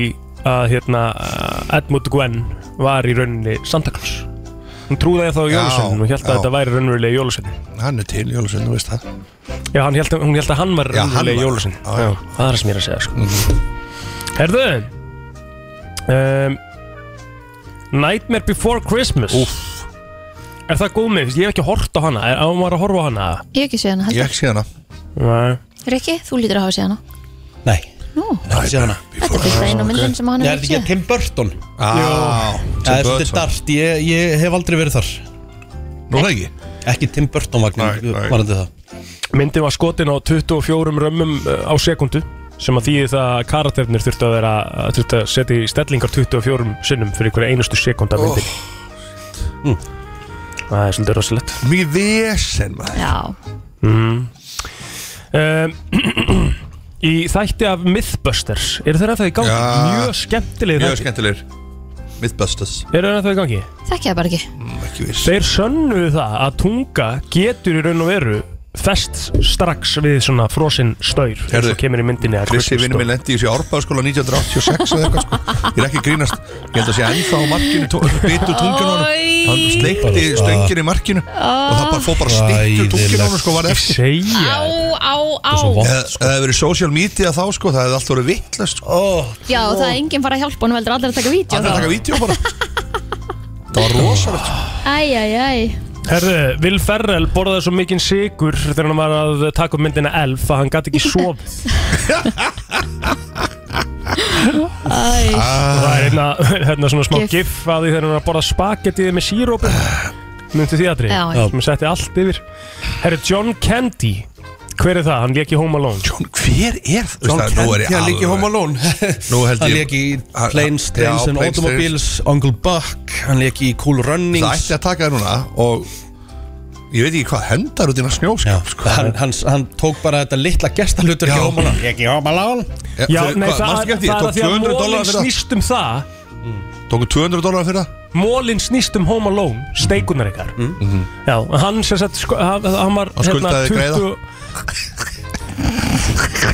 C: að hérna uh, Edmund Gwen var í rauninni Santa Claus Hún trúði þá
D: Já,
C: í jólasveinu og held
D: já.
C: að þetta væri raunverulega jólasveinu
D: hann er til, Jólusveinn, þú veist það.
C: Já, hann held, hún held að hann var
D: Já, hann
C: raunverulega
D: var.
C: jólasveinu
D: Já, já.
C: Það er það sem ég er að segja sko. Herðu um, Nightmare Before Christmas Úf. Er það góð mynd? Ég hef ekki hort á hana Er á maður að horfa á hana?
B: Ég hef ekki séð hana
D: Ég
B: heldur
D: ekki síðan að.
C: Nei
B: Rikki, þú lítur að hafa séð hana
A: Nei,
B: Nú,
A: ekki sé hana
B: þetta er fyrsta einu myndin sem hann
A: Ég
B: hefur
A: er ekki
B: séð
A: að Tim Burton
D: Já,
A: Það er svolítið dart, ég, ég hef aldrei verið þar
D: Nú er það ekki?
A: Ekki Tim Burton
D: Nei,
A: vagnin,
D: nei.
A: varandi það
C: Myndin var skotin á 24 römmum uh, á sekundu sem að þýði það að karakternir þurftu að vera þurftu að setja í stellingar 24 sinnum fyrir einhverja einustu sekunda myndin oh. Það er svolítið rosalegt
D: Mikið vesen, maður.
B: Já,
C: um, Í þætti af Mythbusters Eru þeir að það í gangi?
D: Já.
C: Mjög skemmtileg
D: Mjög
C: þætti
D: skemmtilegur. Mythbusters,
C: Eru þeir að það í gangi?
B: þekki það bara ekki
D: Mm, ekki viss.
C: Þeir sönnu það að tunga getur í raun og veru fest strax við svona frosinn staur eins
D: Heyrðu,
C: og kemur í myndinni að
D: Krissi
C: Christmas
D: vinnum minn lendi í þessu árbæðaskóla 1986 eða eitthvað sko Ég er ekki að grínast Ég held að sé ennþá á markinu Bitur tungun honum Hann sleikti stöngin í markinu Og það bara fór bara stittur tungun honum sko var
C: Ég
D: eftir
C: segja
B: Á,
C: þér.
B: á, á
D: Eða eða það hefði verið social media þá sko Það hefði allt voru vittlust sko
B: Já, það er enginn fara að hjálpa honum heldur allir að taka vídeo
D: Hann er að taka vídeo bara Það var rosalegt sko.
B: Æ, æ, æ
C: Herðu, Will Ferrell borðaði svo mikinn sigur þegar hann var að taka upp myndina Elf að hann gæti ekki sofið
B: Æ,
C: Það er einna, hérna svona smá
B: Gif.
C: gif, að því þegar hann var að borða spagettiði með sírópi Myndi því aðri
B: Já, já.
C: sem setti allt yfir Herru, John Candy Hver er það? Hann lék í Home Alone
D: John, hver er það?
A: John
D: Veist það, nú er
A: Candy,
D: ég
A: hann líki
D: alveg-
A: Home Alone
D: Nú held
A: Hann
D: ég-
A: líki í
D: Hann-
A: Planes,
D: Já,
A: Trains and
D: Planes, Trains.
A: Automobiles Uncle Buck, hann líki í Cool Runnings
D: Það ætti að taka það núna Og ég veit ekki hvað Hendar út í næst snjóskap sko.
A: hann, hann, hann tók bara þetta litla gestalutur
D: Já.
A: hjá Home Alone Líki Home Alone
C: Já,
D: Eh, Fyrir-
C: nei,
D: hvað,
C: það,
D: manstu ekki eftir því?
C: það, er
D: Tók
C: að því
D: 200
C: að
D: dollara fyrir það
C: mólinn snýst um það
D: Tóku 200 dólar fyrir það
C: Mólinn snýst um Home Alone, steikunar ykkar Já, hann sem sagt, sko, hann, hann var hérna
D: Hann Mhm. skuldaði greiða.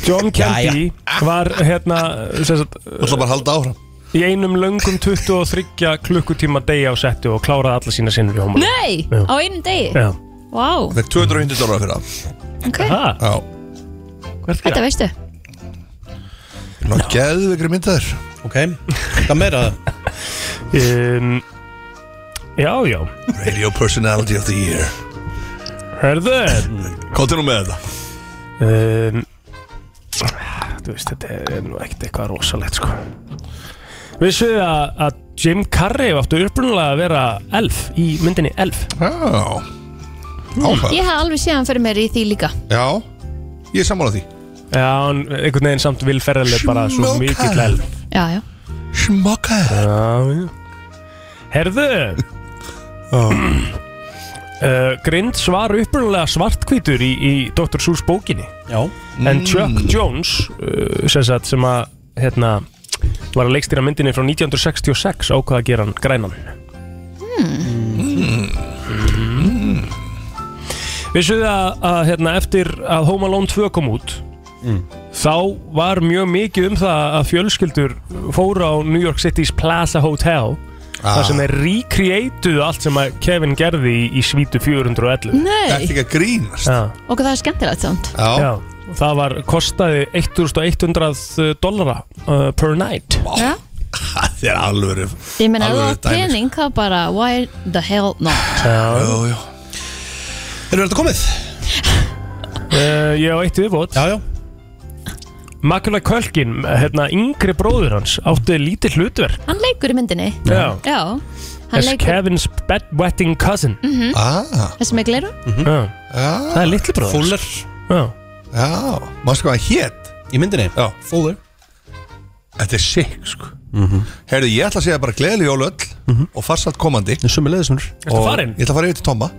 C: John Candy var hérna, sem sagt,
D: Þú ætla bara að halda áfram
C: í einum löngum 23 klukkutíma degi á settu og kláraði alla sína sinnur í Home Alone
B: nei,
C: Já.
B: á einum degi
C: Já,
B: Vá,
D: Fekk 250 dólar fyrir það
B: ok
C: það,
D: Já
C: hvert
B: Þetta
C: gera?
B: veistu
D: Ná, geðveikri myndaður
A: Ok, hvað meira
C: Um, já, já,
D: Radio Personality of the Year
C: herðu
D: Kóti nú með þetta
C: um, Þú veist, þetta er nú ekkert eitthvað rosalegt sko Vissu þið að, að Jim Carrey áttu upprunalega að vera elf í myndinni Elf
D: Já Áfæð
B: Ég hef alveg séð hann fyrir mér í því líka
D: Já Ég er sammála því
C: Já, en einhvern veginn samt vilferðileg bara svo
D: Smoke
C: mikill
D: Elf.
C: elf
B: Já, já
D: Smokka
C: Já, já. Herðu uh, Grind var upprunalega svartkvítur í, í Dr. Seuss bókinni
A: Já,
C: En Chuck Jones uh, sem, sagt, sem að hérna, var að leikstýra myndinni frá 1966 ákvað að gera hann grænan mm. Vissuð þið að, að hérna, eftir að Home Alone 2 kom út þá var mjög mikið um það að fjölskyldur fóru á New York City's Plaza Hotel
D: Ah.
C: þar sem þeir recreatuðu allt sem að Kevin gerði í, í svítu
B: Hmm.
C: 411
D: Þetta
B: Nei,
D: ekki að grínast
C: Já,
B: og það er skemmtilegt samt
D: Já
C: já Það var, kostaði 1100 eh, dollara uh, per night
B: Já
D: Það er alvöru
B: Ég meina, ef þú
D: Alvöru
B: átt
D: dæmi, sko.
B: pening þá bara, why the hell not
C: Já,
D: Jú, jú
A: erum við þetta komið?
C: uh, ég á eitt viðbót
A: Já, já
C: Makula Kölkin, hérna yngri bróður hans átti lítið hlutverk
B: Hann leikur í myndinni
C: Já,
B: Já, Hann
C: As
B: leikur-
C: Kevin's bedwetting cousin
B: Mhm.
D: Ah,
B: Þessi með gleru
C: Já. Það er litli bróður
A: Fuller
C: Já.
D: já, mástu hvað hann hét
A: Í myndinni
D: Já,
A: Fuller
D: þetta er sick sko
C: Mhm.
D: Herðu, ég ætla að segja bara gleðileg jól öll og farsalt komandi
A: Það er sömu leðismur
C: Ertu farin?
D: Ég ætla að fara yfir til Tomma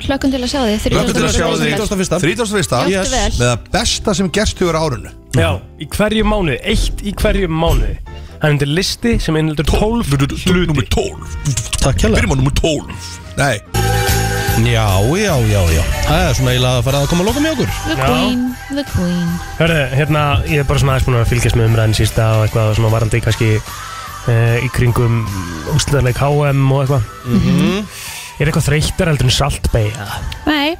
B: Hlökkum til að sjá þig
D: Hlökkum til að sjá þig.
A: 31.
D: 31.
B: Játtu Yes. vel.
D: með það besta sem gerst hefur á árunnu
C: Já, í hverju mánuði, eitt í hverju mánuði Það er undir listi sem innhaldur 12
D: Númer
C: hluti
D: 12
A: Takk hjá
D: Byrjum á númer 12 Nei,
A: Já, já, já, já Það er svona eiginlega að fara að koma að loka með okkur
B: The
C: Já.
B: Queen, The Queen
C: Hörðu, hérna, ég er bara svona aðeins búin að fylgjast með umræðin sísta og eitthvað svona varandi kannski uh, í kringum úsliðarleik HM og eitthvað
A: Mhm.
C: Ég er eitthvað þreyttar heldur en saltbeigja
B: Nei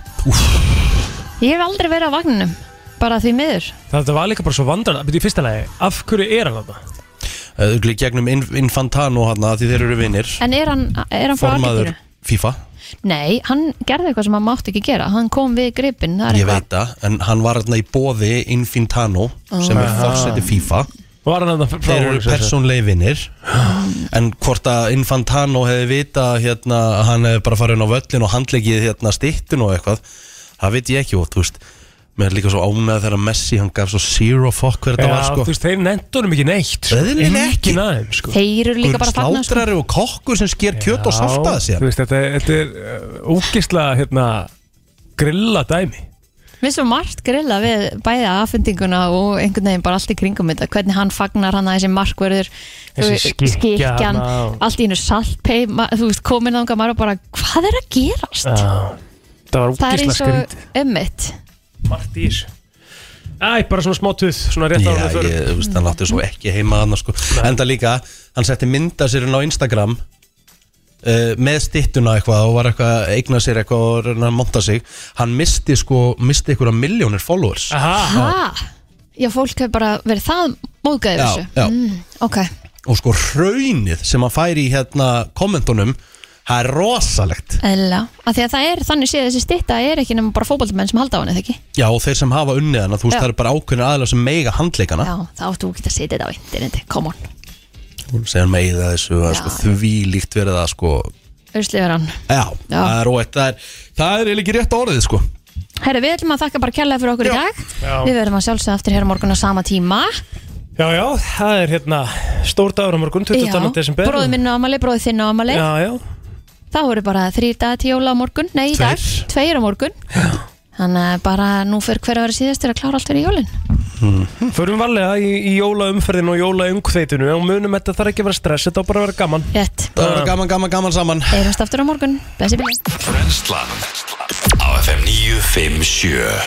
B: Ég hef aldrei verið á vagninum Bara því miður
C: Þetta var líka bara svo vandrar, betur í fyrsta lagi, af hverju er hann þetta?
A: Ögli gegnum Inf- Infantano hann Því þeir eru vinnir
B: En er hann, er hann frá
A: Formaður
B: Argentínu?
A: FIFA
B: Nei, hann gerði eitthvað sem hann mátti ekki gera Hann kom við gripin það er
A: Ég
B: eitthvað.
A: veit það En hann var hérna í bóði Infantano Sem er fórseti FIFA
C: Var hann þetta frá
A: Þeir eru persónlegi vinnir En hvort að Infantano hefði vita hérna, að Hann hefði bara farið inn á völlin og handlegið hérna stýttin og eitthvað Það veit ég ekki og þú veist Mér er líka svo ánægð þegar Messi hann gaf svo zero fuck hver þetta
C: Já,
A: var sko
C: þú veist, þeir nefndunum ekki neitt sko.
A: Auðvitað ekki.
C: Enginn aðeim, sko
B: Þeir eru líka bara fagnar sko.
A: Slátrari og kokkur sem sker kjöt og saltaði
C: Þú
A: sér
C: veist, þetta, þetta er uh, ógisla hérna, grilla dæmi
B: Mér er svo margt grilla við bæði aðfendinguna og einhvern veginn bara allt í kringum þetta Hvernig hann fagnar hann að þessi markverður þú
C: Þessi
B: veist,
C: skikkja
B: skikkjan,
C: þarna og-
B: Allt í einu saltpei ma- Þú veist, komin þangað maður og bara Hvað er að gerast?
C: Já, það var
B: það er
C: ógisla
B: eins og
C: skrítið
B: ummitt
C: Margt í þessu Æ, bara svona smá tuð, svona rétt á
A: Já,
C: hann
A: ég, þú veist, hann átti svo ekki heima hann sko. Enda líka, hann setti mynda sér hann á Instagram uh, með styttuna eitthvað og var eitthvað að eigna sér eitthvað og reyna að monta sig hann misti sko, misti einhverja miljónir followers
B: Ah.
C: Aha,
B: Ha? Já, fólk hefur bara verið það móðgæðið
A: Já,
B: þessu
A: já.
B: Mm, Ok,
A: og sko raunið sem hann fær í hérna kommentunum, það er rosalegt
B: eðla að Því að það er, þannig séð þessi stytta er ekki nema bara fótbaldamenn sem halda á henni, þegar ekki?
A: Já, og þeir sem hafa unnið hana, þú veist,
B: Já.
A: það eru bara ákveðin aðlega sem meiga handleikana
B: Já, þá áttu ekki að setja þetta á interneti, come on
A: sem meiða þessu, að sko, því líkt verið að sko,
B: Ursliður hann
A: já,
B: Já.
A: það er róið það er, það er eiginlega ekki rétt orðið sko
B: Herra, við ætlum að þakka bara kærlega fyrir okkur í dag
C: Já.
B: Við verðum að sjálfsögða aftur hér á morgun á sama tíma
C: já, já, það er hérna stór dagur á morgun, 22. desember
B: bróði minn á amali, bróði þinn á amali
C: Já, já,
B: Þá eru bara þrýr dagar til jóla á morgun Nei, í
A: Tveir.
B: dag, tveir á morgun Já. Þannig að bara nú fyrir hver að vera síðast er að klára allt fyrir jólin
C: förum varlega í, í jólaumferðinu og jólaumkveitinu og munum þetta þarf ekki að vera stress, þetta á bara að vera gaman
B: Rétt,
A: Það var gaman, gaman, gaman saman
B: eyrumst aftur á morgun Blessi bílinn
I: Brenslan Á FM 957